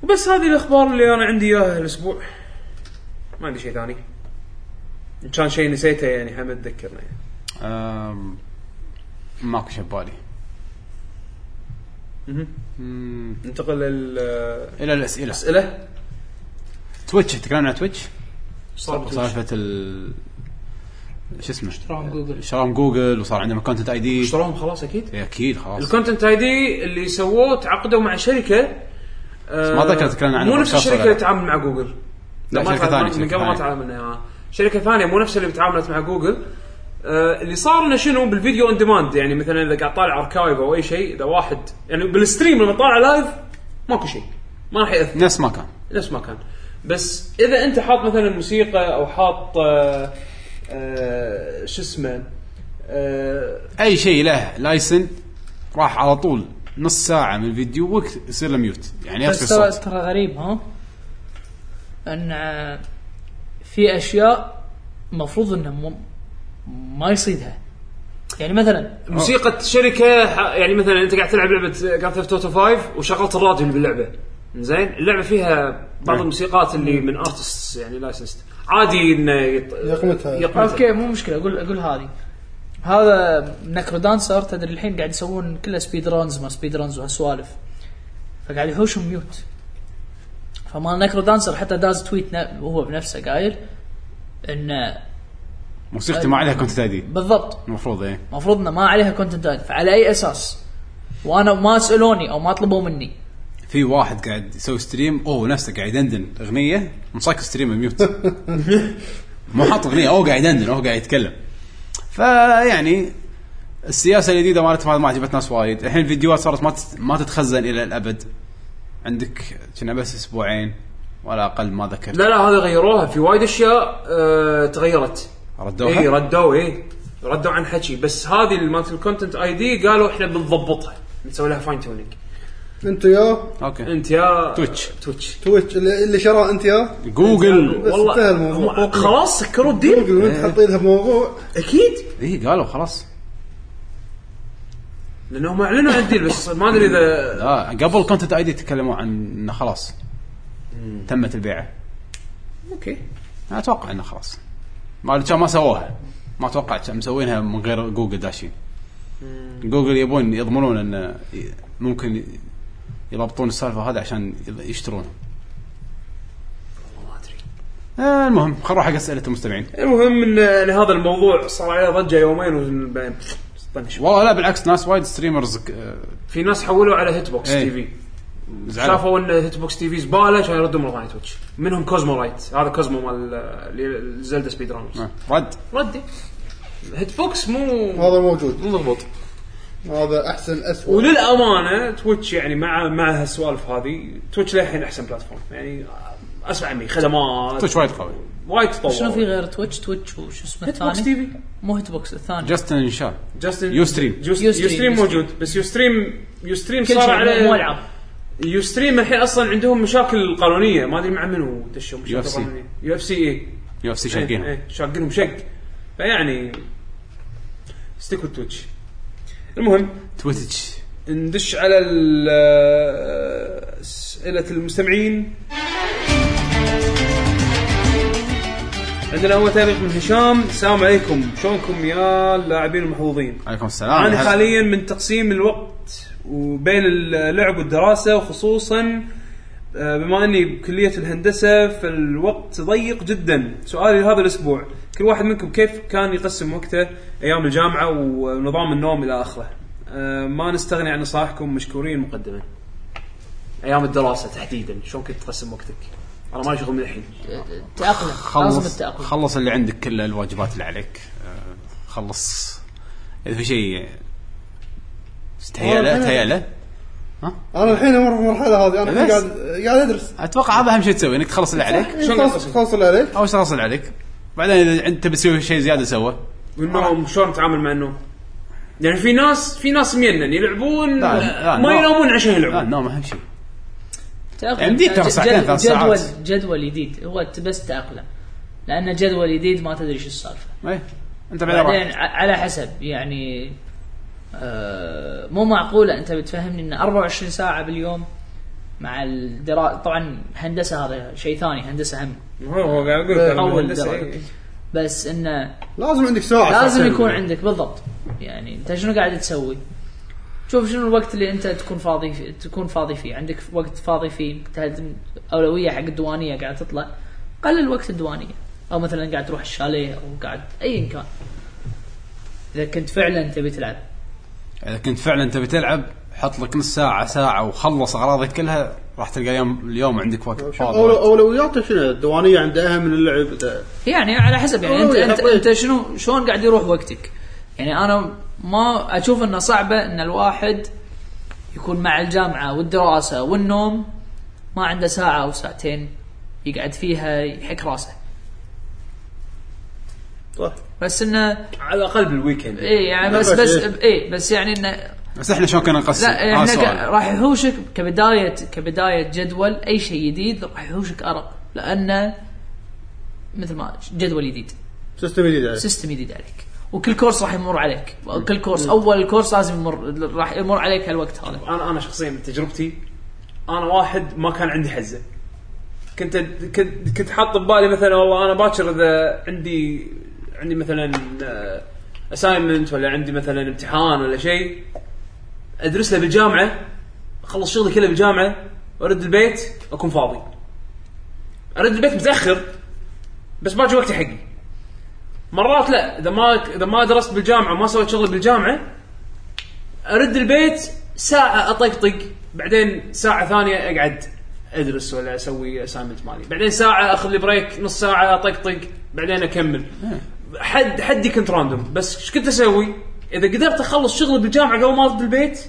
وبس هذه الاخبار اللي انا عندي اياها الاسبوع ما عندي شيء ثاني ان كان شيء نسيته يعني حمد ذكرنا يعني. أم، ماكو شيء ببالي مم، ننتقل آه، الى للاسئله الاسئله تويتش تكلمنا عن تويتش سالفه ال شو اسمه شراهم جوجل. شراهم جوجل وصار عندهم كونتنت اي دي اشتروهم خلاص اكيد اكيد خلاص الكونتنت اي دي اللي سووه تعاقدوا مع شركه آه، ما أتذكر تكلمنا عنها مو نفس بالبودكاست ولا الشركه اللي لا. تعامل مع جوجل لا، ما شركة تعامل- ثانية، من شركة قبل ما ثانية. تعامل منها شركه ثانيه مو نفس اللي تعاملت مع جوجل آه، اللي صار انه شنو بالفيديو اون ديماند يعني مثلا اذا قاعد طالع اركايف او اي شيء اذا واحد يعني بالستريم لما طالع لايف ماكو شيء ما راح ياثر نفس ما كان نفس ما كان بس اذا انت حاط مثلا موسيقى او حاط آه، آه، شو اسمه آه، اي شيء له لايسن راح على طول نص ساعه من الفيديو وقت يصير له ميوت يعني يطفي بس ترى الصوت ترى غريب ها ان آه، في اشياء مفروض انه مو- ما يصيدها يعني مثلا موسيقى شركه ح- يعني مثلا انت قاعد تلعب لعبه جراند ثيفت اوتو 5 وشغلت الراديو اللي باللعبه زين اللعبه فيها بعض الموسيقات اللي من ارتست يعني لايسنس عادي انه يط... يقمتها. يقمتها اوكي مو مشكله اقول اقول هذه هذا نكرو دانسر تدري الحين قاعد يسوون كله سبيد رانز ما سبيد رانز وهالسوالف فقاعد يحوش ميوت فما نكرو دانسر حتى داز تويت نا- وهو بنفسه قايل انه موسيقتي ما عليها كونتنت اي دي بالضبط المفروض ايه المفروض انه ما عليها كونتنت فعلى اي اساس وانا ما سالوني او ما طلبوا مني في واحد قاعد يسوي ستريم اوه نفسه قاعد يدندن اغنيه مساك ستريم ميوت مو حاط اغنيه اوه قاعد يدندن اوه قاعد يتكلم فيعني السياسه الجديده مالتهم هذه ما عجبت ناس وايد الحين الفيديوهات صارت ما تت- ما تتخزن الى الابد عندك كنا بس اسبوعين ولا اقل ما ذكرت لا لا هذا غيروها في وايد اشياء آه تغيرت اي ردوها ردوا اي ردوا عن حكي بس هذه اللي مالت الكونتنت اي دي قالوا احنا بنضبطها بنسوي لها فاين تونينج انت يا اوكي انت يا تويتش. تويتش تويتش اللي اللي شراه انت يا جوجل بس انتهى الموضوع. هم- خلاص سكروا الديل جوجل وانت حاطينها بموضوع اكيد اي إيه، قالوا خلاص لانهم اعلنوا عن الديل بس ما ادري اذا لا آه، قبل كونتنت اي دي تكلموا عن انه خلاص تمت البيعه اوكي انا اتوقع انه خلاص ما كان ما سووها ما اتوقع كان مسوينها من غير جوجل داشين جوجل يبون يضمنون انه ي- ممكن ي- يضبطون السالفه هذه عشان يض- يشترونها ما ادري آه، المهم خلينا نروح حق اسئله المستمعين المهم ان ان هذا الموضوع صار عليه ضجه يومين وبعدين طنش والله لا بالعكس ناس وايد ستريمرز ك- آه، في ناس حولوا على هيت بوكس إيه. تي في زعلوا شافوا ان هيت بوكس تي في زباله عشان يردوا مره ثانيه تويتش منهم كوزمو رايت هذا كوزمو مال اللي- زلدا سبيد رانرز آه، رد ردي هيت بوكس مو هذا موجود مو مضبوط هذا احسن اسوء وللامانه تويتش يعني مع مع هالسوالف هذه تويتش للحين احسن بلاتفورم يعني اسمع مني خدمات تويتش وايد قوي وايد تطور شنو في غير تويتش تويتش وش اسمه هيت بوكس تي الثاني في مو هيت بوكس الثاني جاستن ان شاء الله جاستن يوستريم. جوست- يوستريم. يوستريم موجود بس يوستريم يوستريم كل صار شيء عليه مو العاب يوستريم الحين اصلا عندهم مشاكل قانونيه ما ادري مع منو دشوا UFC. مشاكل قانونيه يو اف سي إيه. اي يو اف سي إيه. شاقينها شاقينهم شق إيه، فيعني ستيك تويتش المهم تويتش ندش على ال- اسئله المستمعين عندنا اول تعليق من هشام السلام عليكم شلونكم يا اللاعبين المحظوظين عليكم السلام انا حاليا من تقسيم الوقت وبين اللعب والدراسه وخصوصا آه، بما اني بكليه الهندسه فالوقت ضيق جدا سؤالي لهذا الاسبوع كل واحد منكم كيف كان يقسم وقته ايام الجامعه ونظام النوم الى اخره آه، ما نستغني عن نصائحكم مشكورين مقدما ايام الدراسه تحديدا شلون كنت تقسم وقتك انا ما شغل من الحين تاقلم لازم خلص التاقلم خلص اللي عندك كل الواجبات اللي عليك آه، خلص اذا في شيء تهيأ له تهيأ له انا الحين امر بالمرحله هذه انا الحين بس. قاعد قاعد ادرس اتوقع هذا اهم شيء تسوي انك تخلص اللي عليك شلون خلص- تقسم؟ خلص اللي عليك اول شيء تخلص اللي عليك بعدين اذا انت بتسوي شيء آه، زياده سوه والنوم شلون تتعامل مع النوم؟ يعني في ناس في ناس مينن يلعبون لا، لا، ما نوم. ينامون عشان لا يلعبون النوم اهم شيء تأقلم. يعني يمديك ترى جد- ساعتين، ثلاث جدول ساعات. جدول جديد هو ت- بس تاقلم لان جدول جديد ما تدري شو السالفه ايه انت بعدين راح بعدين ع- على حسب يعني آه، مو معقوله انت بتفهمني ان 24 ساعه باليوم مع الدراسه طبعا هندسه هذا شيء ثاني هندسه هم هو هو قاعد اقول لك أول الهندسة، درجة. إيه. بس انه لازم عندك ساعه لازم ساعتين. يكون عندك بالضبط يعني انت شنو قاعد تسوي؟ شوف شنو الوقت اللي انت تكون فاضي فيه تكون فاضي فيه، عندك وقت فاضي فيه تهدم اولويه حق الديوانيه قاعد تطلع قلل وقت الديوانيه او مثلا قاعد تروح الشاليه او قاعد ايا كان. اذا كنت فعلا تبي تلعب اذا كنت فعلا تبي تلعب حط لك نص ساعه ساعه وخلص اغراضك كلها راح تلقى يوم اليوم عندك وقت أولو- فاضي اولوياته شنو الديوانيه عندها اهم من اللعب ده. يعني على حسب يعني انت أوه، يا انت, حبيبي. انت شنو شلون قاعد يروح وقتك؟ يعني انا ما اشوف انه صعبه ان الواحد يكون مع الجامعه والدراسه والنوم ما عنده ساعه او ساعتين يقعد فيها يحك راسه. صح. بس انه على الاقل بالويكند اي يعني بس بس بس إيه. اي بس يعني انه بس احنا شلون كنا نقسم؟ آه، لا هذا احنا السؤال. ك- راح يحوشك كبدايه كبدايه جدول اي شيء جديد راح يحوشك ارق لانه مثل ما جدول جديد. سيستم جديد عليك. سيستم جديد عليك وكل كورس راح يمر عليك كل كورس اول كورس لازم يمر راح يمر عليك هالوقت هذا انا انا شخصيا من تجربتي انا واحد ما كان عندي حزه كنت كنت كنت حاط ببالي مثلا والله انا باكر اذا عندي عندي مثلا اساينمنت ولا عندي مثلا امتحان ولا شيء ادرس له بالجامعه اخلص شغلي كله بالجامعه وارد البيت اكون فاضي ارد البيت متاخر بس باجي وقتي حقي مرات لا اذا ما اذا ما درست بالجامعه وما سويت شغلي بالجامعه ارد البيت ساعه اطقطق بعدين ساعه ثانيه اقعد ادرس ولا اسوي اسايمنت مالي بعدين ساعه اخذ لي بريك نص ساعه اطقطق بعدين اكمل حد حدي كنت راندوم بس ايش كنت اسوي اذا قدرت اخلص شغلي بالجامعه قبل ما ارد البيت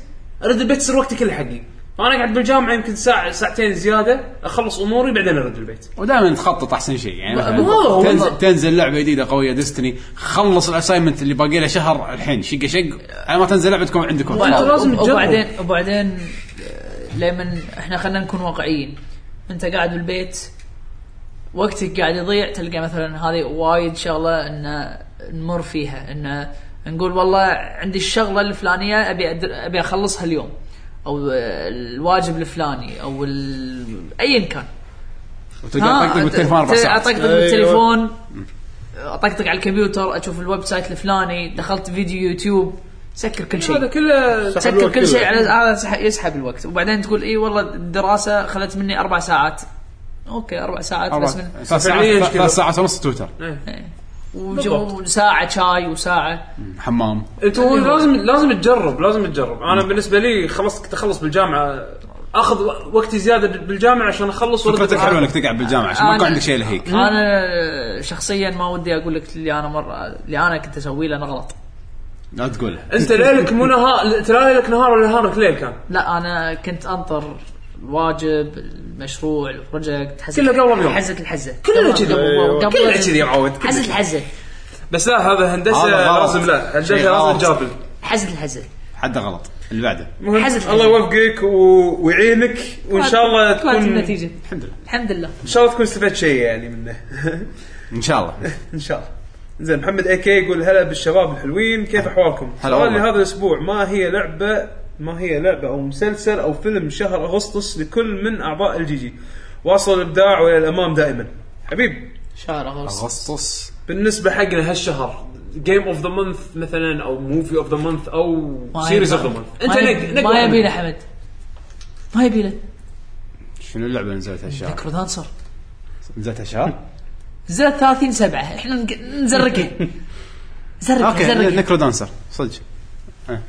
ارد البيت يصير وقتي كله حقي فانا قاعد بالجامعه يمكن ساعه ساعتين زياده اخلص اموري بعدين ارد البيت ودائما تخطط احسن شيء يعني مثلاً مو هو- تنزل, تنزل لعبه جديده قويه ديستني خلص الاساينمنت اللي باقي له شهر الحين شقه شق على ما تنزل لعبه تكون عندكم وبعد- لازم تجرب. وبعدين وبعدين آه، لمن احنا خلينا نكون واقعيين انت قاعد بالبيت وقتك قاعد يضيع تلقى مثلا هذه وايد شغله ان نمر فيها ان نقول والله عندي الشغله الفلانيه ابي أدر... ابي اخلصها اليوم او آه، الواجب الفلاني او ال... ايا كان وتلقى تطقطق بالتليفون اربع ساعات اطقطق بالتليفون اطقطق على الكمبيوتر اشوف الويب سايت الفلاني دخلت فيديو يوتيوب سكر كل هذا شيء كله سحب سكر الوقت كل شيء كله. على هذا سح- يسحب الوقت وبعدين تقول اي والله الدراسه خلت مني اربع ساعات اوكي اربع ساعات أربع- بس من ثلاث فعلياً ساعات كذا. ثلاث ساعات ونص تويتر وجو- وساعه شاي وساعه حمام انت هو لازم لازم تجرب لازم تجرب انا بالنسبه لي خلص كنت اخلص بالجامعه اخذ و- وقتي زياده بال- بالجامعه عشان اخلص وارد فكرتك البيت. حلوه انك تقعد بالجامعه عشان ما يكون عندك شيء لهيك انا شخصيا ما ودي اقول لك اللي انا مره اللي انا كنت اسويه لانه غلط لا تقول انت ليلك مو نهار انت لا ليلك نهار ولا نهارك ليل كان لا انا كنت انطر الواجب المشروع البروجكت حزة كله قبل بيوم. حزه الحزه كله قبل- كذي. قبل- قبل- كله كذي يا معود، كله حزه كذي. الحزه بس لا هذا هندسه هذا غلط. لازم لا شيء هندسه لازم غلط. تجابل حزه الحزه حده غلط اللي بعده المهم، حزت- الله يوفقك و... ويعينك وان شاء الله طلعت تكون النتيجه الحمد لله الحمد لله ان شاء الله تكون استفدت شيء يعني منه ان شاء الله ان شاء الله زين محمد اي كي يقول هلا بالشباب الحلوين كيف احوالكم؟ هلا والله. سؤالي هذا الاسبوع ما هي لعبه ما هي لعبه او مسلسل او فيلم شهر اغسطس لكل من اعضاء الجي جي واصل الابداع والى الامام دائما حبيب شهر اغسطس اغسطس بالنسبه حقنا هالشهر جيم اوف ذا مانث مثلا او موفي اوف ذا مانث او سيريز اوف ذا مانث انت ما- نق نق ما يبينا حمد ما يبينا شنو اللعبه اللي نزلتها شهر؟ مايكرو دانسر نزلتها شهر؟ نزلت 30 7 احنا نق- نزرقه زرقه اوكي زرقه نكرو دانسر صدق إيه.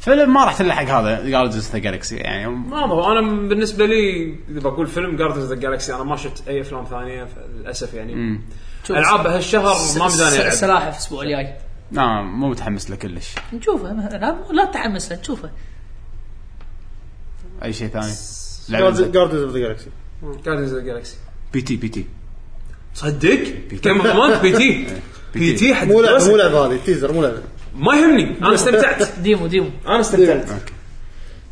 فيلم ما راح تلحق هذا جاردز اوف ذا جالكسي يعني ما هو انا بالنسبه لي اذا بقول فيلم جاردنز ذا جالكسي انا ما شفت اي افلام ثانيه للاسف يعني شوف، العاب هالشهر س- ما س- مداني العب سلاحف الاسبوع الجاي لا نعم، مو متحمس له كلش نشوفه لا لا تتحمس له تشوفه اي شيء ثاني لعبه جاردنز اوف ذا جالكسي جاردنز ذا جالكسي بي تي بي تي صدق جيم اوف مانث بي تي بي تي حد مو لعبه دراسة. مو لعبه هذه تيزر مو لعبه ما يهمني انا استمتعت ديمو ديمو انا استمتعت اوكي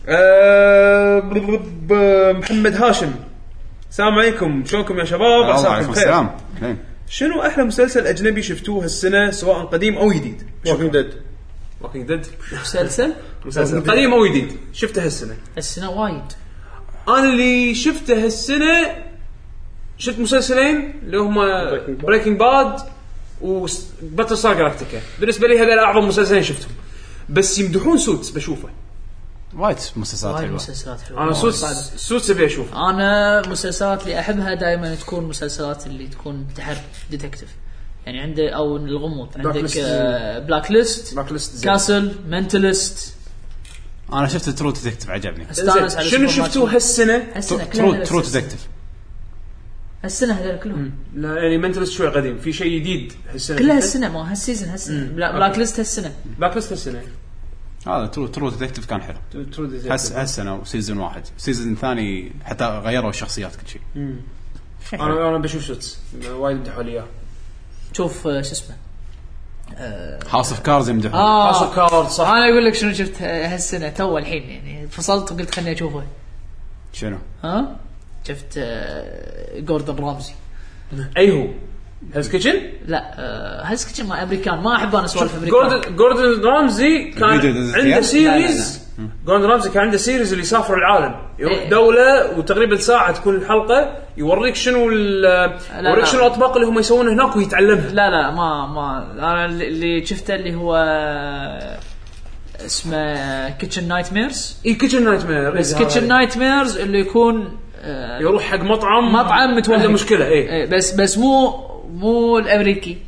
آه، ب- ب- ب- محمد هاشم السلام عليكم شلونكم يا شباب الله عساكم عليكم بخير السلام إيه. زين. شنو احلى مسلسل اجنبي شفتوه هالسنه سواء قديم او جديد ووكينج ديد ووكينج ديد مسلسل مسلسل قديم او جديد شفته هالسنه السنه وايد انا اللي شفته هالسنه شفت مسلسلين اللي هما بريكنج باد وباتل ستار جلاكتيكا بالنسبه لي هذول اعظم مسلسلين شفتهم بس يمدحون سوتس بشوفه وايد مسلسلات وايد حلوه مسلسلات حلوه انا وايد سوتس صعبة. سوتس ابي اشوفه انا مسلسلات اللي احبها دائما تكون مسلسلات اللي تكون تحرك ديتكتيف يعني عنده او الغموض عندك ليست. آه، بلاك ليست Black List زين. كاسل منتلست انا شفت ترو ديتكتيف عجبني استانس على شنو سوبر شفتوه ماتش. هالسنه؟ هالسنه كلها ترو ترو هالسلسلة. ديتكتيف هالسنه هذول كلهم لا يعني منتلست شوي قديم في شيء جديد هالسنه كلها هالسنه ما هالسيزون هالسنه بلا- بلاك ليست هالسنه بلاك ليست هالسنه هذا ترو ترو ديتكتيف كان حلو ترو ديتكتيف. هس هالسنه وسيزون واحد سيزون ثاني حتى غيروا الشخصيات كل شيء انا انا بشوف سوتس وايد مدحوا لي اياه شوف آه، شو اسمه هاوس اوف كارز يمدحون اه هاوس اوف كارد صح انا اقول لك شنو شفت آه، هالسنه تو الحين يعني فصلت وقلت خليني اشوفه شنو؟ ها شفت آه، جوردن رامزي اي هو هيلز كيتشن لا آه، هلس كيتشن ما امريكان ما احب انا اسولف امريكان جوردن جوردن رامزي الفيديو كان نزلت فيها؟ عنده سيريز جوردن رامزي كان عنده سيريز اللي يسافر العالم يروح إيه. دوله وتقريبا ساعه تكون الحلقه يوريك شنو ال- لا. يوريك شنو الاطباق اللي هم يسوونه هناك ويتعلمها لا لا ما ما انا اللي- اللي شفته اللي هو آه، اسمه كيتشن نايت ميرز اي كيتشن نايت مير بس إيه، كيتشن نايت ميرز اللي يكون آه، يروح حق مطعم مطعم متوهق. عنده مشكله e, اي إيه، بس بس مو مو الامريكي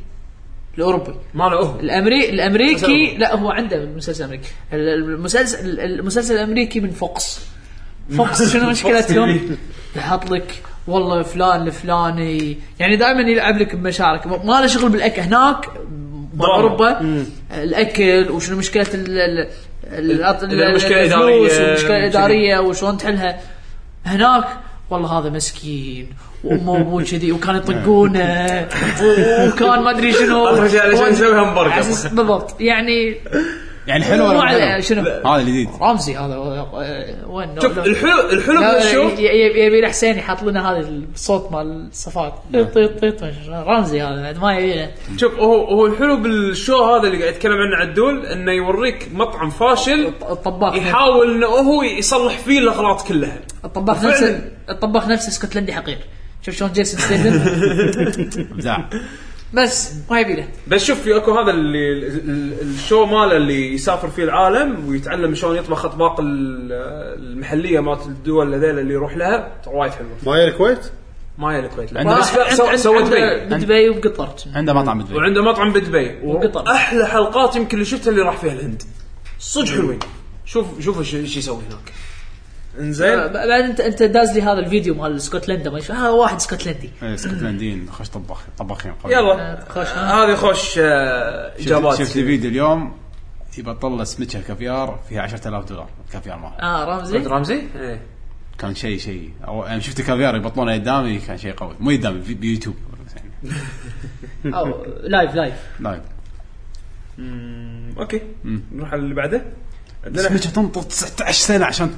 الاوروبي ماله oh, هو الامري الامريكي مسلسل. لا هو عنده مسلسل امريكي ال- المسلسل المسلسل الامريكي من فوكس فوكس شنو مشكلتهم؟ يحط لك والله فلان الفلاني يعني دائما يلعب لك بمشاعرك ما ما له شغل بالاكل هناك دراما. باوروبا الاكل وشنو مشكله ال ال الأط- ال- المشكلة الفلوس الإدارية، والمشكله الاداريه وشلون تحلها هناك والله هذا مسكين وامه وابوه كذي وكان يطقونه وكان ما ادري شنو أخرج علشان يسوي همبرجر. عسس- بالضبط يعني يعني حلو ولا مو مو على- حلو؟ شنو؟ هذا الجديد رامزي هذا آه، وين شوف لا- الحلو الحلو لا، بالشو ي- ي- يبي الحسين يحط لنا هذا الصوت مال طيب، الصفات طيط طيط طيط ما شو اسمه. رامزي هذا بعد ما يبي شوف oh, هو هو الحلو بالشو هذا اللي قاعد يتكلم عنه عدول انه يوريك مطعم فاشل الطباخ يحاول انه هو يصلح فيه الاغلاط كلها الطباخ وفعلاً- نفسه الطباخ نفسه اسكتلندي حقير شوف شلون جيسون ستيدن ابداع بس ما يبي له بس شوف في اكو هذا اللي ال- ال- الشو ماله اللي يسافر فيه العالم ويتعلم شلون يطبخ اطباق ال- المحليه مالت الدول هذيلا اللي يروح لها ترى وايد حلوه ما هي الكويت ما هي الكويت لا. عنده بس راح- سو- عند- سوى عند- دبي بدبي وبقطر عنده مطعم بدبي وعنده مطعم بدبي وقطر. واحلى حلقات يمكن اللي شفتها اللي راح فيها الهند صدق حلوين شوف شوف ايش ايش يسوي هناك انزين بعد انت انت داز لي هذا الفيديو مال اسكتلندا ما شو- هذا واحد اسكتلندي آه، إيه، اسكتلنديين خوش طباخ طباخين قوي يلا خوش ها؟ هذه خوش آه، اجابات شفت فيديو اليوم يبطل له سمكه كافيار فيها 10000 دولار كافيار مالها اه رامزي محمد رمزي؟ ايه كان شيء شيء أو انا شفت كافيار يبطلونه قدامي كان شيء قوي مو قدامي في- بيوتيوب يعني أو لايف لايف لايف اوكي نروح على اللي بعده عندنا سمكه تنطر 19 سنه عشان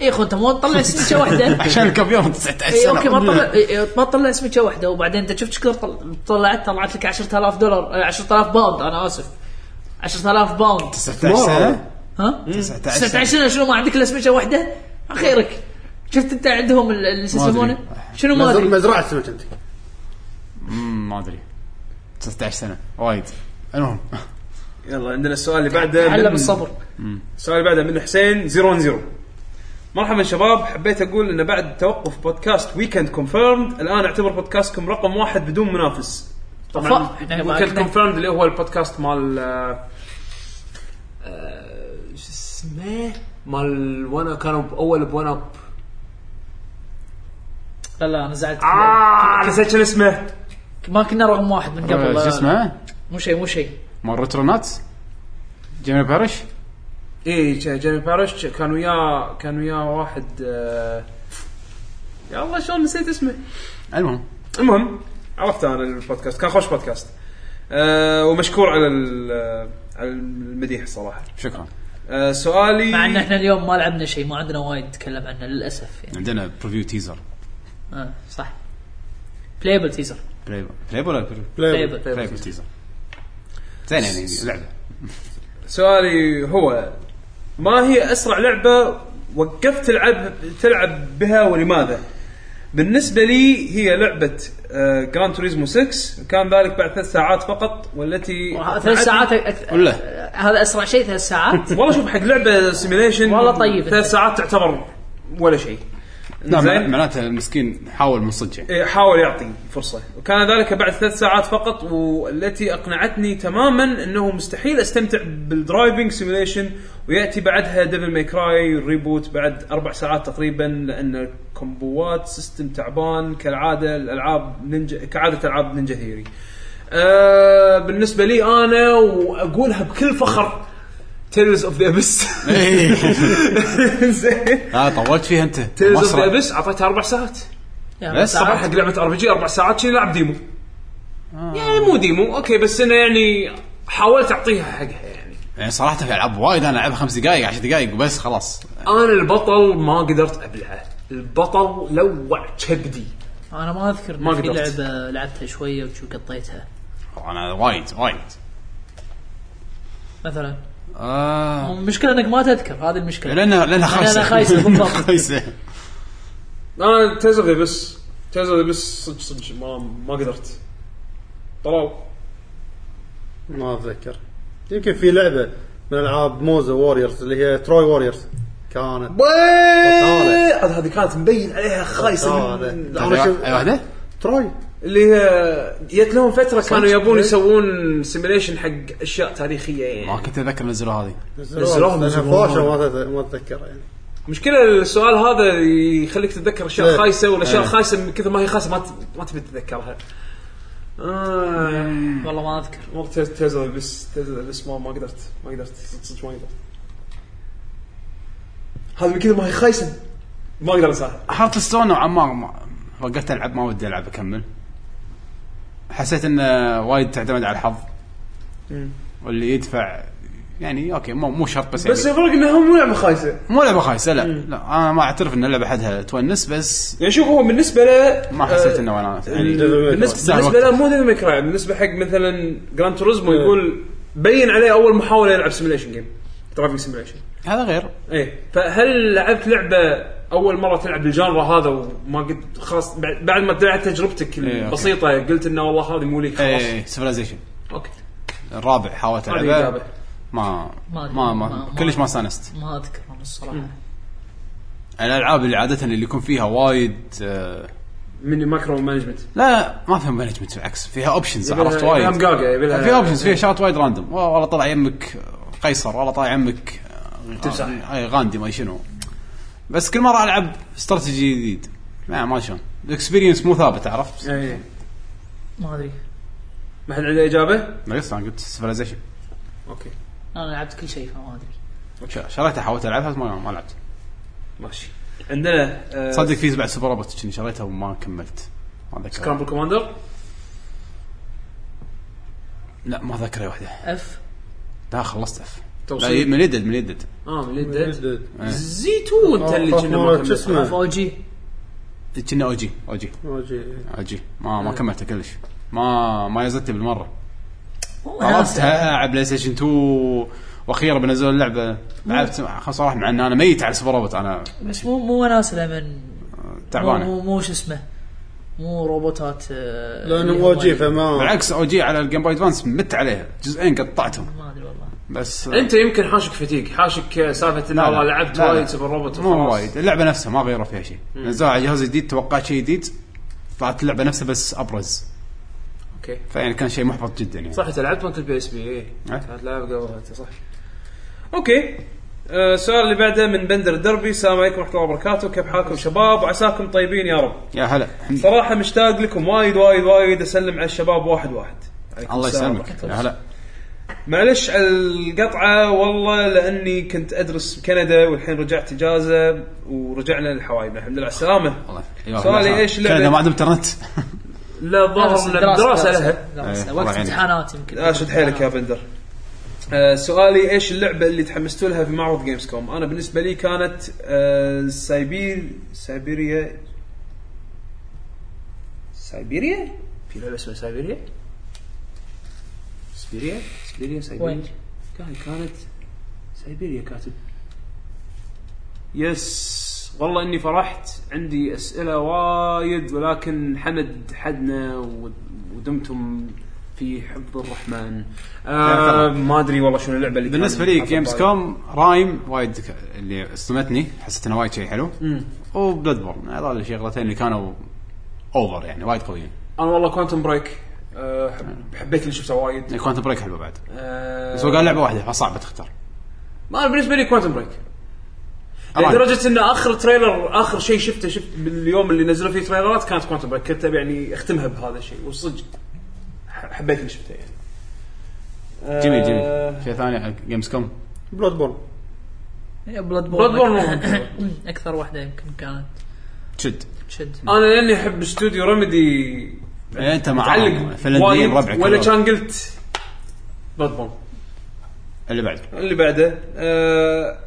اي اخو انت إيه، مو تطلع سمكه واحده عشان الكافيار 19 اي سنه اوكي أيوة، ما تطلع إي، إي، ما تطلع سمكه واحده وبعدين انت شفت شكل طلعت طلعت لك 10000 دولار آه، 10000 باوند انا اسف 10000 باوند 19 سنه ها 19 19 سنه شنو ما عندك الا سمكه واحده خيرك شفت انت عندهم ال- اللي شو ما أدري. يسمونه شنو ما مزر- ادري مزرعه سمك انت أمم، ما ادري 19 سنه وايد المهم يلا عندنا السؤال اللي بعده علم من- الصبر السؤال اللي بعده من حسين 010 مرحبا شباب حبيت اقول ان بعد توقف بودكاست ويكند كونفيرمد الان اعتبر بودكاستكم رقم واحد بدون منافس طبعا طبعاً، إحنا ما ويكند كنا- كونفيرمد اللي هو البودكاست مال آه، آه، شو اسمه مال وانا كانوا اول بون اب لا لا انا زعلت آه. آه. اه نسيت شنو اسمه ما كنا رقم واحد من قبل آه، شو لا، اسمه؟ مو شيء مو شيء مال ريترونات جيمي بارش اي إيه، جيمي بارش كان وياه كان وياه واحد آه، يا الله شلون نسيت اسمه المهم المهم عرفت انا البودكاست كان خوش بودكاست أه ومشكور على ال- آه، على المديح صراحه شكرا أه سؤالي مع ان احنا اليوم ما لعبنا شيء ما عندنا وايد نتكلم عنه للاسف يعني عندنا بريفيو تيزر آه صح بلايبل تيزر بلايبل بلايبل ولا بريفيو؟ بلايبل بلايبل تيزر زين يعني لعبه سؤالي هو ما هي اسرع لعبه وقفت تلعب تلعب بها ولماذا؟ بالنسبه لي هي آه، لعبه جراند توريزمو 6 كان ذلك بعد ثلاث ساعات فقط والتي ثلاث ساعات أك- ولا هذا اسرع شيء ثلاث ساعات والله شوف حق لعبه سيميليشن والله طيب. ثلاث ساعات تعتبر ولا شيء لا زين. مع- معناته المسكين حاول من صدق يعني إيه، حاول يعطي فرصة وكان ذلك بعد ثلاث ساعات فقط والتي أقنعتني تماما أنه مستحيل أستمتع بالدرايفنج سيميليشن ويأتي بعدها ديفل ماي كراي ريبوت بعد أربع ساعات تقريبا لأن كومبوات سيستم تعبان كالعادة الألعاب نينجا كعادة ألعاب نينجا هيري أه بالنسبة لي أنا وأقولها بكل فخر تيلز اوف ذا ابس زين لا طولت فيها انت تيلز اوف ذا مصر. ابس اعطيتها اربع ساعات يعني بس طبعا ساعات. حق لعبه ار بي جي اربع ساعات شي لعب ديمو يعني مو ديمو اوكي بس انه يعني حاولت اعطيها حقها يعني يعني صراحه في العاب وايد انا العبها خمس دقائق عشر دقائق وبس خلاص انا البطل ما قدرت ابلعه البطل لوع كبدي انا ما اذكر إن ما في قدرت. لعبه لعبتها شويه وشو قطيتها انا وايد وايد مثلا آه المشكله انك ما تذكر هذه المشكله لانها لانها خايسه لأنها خايسة، بالضبط. خايسه انا تيز اوف بس تيز اوف بس صدق صدق ما ما قدرت طلعوا ما اتذكر يمكن في لعبه من العاب موزا ووريرز اللي هي تروي ووريرز كانت بطالة. عاد هذه كانت مبين عليها خايسه بطالة. من- طيب، أيوة، أنا شوف- اي واحده؟ تروي اللي هي جت لهم فتره كانوا يبون يسوون سيميليشن حق اشياء تاريخيه يعني ما كنت اتذكر نزلوا هذه نزلوها لأنها فاشة ما تت- ما اتذكر يعني مشكلة السؤال هذا يخليك تتذكر اشياء إيه. خايسة والاشياء إيه. الخايسة من كثر ما هي خايسة ما ت- ما تبي تتذكرها. آه، والله ما اذكر والله تيز- تيز بس تيز بس ما ما قدرت ما قدرت صدق صدق ما قدرت. هذا من كثر ما هي خايسة ما اقدر انساها. هارت ستون نوعا ما ما- وقفت العب ما ودي العب اكمل حسيت انه وايد تعتمد على الحظ واللي يدفع يعني اوكي مو مو شرط بس, بس يعني الفرق انها مو لعبة خايسة. مو لعبه خايسه لا لا انا ما اعترف ان اللعبه حدها تونس بس يعني شوف هو بالنسبة له ما حسيت انه وناس يعني بالنسبه ساعة بالنسبه له مو ديفل ماي كراي بالنسبه حق مثلا جراند توريزمو يقول بين عليه اول محاوله يلعب سيميليشن جيم درايفنج سيميليشن هذا غير ايه فهل لعبت لعبه اول مره تلعب الجانرا هذا وما قد خلاص بعد بعد ما طلعت تجربتك إيه، أوكي. البسيطه قلت انه والله هذه مو لي خلاص ايه سيفلايزيشن اوكي الرابع حاولت هذه العبه اجابه ما ما ما أدري. ما, ما- كلش ما استانست ما اذكر أنا الصراحه الالعاب اللي عاده اللي يكون فيها وايد آه، من مايكرو مانجمنت لا ما فيها مانجمنت بالعكس فيها اوبشنز يبيلها- عرفت وايد يبيلها مقاقة، يبيلها- في اوبشنز فيها شغلات وايد راندوم والله والله طلع يمك آه، قيصر والله طلع يمك آه، تمساح. اي غاندي ما شنو بس كل مره العب استراتيجي جديد ما ما شلون الاكسبيرينس مو ثابت عرفت؟ ايه ما ادري ما حد عنده اجابه؟ ما قلت انا قلت سيفلايزيشن اوكي انا لعبت كل شيء فما ادري شريتها حاولت العبها بس ما ما لعبت ماشي عندنا آه، صدق في بعد سوبر روبوت كني شريتها وما كملت ما ذكر سكرامبل كوماندر لا ما ذكر اي واحده اف لا خلصت اف لا توصيل من يدد من يدد اه من الديد جدد. زيتون انت اللي آه، كنا آه، ما شو كملت. اسمه؟ اف او جي كنا او جي او جي واجي. او جي ما ما كملته كلش ما ما يزت بالمره والله ناسي. طلبتها على بلاي ستيشن 2 واخيرا بنزلوا اللعبه لعبت خلاص صراحه مع ان انا ميت على سوبر روبوت انا بس مو مو وناسه لمن مو تعبانه مو- مو شو اسمه مو روبوتات آه، لانه اللي هم- واجي فما بالعكس او جي على الجيم بوي ادفانس مت عليها جزئين قطعتهم ما ادري والله بس انت يمكن حاشك فتيق حاشك سالفه ان لا، والله لا. لعبت لا، لا. وايد سوبر روبوت مو وخلاص. وايد اللعبه نفسها ما غيروا فيها شيء نزلوا على جهاز جديد توقعت شيء جديد طلعت اللعبه نفسها بس ابرز اوكي فيعني كان شيء محبط جدا يعني صح انت لعبت مالت البي اس بي اي أه. كانت لعبه قبل انت صح اوكي آه، السؤال اللي بعده من بندر الدربي السلام عليكم ورحمه الله وبركاته كيف حالكم شباب وعساكم طيبين يا رب يا هلا صراحه مشتاق لكم وايد وايد وايد اسلم على الشباب واحد واحد عليكم الله السلام يسلمك يا هلا معلش على القطعه والله لاني كنت ادرس بكندا والحين رجعت اجازه ورجعنا للحوايب الحمد لله على السلامه والله أيوة، سؤالي إيش اللعبة؟ كان ما عندهم انترنت لا دراسة- الظاهر ان دراسه لها دراسة. إيه، الله وقت يعينك. امتحانات يمكن اشد حيلك يا بندر آه سؤالي ايش اللعبه اللي تحمستوا لها في معرض جيمز كوم انا بالنسبه لي كانت آه سايبير سايبيريا سايبيريا في لعبه اسمها سايبيريا سبيريا سبيريا سايبيريا وين؟ كان كانت سايبيريا كاتب يس والله اني فرحت عندي اسئله وايد ولكن حمد حدنا و- ودمتم في حفظ الرحمن آه ما ادري والله شنو اللعبه اللي بالنسبه لي جيمز كوم رايم وايد ك- اللي صدمتني حسيت انه وايد شيء حلو وبلاد بورن هذول الشغلتين اللي كانوا اوفر يعني وايد قويين انا والله كوانتم بريك أه حب- حبيت اللي شفته وايد كوانتم بريك حلوه بعد أه بس هو قال لعبه واحده فصعب تختار ما أنا بالنسبه لي كوانتم بريك أراهن. لدرجه ان اخر تريلر اخر شيء شفته شفت باليوم اللي نزلوا فيه تريلرات كانت كوانتم بريك كنت ابي يعني اختمها بهذا الشيء والصدق ح- حبيت اللي شفته يعني جميل جميل شيء ثاني حق جيمز كوم بلود بورن بلاد بلاد بورن اكثر واحده يمكن كانت شد تشد انا لاني احب استوديو ريمدي يعني انت معاهم متعلق فنلنديين وايد ربعك ولا هذول. كان قلت بلاد بورن اللي بعد اللي بعده آه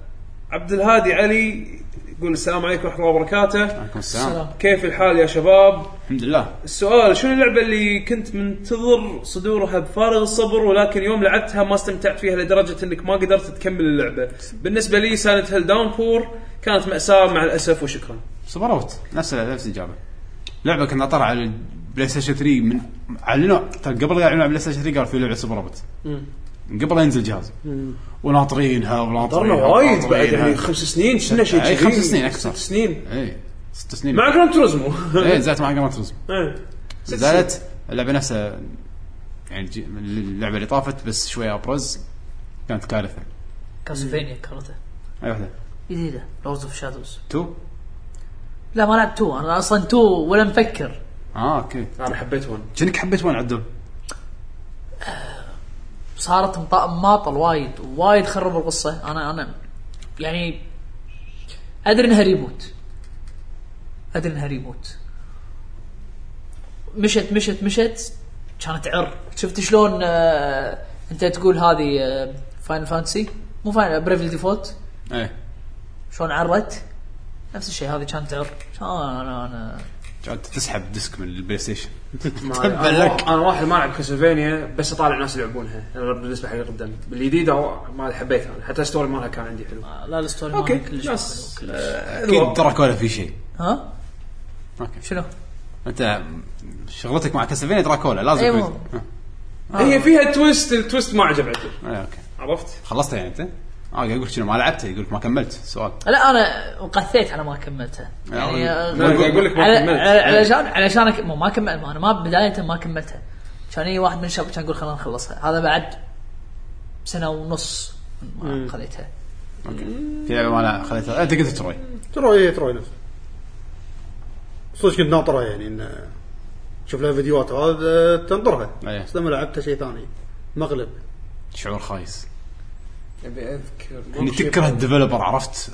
عبد الهادي علي يقول السلام عليكم ورحمه الله وبركاته عليكم السلام سلام. كيف الحال يا شباب الحمد لله السؤال شنو اللعبه اللي كنت منتظر صدورها بفارغ الصبر ولكن يوم لعبتها ما استمتعت فيها لدرجه انك ما قدرت تكمل اللعبه بالنسبه لي سانت هيل داون بور كانت ماساه مع الاسف وشكرا سوبر اوت نفس نفس الاجابه لعبه كنا طالعه على البلاي ستيشن 3 من اعلنوا ترى قبل لا يعلنوا على البلاي ستيشن 3 قالوا في لعبه سوبر اوت قبل لا ينزل جهاز وناطرينها درنا وناطرينها وايد بعد وناطرينها. يعني خمس سنين شفنا شيء أي كذي. خمس سنين أكثر. ست سنين اي إيه، ست سنين مع جراند توريزمو اي نزلت مع جراند توريزمو إيه. ست نزلت اللعبه نفسها يعني جي- من اللعبه اللي طافت بس شويه ابرز كانت كارثه كاسلفينيا كرته اي واحده جديده لورد اوف شادوز 2 لا ما لعبت 2 انا اصلا 2 ولا مفكر اه اوكي انا حبيت ون كأنك حبيت وين عدل صارت مط- ماطل وايد وايد خرب القصه انا انا يعني ادري انها ريبوت ادري انها ريبوت مشت مشت مشت كانت عر شفت شلون آه انت تقول هذه آه فاينل فانتسي مو فاينل بريفل ديفولت اي شلون عرت نفس الشيء هذه كانت عر شلون انا انا قعدت تسحب ديسك من البلاي ستيشن انا لك. انا واحد ما العب كاسلفينيا بس اطالع ناس يلعبونها أنا بالنسبه حق القدام الجديده ما حبيتها أنا. حتى ستوري مالها كان عندي حلو آه، لا الستوري أوكي، مالها كلش ناس. ما حلو، كلش. اكيد دراك ولا في شيء ها اوكي شنو؟ انت شغلتك مع كاسلفينيا دراكولا لازم أيوة. تريد. آه. هي فيها تويست التويست ما عجب عدل آه، اوكي عرفت؟ خلصتها يعني انت؟ اه يقول لك شنو ما لعبتها يقول لك ما كملت سؤال لا انا قثيت على ما كملتها يعني آه، آه، لا، قاعد أقول لك ما على- كملت. يعني- على- علشان علشان أك- مو ما كملت ما انا ما بدايه ما كملتها كان يجي واحد من الشباب كان يقول خلينا نخلصها هذا بعد سنه ونص ما خذيتها في لعبه ما انا خليتها انت قلت تروي تروي هي تروي ايه نفسه صدق كنت ناطرها يعني ان شوف لها فيديوهات وهذا تنطرها أيه. بس لما لعبتها شيء ثاني مقلب شعور خايس ابي اذكر يعني تكره الديفلوبر عرفت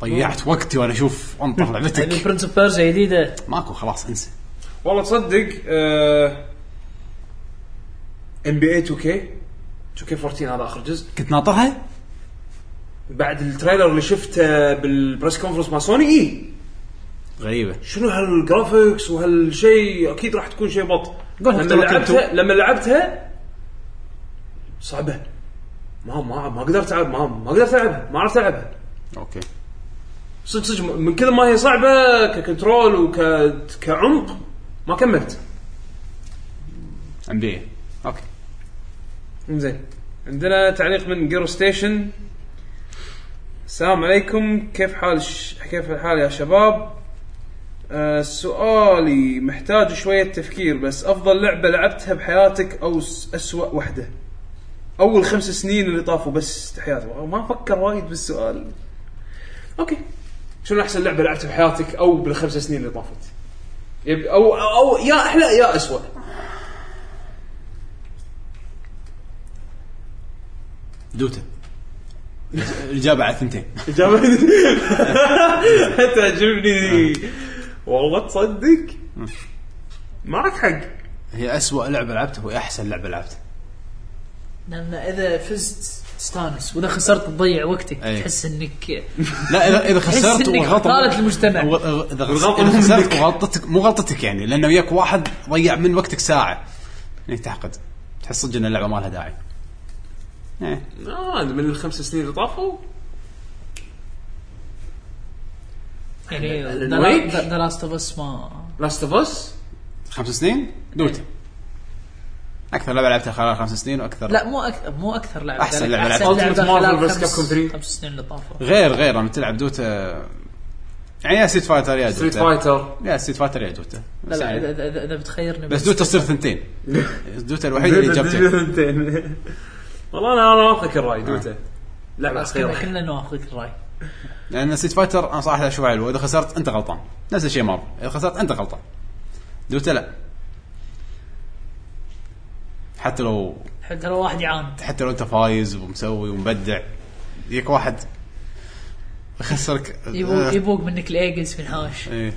ضيعت وقتي وانا اشوف انطر يعني لعبتك برنس اوف بيرجا جديده ماكو خلاص انسى والله تصدق آه، ام بي اي 2 كي 2 كي 14 هذا اخر جزء كنت ناطرها بعد التريلر اللي شفته بالبريس كونفرنس مع سوني اي غريبه شنو هالجرافكس وهالشيء اكيد راح تكون شيء بط قول لما اخترت لعبتها لما لعبتها صعبه ما ما ما قدرت العب ما ما قدرت العبها ما عرفت العبها اوكي صدق صدق من كثر ما هي صعبه ككنترول وك كعمق ما كملت ام بي اوكي زين عندنا تعليق من جيرو ستيشن السلام عليكم كيف حال ش... كيف الحال يا شباب آه سؤالي محتاج شوية تفكير بس أفضل لعبة لعبتها بحياتك أو س- أسوأ وحدة أول خمس سنين اللي طافوا بس تحياتي ما أفكر وايد بالسؤال اوكي شنو احسن لعبه لعبتها بحياتك او بالخمس سنين اللي طافت؟ يب او او يا احلى يا اسوء دوتا الاجابه على ثنتين اجابه تعجبني والله تصدق معك حق هي أسوأ لعبه لعبتها وهي احسن لعبه لعبتها لان اذا فزت تستانس واذا خسرت تضيع وقتك أي. تحس انك لا اذا اذا تحس خسرت إنك وغلط خالف المجتمع. اذا خسرت- إذا خسرت وغلطتك مو غلطتك يعني لانه وياك واحد ضيع من وقتك ساعه يعني تحقد تحس صدق ان اللعبه ما لها داعي إيه. آه من الخمس سنين اللي طافوا يعني Alan Wake؟ ذا لاست اوف اس ما لاست اوف اس خمس سنين دوتا اكثر لعبه لعبتها خلال خمس سنين واكثر لا مو أكثر مو اكثر لعبه أحسن قالك لعبة أحسن لعبة. لعبة Ultimate خلال Marvel vs. خمس- Capcom 3. خمس سنين اللي طافوا غير غير لما تلعب دوتا يعني يا ستريت فايتر يا دوتا ستريت فايتر يا ستريت فايتر يا دوتا لا بس, لا يعني إذا- إذا- اذا بتخيرني بس بين- دوتا تصير ثنتين دوتا الوحيده اللي جابتك اثنتين والله انا انا واثق الراي آه. دوتا لعبه خلاص كنا- خير كلنا نوافقك الراي لان ستريت فايتر انا صراحه شو حلو اذا خسرت انت غلطان نفس الشيء مر اذا خسرت انت غلطان دوتا لا حتى لو حتى لو واحد يعاند حتى لو انت فايز ومسوي ومبدع يجيك واحد يخسرك يبوق يبوق منك الايجز في الهاش ايه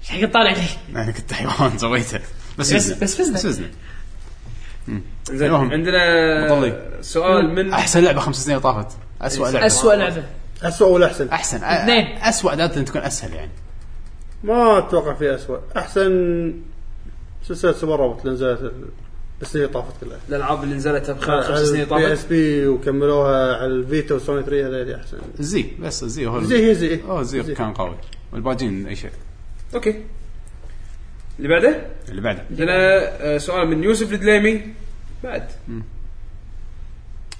ايش حق طالع لي انا يعني كنت حيوان سويته بس بس- وزنه. بس وزنه. بس وزنه زين المهم. مطلي. عندنا سؤال آه، من احسن لعبه خمس سنين طافت اسوء لعبه اسوء لعبه اسوء ولا احسن؟ احسن أ- اثنين. اسوء عاده تكون اسهل يعني ما اتوقع في اسوء احسن سلسله سوبر روبوت اللي نزلت السنين اللي طافت كلها الالعاب اللي نزلت بخلال خمس سنين بي طافت اس بي وكملوها على الفيتا وسوني 3 هذول احسن زي بس زي هو زي هي زي اوه زي كان قوي والباجين اي شيء اوكي اللي بعده اللي بعده عندنا آه، سؤال من يوسف الدليمي بعد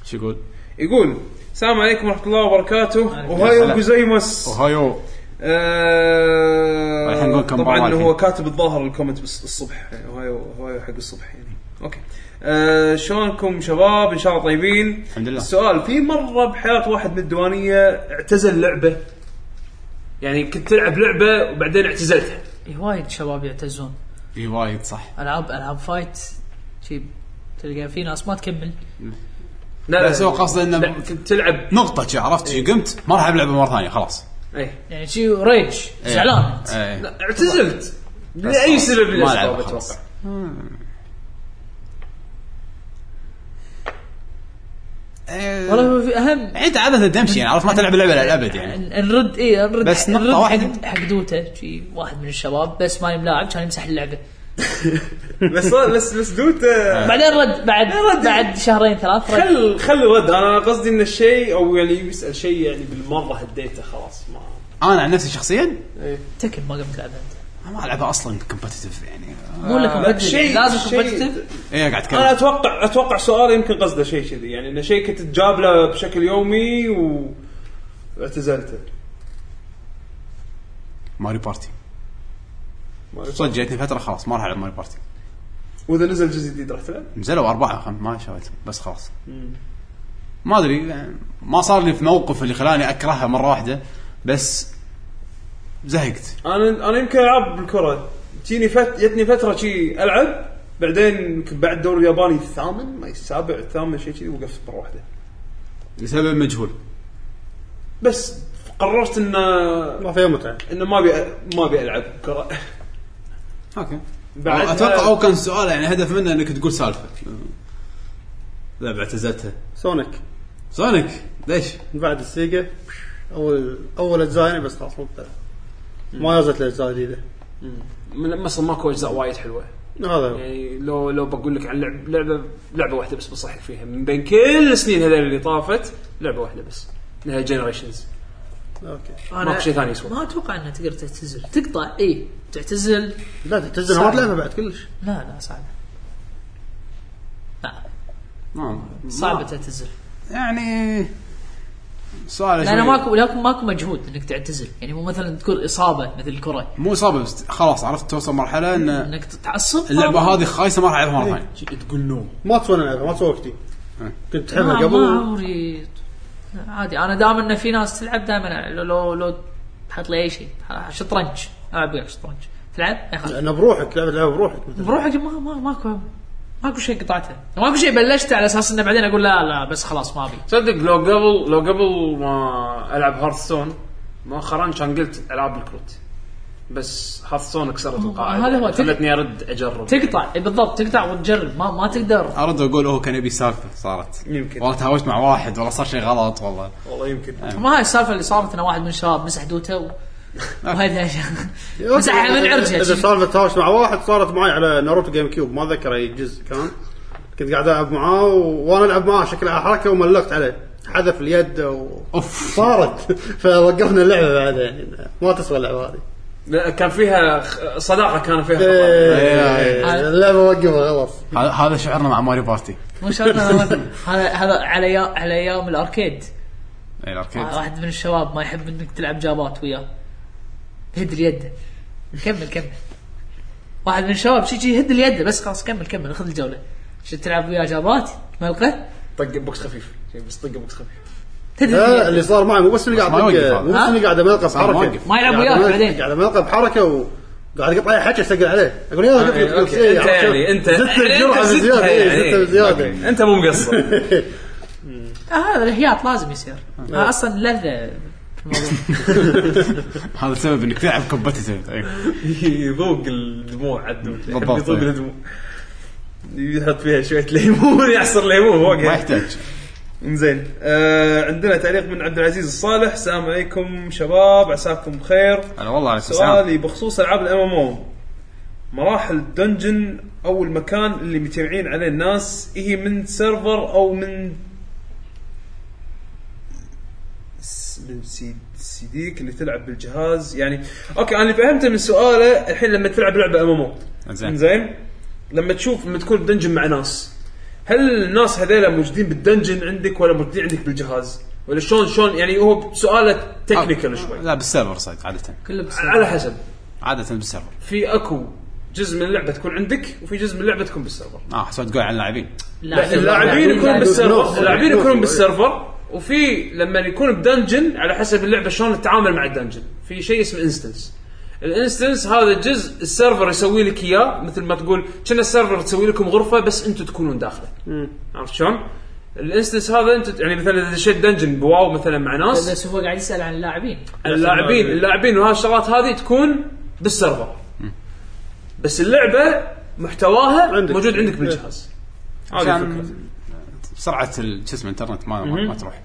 شو يقول؟ يقول السلام عليكم ورحمه الله وبركاته وهاي السلام. جوزيمس اوهايو آه، رايحين نقول كم مرة طبعا الحين. آه، هو كاتب الظاهر الكومنت بس الصبح يعني هواي هواي حق الصبح يعني اوكي آه، شلونكم شباب ان شاء الله طيبين الحمد لله. السؤال في مره بحياه واحد من الديوانيه اعتزل لعبه يعني كنت تلعب لعبه وبعدين اعتزلتها إيه، وايد شباب يعتزون اي وايد صح العاب العاب فايت شي تلقى في ناس ما تكمل لا بس هو قصده انه لا كنت تلعب نقطة شي، عرفت شي قمت ما راح العب لعبة مرة ثانية خلاص إيه. اي يعني شي ريج إيه. زعلان إيه. لا، اعتزلت لاي سبب من ما ألعبها الاسباب خلاص. اتوقع إيه. والله هو في اهم انت عادة تمشي يعني عرفت ما تلعب اللعبة للابد يعني ن- نرد اي نرد بس نقطة نرد واحدة. إيه، حق, حق دوتا شي واحد من الشباب بس ما ملاعب كان يمسح اللعبه بس بس بس دوت آه، بعدين رد بعد بعد شهرين ثلاث رد خل خل رد انا قصدي ان الشيء او يعني يسال شيء يعني بالمره هديته خلاص ما انا عن نفسي شخصيا تكن ما قمت لعبها انت ما العبها اصلا كومبتتف يعني مو لك competitive، لازم كومبتتف ايه قاعد انا اتكلم اتوقع اتوقع سؤال يمكن قصده شيء كذي يعني انه شيء كنت تجابله بشكل يومي و اعتزلته ماريو بارتي صدق جاتني فترة خلاص ما راح العب ماريو بارتي واذا نزل جزء جديد راح تلعب؟ نزلوا أربعة خم... ما شويت بس خلاص ما أدري ما صار لي في موقف اللي خلاني أكرهها مرة واحدة بس زهقت انا انا يمكن العب بالكره تجيني فت... جتني فتره شي العب بعدين يمكن بعد الدوري الياباني الثامن ما السابع الثامن شيء كذي وقفت مره واحده لسبب مجهول بس قررت انه ما فيها متعه انه ما ابي ما ابي العب كره اوكي بعد اتوقع هو كان سؤال يعني هدف منه انك تقول سالفه لا اعتزلتها سونيك سونيك ليش؟ من بعد السيجا اول اول اجزاء يعني بس خلاص مو بتلعب. ما نزلت الاجزاء الجديده من اصلا ماكو اجزاء وايد حلوه هذا هو. إيه. يعني لو لو بقول لك عن لعب لعبه لعبه واحده بس بصحح فيها من بين كل السنين هذول اللي طافت لعبه واحده بس انها جنريشنز اوكي انا ماكو شيء ثاني يسوى ما اتوقع انها تقدر تعتزل تقطع اي تعتزل لا تعتزل ما تلعبها بعد كلش لا لا صعب لا ما صعبه تعتزل يعني سؤال لانه شوي- ماكو لكن ماكو مجهود انك تعتزل يعني مو مثلا تكون اصابه مثل الكره مو اصابه بس خلاص عرفت توصل مرحله ان انك تعصب اللعبه هذه خايسه ما راح العبها مره ثانيه ما تسوى لعبها ما تسوى وقتي كنت ما تحبها آه، ما قبل عمري عادي انا دام انه في ناس تلعب دائما لو لو, لو تحط لي اي شيء شطرنج العب وياك شطرنج تلعب؟ ما يخالف. لانه بروحك لعبه لعبه بروحك بروحك ما ما ماكو ماكو شيء قطعته ماكو شيء بلشته على اساس انه بعدين اقول لا لا بس خلاص ما ابي تصدق لو قبل لو قبل ما العب هارثستون مؤخرا كان قلت العاب الكروت بس هارثستون كسرت القاعده هذا هو. خلتني ارد اجرب تقطع إي بالضبط تقطع وتجرب ما ما تقدر ارد اقول هو كان يبي سالفه صارت يمكن. والله تهاوشت مع واحد والله صار شيء غلط والله والله يمكن ما هاي السالفه اللي صارت ان واحد من الشباب مسح دوته و... وهذا مسحها من اذا عرجه سالفه تهاوش مع واحد صارت معي على ناروتو جيم كيوب ما اتذكر اي جزء كان كنت قاعد العب معاه و... وانا العب معاه شكلها حركه وملقت عليه حذف اليد و... اوف صارت فوقفنا اللعبه بعد يعني ما تسوى اللعبه هذه لا، كان فيها خ- صداقه كان فيها آه، خطأ. إيه، اللعبه وقفها خلاص هذا- هذا شعرنا مع ماريو بارتي مو شرط أنا- هذا هذا على أيام- على ايام الاركيد اي الاركيد واحد من الشباب ما يحب انك تلعب جابات وياه هد اليد كمل كمل واحد من الشباب شي شي هد اليد بس خلاص كمل كمل خذ الجوله شو تلعب وياه جابات ملقه طق بوكس خفيف شي بس طق بوكس خفيف تدري لا اللي صار معي مو بس اللي قاعد ما أطق- يوقف هذا. مو بس اللي قاعد املقه صار ما بحركه يوقف. ما يلعب قاعد وياك أملقه- بعدين قاعد املقه بحركه وقاعد اقطع اي حكي اسجل عليه اقول يلا قط- قط- قط- أوكي، أنت عرفت شلون؟ يعني، أنت- يعني زدت أنت زدتها الجرعه بزياده يعني. إيه، زدتها بزياده انت مو مقصر آه هذا الاحياط لازم يصير آه اصلا لذه في الموضوع. هذا سبب انك تلعب إيه، كومبتتف يذوق الدموع عدو يحب بالضبط، يذوق إيه. الدموع يحط فيها شويه ليمون يعصر ليمون ما فوقها يحتاج زين آه عندنا تعليق من عبد العزيز الصالح السلام عليكم شباب عساكم بخير انا والله على سؤالي بخصوص العاب الام ام او مراحل الدنجن او المكان اللي متجمعين عليه الناس إيه هي من سيرفر او من س- من سي- سيديك اللي تلعب بالجهاز يعني اوكي انا اللي فهمته من سؤاله الحين لما تلعب لعبه ام ام او زين زين لما تشوف لما تكون بدنجن مع ناس هل الناس هذيلا موجودين بالدنجن عندك ولا موجودين عندك بالجهاز؟ ولا شلون شلون يعني هو سؤاله تكنيكال شوي لا بالسيرفر سايد عاده كله بس على حسب عاده بالسيرفر في اكو جزء من اللعبه تكون عندك وفي جزء من اللعبه تكون بالسيرفر اه حسب تقول عن اللاعبين لا، اللاعبين يكونون لاعبين- بالسيرفر اللاعبين بالنص. يكونون بالسيرفر وفي لما يكون بدنجن على حسب اللعبه شلون تتعامل مع الدنجن في شيء اسمه انستنس الانستنس هذا جزء السيرفر يسوي لك اياه مثل ما تقول كنا السيرفر تسوي لكم غرفه بس انتم تكونون داخله عرفت شلون؟ الانستنس هذا انت يعني مثلا اذا دشيت دنجن بواو مثلا مع ناس بس هو قاعد يسال عن اللاعبين اللاعبين اللاعبين وهالشغلات هذه تكون بالسيرفر بس اللعبه محتواها عندك. موجود عندك بالجهاز هذه الفكره عشان سرعه ال- شو اسمه الانترنت ما ما, ما تروح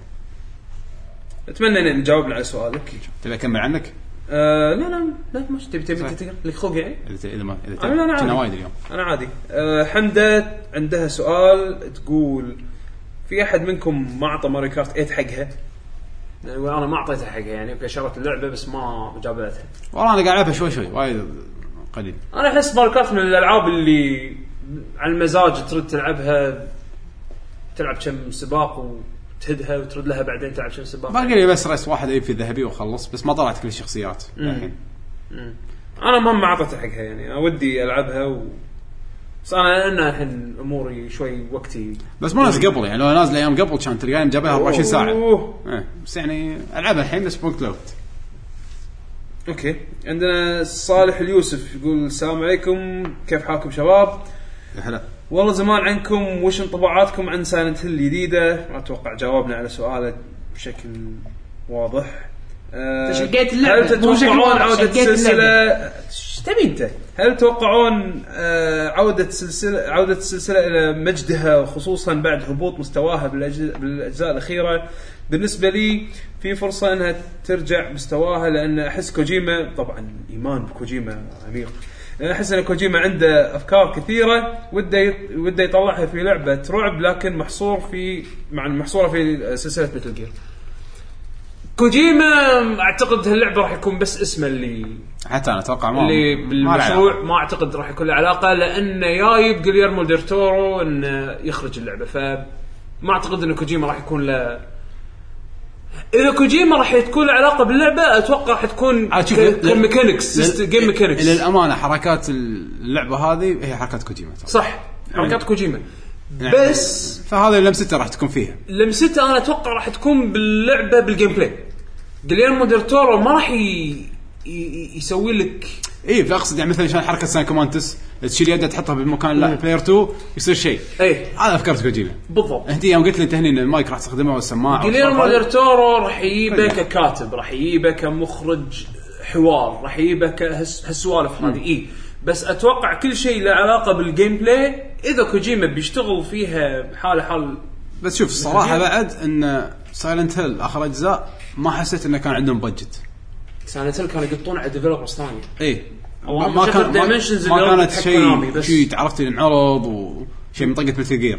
اتمنى ان جاوبنا على سؤالك تبي اكمل عنك آه لا لا لا مش تبي تبي صح. تقرا لك خوق يعني اذا ت- اذا ما اذا أنا- أنا تبي. كنا عادي. وايد اليوم انا عادي آه حمده عندها سؤال تقول في احد منكم ما اعطى ماري كارت 8 حقها انا ما اعطيتها حقها يعني اوكي شريت اللعبه بس ما آه، جابتها والله انا قاعد العبها شوي شوي وايد قليل انا احس ماريو كارت من الالعاب اللي على المزاج ترد تلعبها تلعب كم سباق وتهدها وترد لها بعدين تلعب كم سباق باقي لي بس رئيس واحد اجيب فيه ذهبي واخلص بس ما طلعت كل الشخصيات الحين انا ما ما اعطيتها حقها يعني أنا ودي العبها و... بس انا انا الحين اموري شوي وقتي بس مو ناس قبل يعني لو نازله ايام قبل كان تلقاني جابها 24 ساعه أوه. إيه، بس يعني العبها الحين بس بوقت لوقت اوكي عندنا صالح اليوسف يقول السلام عليكم كيف حالكم شباب هلا والله زمان عنكم وش انطباعاتكم عن سايلنت هيل الجديده؟ ما اتوقع جاوبنا على سؤاله بشكل واضح. أه شقيت اللعبة، هل مو بشكل تتوقعون واضح، عودة شقيت السلسلة ايش تبي انت؟ هل تتوقعون آه، عودة سلسلة عودة السلسلة إلى مجدها وخصوصا بعد هبوط مستواها بالأج- بالأجزاء الأخيرة؟ بالنسبة لي في فرصة انها ترجع مستواها لان احس كوجيما طبعا ايمان بكوجيما عميق لأن احس ان كوجيما عنده افكار كثيره وده يط- وده يطلعها في لعبه رعب لكن محصور في مع محصوره في سلسله مثل جير كوجيما اعتقد هاللعبه راح يكون بس اسمه اللي حتى انا اتوقع آه، ما اللي ما له بالمشروع علاقة. ما اعتقد راح يكون له علاقه لانه جايب جليرمو دير تورو انه يخرج اللعبه ف ما اعتقد ان كوجيما راح يكون له اذا كوجيما راح تكون له علاقه باللعبه اتوقع راح تكون عاد آه، شوف، لل- جيم ميكانكس لل- جيم ميكانكس للامانه إيه، حركات اللعبه هذه هي حركات كوجيما ترى. صح حركات كوجيما نعم. بس فهذه لمسته راح تكون فيها لمسته انا اتوقع راح تكون باللعبه بالجيم بلاي جليرمو دير تورو ما راح ي... ي... يسوي لك اي فاقصد يعني مثلا شلون حركه سان كومانتس تشيل يده تحطها بمكان اللاعب بلاير 2 يصير شيء ايه هذا فكره كوجيما بالضبط انت يوم قلت لي انت هني إن المايك راح تستخدمه والسماعه جليرمو والخرطة. دير تورو راح يجيبه ككاتب راح يجيبه كمخرج حوار راح يجيبه كهس- هالسوالف هذه اي بس اتوقع كل شيء له علاقه بالجيم بلاي اذا كوجيما بيشتغل فيها حاله حال بس شوف الصراحه بعد ان سايلنت هيل اخر اجزاء ما حسيت انه كان عندهم بادجت سنتين كانوا يقطون على ديفلوبرز ثانيه اي والله ما إيه. ما شفت كان ما, Dimensions ما اللي كانت حق كونامي شيء بس. شيء عرفت انعرض وشيء منطقه مثل جير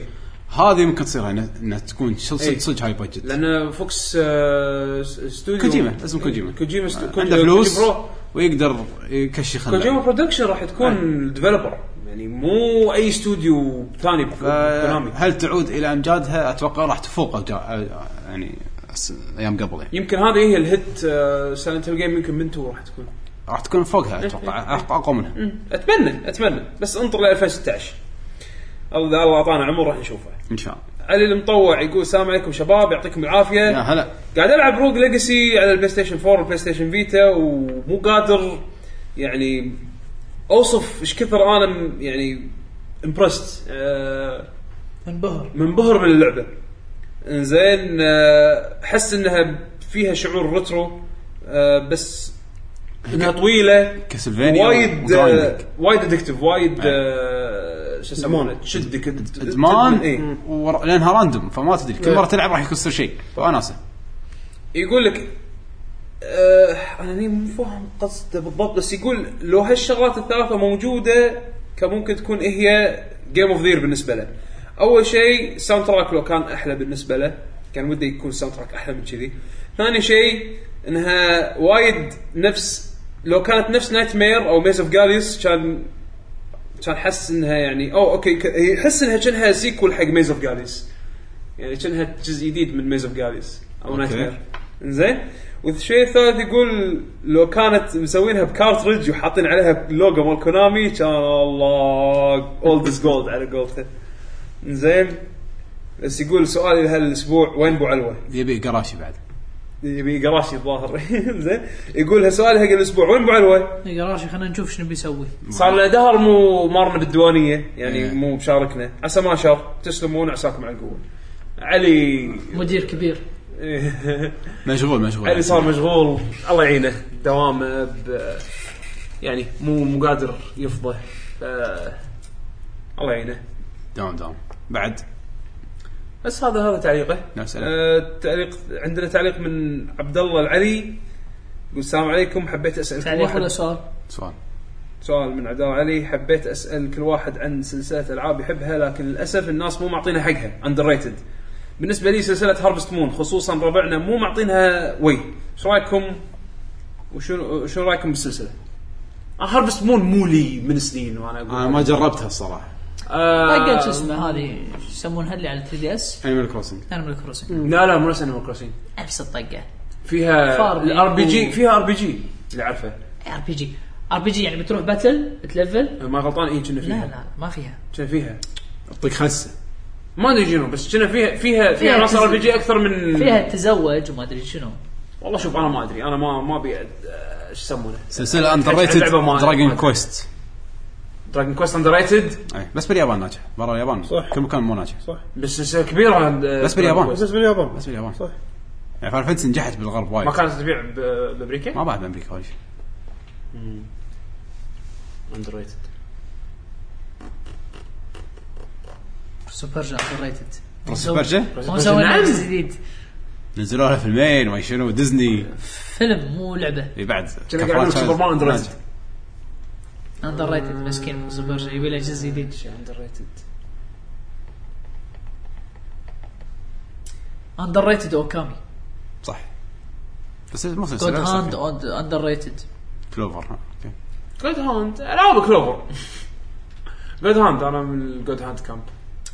هذه ممكن تصير انها إنها تكون صدق- إيه. صدق هاي بادجت لان فوكس آه، س- استوديو كوجيما اسمه كوجيما كوجيما استو- كوجيما- عنده فلوس كوجيما برو. ويقدر يكشخ كوجيما اللعبة. برودكشن راح آه. تكون ديفلوبر يعني مو اي استوديو ثاني آه. بكونامي هل تعود الى امجادها؟ اتوقع راح تفوق أجا- يعني أس- ايام قبل يعني يمكن هذه هي الهيت آه، سايلنت هيل جيم يمكن من تو راح تكون راح تكون فوقها إيه. اتوقع أق- اقوى منها اتمنى اتمنى بس انطر ل 2016 الله الله اعطانا عمر راح نشوفه ان شاء الله علي المطوع يقول السلام عليكم شباب يعطيكم يا العافيه هلا قاعد العب روج ليجاسي على البلاي ستيشن 4 والبلاي ستيشن فيتا ومو قادر يعني اوصف ايش كثر انا م- يعني امبرست آه منبهر منبهر من اللعبه انزين آه، احس انها فيها شعور ريترو آه، بس انها طويله كاسلفينيا وايد آه، وجرايندك. وايد ادكتف وايد آه، شو يسمونه إيه. إدمان. تشدك إد- ادمان إيه. ور... لانها راندوم فما تدري كل مره تلعب راح يكسر شيء وناسه يقول لك آه انا هني مو فاهم قصده بالضبط بس يقول لو هالشغلات الثلاثه موجوده كان ممكن تكون إيه هي جيم اوف ذير بالنسبه له. اول شيء الساوند تراك لو كان احلى بالنسبه له كان ودي يكون الساوند تراك احلى من كذي. ثاني شيء انها وايد نفس لو كانت نفس نايت مير او ميز اوف جاليوس كان كان حس انها يعني او اوكي ك- يحس انها كانها سيكول حق ميز اوف جاليس يعني كانها جزء جديد من ميز اوف جاليس او نايت مير زين والشيء الثالث يقول لو كانت مسوينها بكارترج وحاطين عليها لوجو مال كونامي كان الله اولدز جولد على قولته زين بس يقول سؤالي لهالاسبوع وين ابو علوه؟ يبي قراشي بعد يبي قراشي الظاهر زين يقول سؤالي حق الاسبوع وين ابو علوه؟ إيه، يا راشي خلينا نشوف شنو بيسوي صار له دهر مو مارنا بالديوانيه يعني إيه. مو مشاركنا عسى ما شر تسلمون عساكم على القوه علي مدير كبير مشغول مشغول علي صار مشغول الله يعينه دوامه آه، ب... يعني مو مو قادر يفضى ف... الله يعينه دوام دوام بعد بس هذا هذا تعليقه نفس ال- آه تعليق عندنا تعليق من عبد الله العلي يقول السلام عليكم حبيت اسالكم تعليق ولا واحد سؤال؟ سؤال سؤال من عبد الله علي حبيت اسال كل واحد عن سلسله العاب يحبها لكن للاسف الناس مو معطينها حقها اندر ريتد بالنسبه لي سلسله هارفست مون خصوصا ربعنا مو معطينها وي ايش رايكم وشو شو رايكم بالسلسله؟ هارفست مون مو لي من سنين وانا اقول انا ما جربتها الصراحه آه ما قلت شو اسمه هذه شو يسمونها اللي على 3 دي اس انيمال كروسنج انيمال كروسنج لا لا مو نفس انيمال كروسنج ابسط طقه فيها فار. الار بي جي فيها ار بي جي اللي عارفه ار إيه، بي جي ار بي جي يعني بتروح باتل بتلفل ما غلطان اي كنا لا فيها لا ما فيها كنا فيها اعطيك خسه ما ادري شنو بس كنا فيها فيها فيها فيها عناصر ار تز- بي جي اكثر من فيها تزوج وما ادري شنو والله شوف انا ما ادري انا ما ما ابي أه، ايش يسمونه سلسله اندر ريتد لعبة ما- ما- دراجون كويست دراجون كويست اندر ريتد أي. إيه. بس باليابان ناجح برا اليابان صح. كل مكان مو ناجح بس سلسله كبيره أه، بس باليابان. بس باليابان بس باليابان صح. يعني فاير فانتسي نجحت بالغرب وايد ما كانت تبيع ب- بامريكا ما بعد بامريكا ولا شيء اندر ريتد سوبر جا اندر ريتد سوبر جا؟ مو مسوي نفس جديد نزلوا لها فيلمين وما شنو ديزني فيلم مو لعبه اللي بعد كنا قاعد نقول سوبرمان اندر ريتد اندر ريتد مسكين سوبر جا يبي له جزء جديد اندر ريتد اندر ريتد اوكامي صح بس مو جود سلسله هاند بس اندر ريتد كلوفر ها، اوكي جود هاند العاب كلوفر جود هاند انا من الجود هاند كامب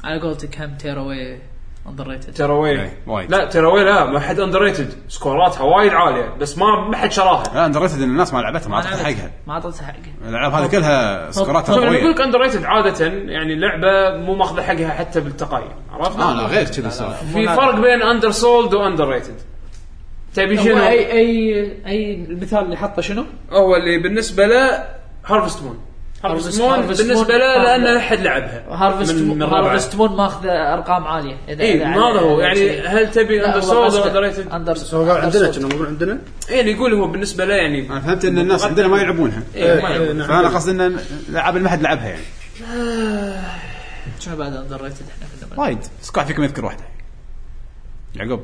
على قولتك هم تير اواي اندر ريتد تراوي إيه، وايد لا تراوي لا ما حد اندر ريتد سكوراتها وايد عاليه بس ما ما حد شراها لا اندريتد ان الناس ما لعبتها ما اعطتها حقها ما اعطيتها حقها الالعاب هذه كلها سكوراتها طبعا لما يقول قويه لك اندر ريتد عاده يعني لعبه مو ماخذه حقها حتى بالتقييم عرفت؟ لا لا غير كذي السالفه في فرق بين اندر سولد واندر ريتد تبي هو شنو؟ اي اي اي المثال اللي حطه شنو؟ هو اللي بالنسبه له هارفست مون هارفست Harvest- مون Harvest بالنسبه Moon. له لان احد لعبها هارفست من- من ربعه. هارفست مون ماخذ ارقام عاليه اذا اي إذا ما على- هذا هو على يعني شيء. هل تبي لا، اندر هو سولد قصده ولا اندر ريتد؟ اندر سو قال عندنا أندر كنا نقول عندنا يعني يقول هو بالنسبه له يعني انا فهمت ان الناس عندنا ما يلعبونها إيه، ما يعرف. فانا نعم. قصدي ان الالعاب اللي ما حد لعبها يعني Sword. شنو بعد اندر ريتد احنا كنا وايد بس كل واحد فيكم يذكر واحده يعقوب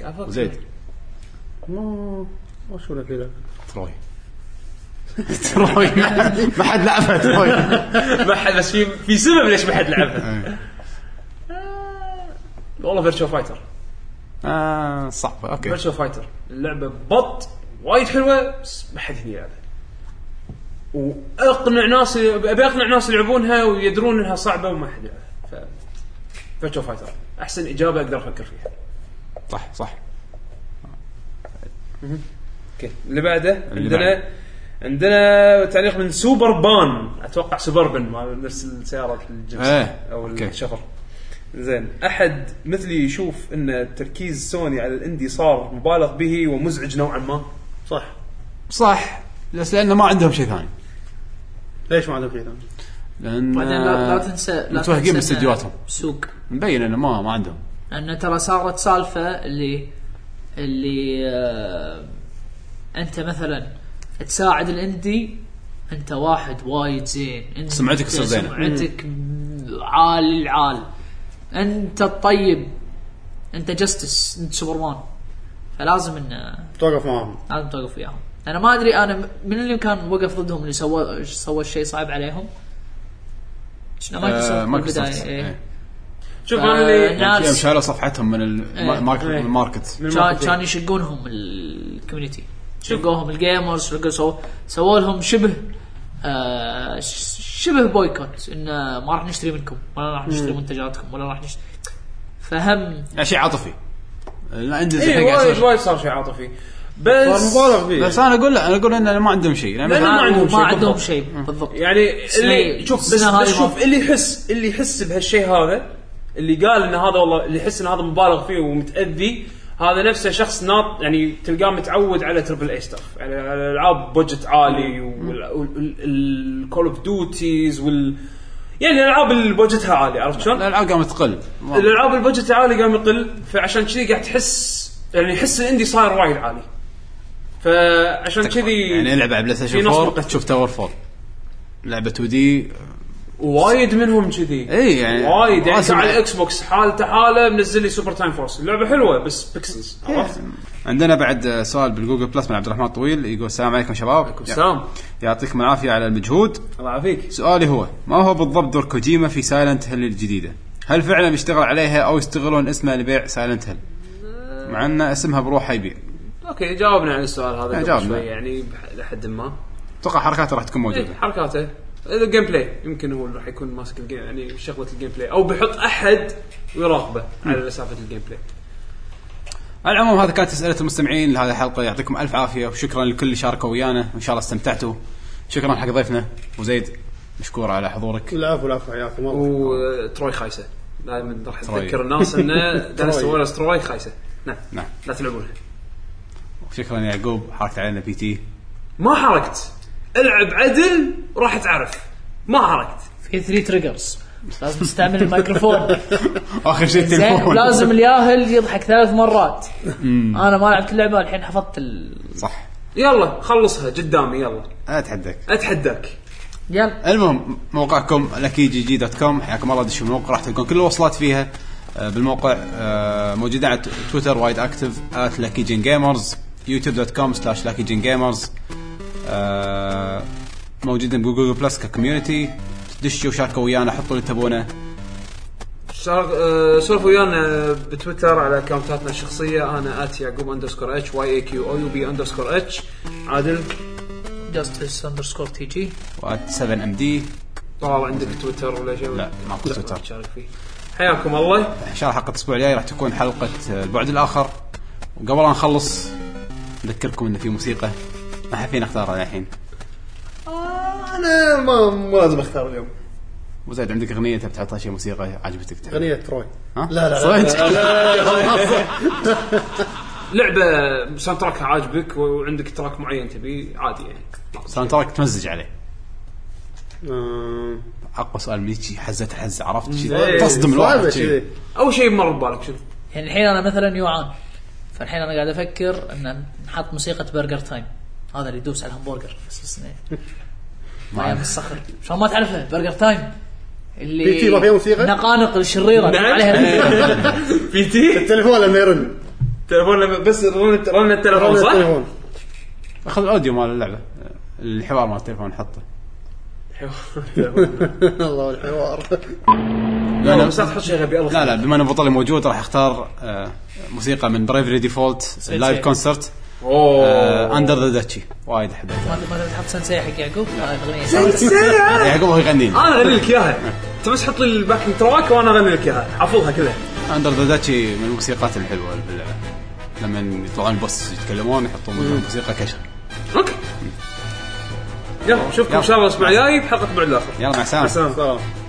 بنلعب؟ زيد ما ما شو لك لا تروي تروي ما حد- ما حد لعبها تروي ما حد بس في في سبب ليش ما حد لعبها آه، والله فيرتشو فايتر آه، صعب اوكي فيرتشو فايتر اللعبه بط وايد حلوه بس ما حد هنا يلعبها واقنع ناس ابي اقنع ناس يلعبونها ويدرون انها صعبه وما حد يلعبها ف فيرتشو فايتر احسن اجابه اقدر افكر فيها صح صح اوكي اللي بعده اللي عندنا بعده. عندنا تعليق من سوبر بان اتوقع سوبربن ما نفس السياره الجنس إيه، او أوكي. الشفر زين احد مثلي يشوف ان تركيز سوني على الاندي صار مبالغ به ومزعج نوعا ما صح صح بس لانه ما عندهم شيء ثاني ليش ما عندهم شيء ثاني؟ لان بعدين لا آه، لا تنسى لا تنسى آه، متوهقين إن باستديوهاتهم سوق مبين انه ما ما عندهم ان ترى صارت سالفه اللي اللي آه انت مثلا تساعد الاندي انت واحد وايد زين انت سمعتك تصير زينة. سمعتك عال العال انت الطيب انت جستس انت سوبرمان فلازم ان توقف معاهم لازم توقف وياهم انا ما ادري انا م- من اللي كان وقف ضدهم اللي سوى سوى الشيء صعب عليهم شنو آه، مايكروسوفت مايكروسوفت بالبداية، إيه. إيه. يعني شوف انا اللي ناس- يوم شالوا صفحتهم من إيه. الماركت من الماركت كان كان يشقونهم الكوميونتي شقوهم الجيمرز شقوا سو سووا لهم شبه آه ش- شبه بويكوت انه ما راح نشتري منكم ولا راح نشتري منتجاتكم ولا راح نشتري فهم يعني شيء عاطفي لا عندي زي إيه، حق وايد عصير. وايد صار شيء عاطفي بس صار مبالغ فيه بس انا اقول لا انا اقول انه ما عندهم شيء يعني لأن لا، مثلاً- لا. ما عندهم عندهم شيء ما عندهم بالضبط. شيء بالضبط يعني اللي سنة- شوف بس, السنة بس هذه شوف ما- اللي يحس اللي يحس بهالشيء هذا اللي قال ان هذا والله اللي يحس ان هذا مبالغ فيه ومتاذي هذا نفسه شخص ناط يعني تلقاه متعود على تربل اي ستاف يعني على العاب بوجت عالي والكول اوف ديوتيز وال يعني الالعاب اللي بوجتها عالي عرفت شلون؟ الالعاب قامت تقل ما- الالعاب البجت عالي قام يقل فعشان كذي قاعد تحس يعني يحس الاندي صاير وايد عالي فعشان كذي يعني العب على بلاي إيه. في ستيشن نص 4 وقت. تشوف تاور 4 لعبه 2 دي وايد منهم كذي إي يعني وايد يعني راسم- كان على الاكس بوكس حالته حاله منزل لي سوبر تايم فورس اللعبه حلوه بس بيكسلز عرفت؟ عندنا بعد آه، سؤال بالجوجل بلس من عبد الرحمن الطويل يقول السلام عليكم شباب عليكم سلام يعطيكم العافيه على المجهود الله يعافيك سؤالي هو ما هو بالضبط دور كوجيما في سايلنت هيل الجديده؟ هل فعلا بيشتغل عليها او يستغلون اسمها لبيع سايلنت هيل؟ مع ان اسمها بروحها يبيع اوكي جاوبنا عن السؤال إيه، هذا قبل جاوبنا. شوي يعني بح- لحد ما اتوقع حركاتها راح تكون إيه، موجوده حركاته الجيم بلاي يمكن هو اللي راح يكون ماسك الجيم يعني شغله الجيم بلاي او بيحط احد ويراقبه على سالفه الجيم بلاي على العموم هذا كانت اسئله المستمعين لهذه الحلقه يعطيكم الف عافيه وشكرا لكل اللي شاركوا ويانا وان شاء الله استمتعتوا شكرا حق ضيفنا وزيد مشكور على حضورك العفو العفو حياكم الله وتروي خايسه دائما راح تروي. تذكر الناس انه دانس ويرس تروي خايسه نعم نعم لا تلعبونها وشكرا يا يعقوب حركت علينا بي تي ما حركت العب عدل راح تعرف ما حركت في 3 تريجرز لازم تستعمل الميكروفون اخر شيء زين التليفون لازم الياهل يضحك ثلاث مرات انا ما لعبت اللعبه الحين حفظت ال... صح يلا خلصها قدامي يلا اتحداك اتحداك يلا المهم موقعكم الاكي جي جي دوت كوم حياكم الله دشوا الموقع راح تلقون كل الوصلات فيها آه، بالموقع آه، موجودين على تويتر وايد اكتف ات لاكي جين جيمرز يوتيوب دوت كوم سلاش لاكي جين جيمرز آه، موجودين بجوجل بلس ككوميونتي دشوا وشاركوا ويانا حطوا اللي تبونه سار- آه، سولفوا ويانا بتويتر على اكونتاتنا الشخصيه انا ات يعقوب اندرسكور اتش واي اي كيو او يو بي اندرسكور اتش عادل جاستس اندرسكور تي جي وات 7 ام دي طلال عندك تويتر ولا شيء لا ماكو تويتر تشارك فيه حياكم الله ان شاء الله حلقه الاسبوع الجاي راح تكون حلقه البعد الاخر وقبل ان نخلص نذكركم انه في موسيقى ما حد فينا اختارها الحين انا ما مو لازم اختار اليوم وزيد عندك اغنيه تبي تحطها شيء موسيقى عجبتك تحب. اغنيه تروي ها؟ لا، لا، صدق؟ لعبه ساوند تراكها عاجبك وعندك تراك معين تبي عادي يعني ساوند تراك تمزج عليه آم، اقوى سؤال من هيجي حزه الحزه عرفت إيه، شي تصدم صعبة الواحد شي. شي. اول شيء مر ببالك شنو يعني الحين انا مثلا يوعان فالحين انا قاعد افكر ان نحط موسيقى برجر تايم هذا اللي يدوس على الهمبرجر بس اسمه ما ايام أعرف. الصخر شلون ما تعرفه برجر تايم اللي بي تي ما فيها موسيقى؟ نعم. نقانق الشريره عليها بي تي التليفون لما يرن تليفون بس رن رن التليفون رن صح؟ التليفون اخذ الاوديو مال اللعبه الحوار مال التليفون حطه الله الحوار لا. لا بس لا تحط شيء غبي الله لا لا بما ان أبو طلي موجود راح اختار آه، موسيخة من برايفري ديفولت اللايف كونسرت اندر ذا داتشي وايد احبها ما ما تبي تحط سنسي حق يعقوب آه، هاي الاغنيه يعقوب هو يغني آه. انا اغني لك اياها انت بس حط لي الباكينج تراك وانا اغني لك اياها عفوها كلها اندر ذا داتشي من الموسيقات الحلوه اللي باللعبه لما يطلعون البوس يتكلمون يحطون موسيقى كشخ اوكي يلا نشوفكم ان شاء الله الاسبوع الجاي بحلقه بعد الاخر يلا مع السلامه السلام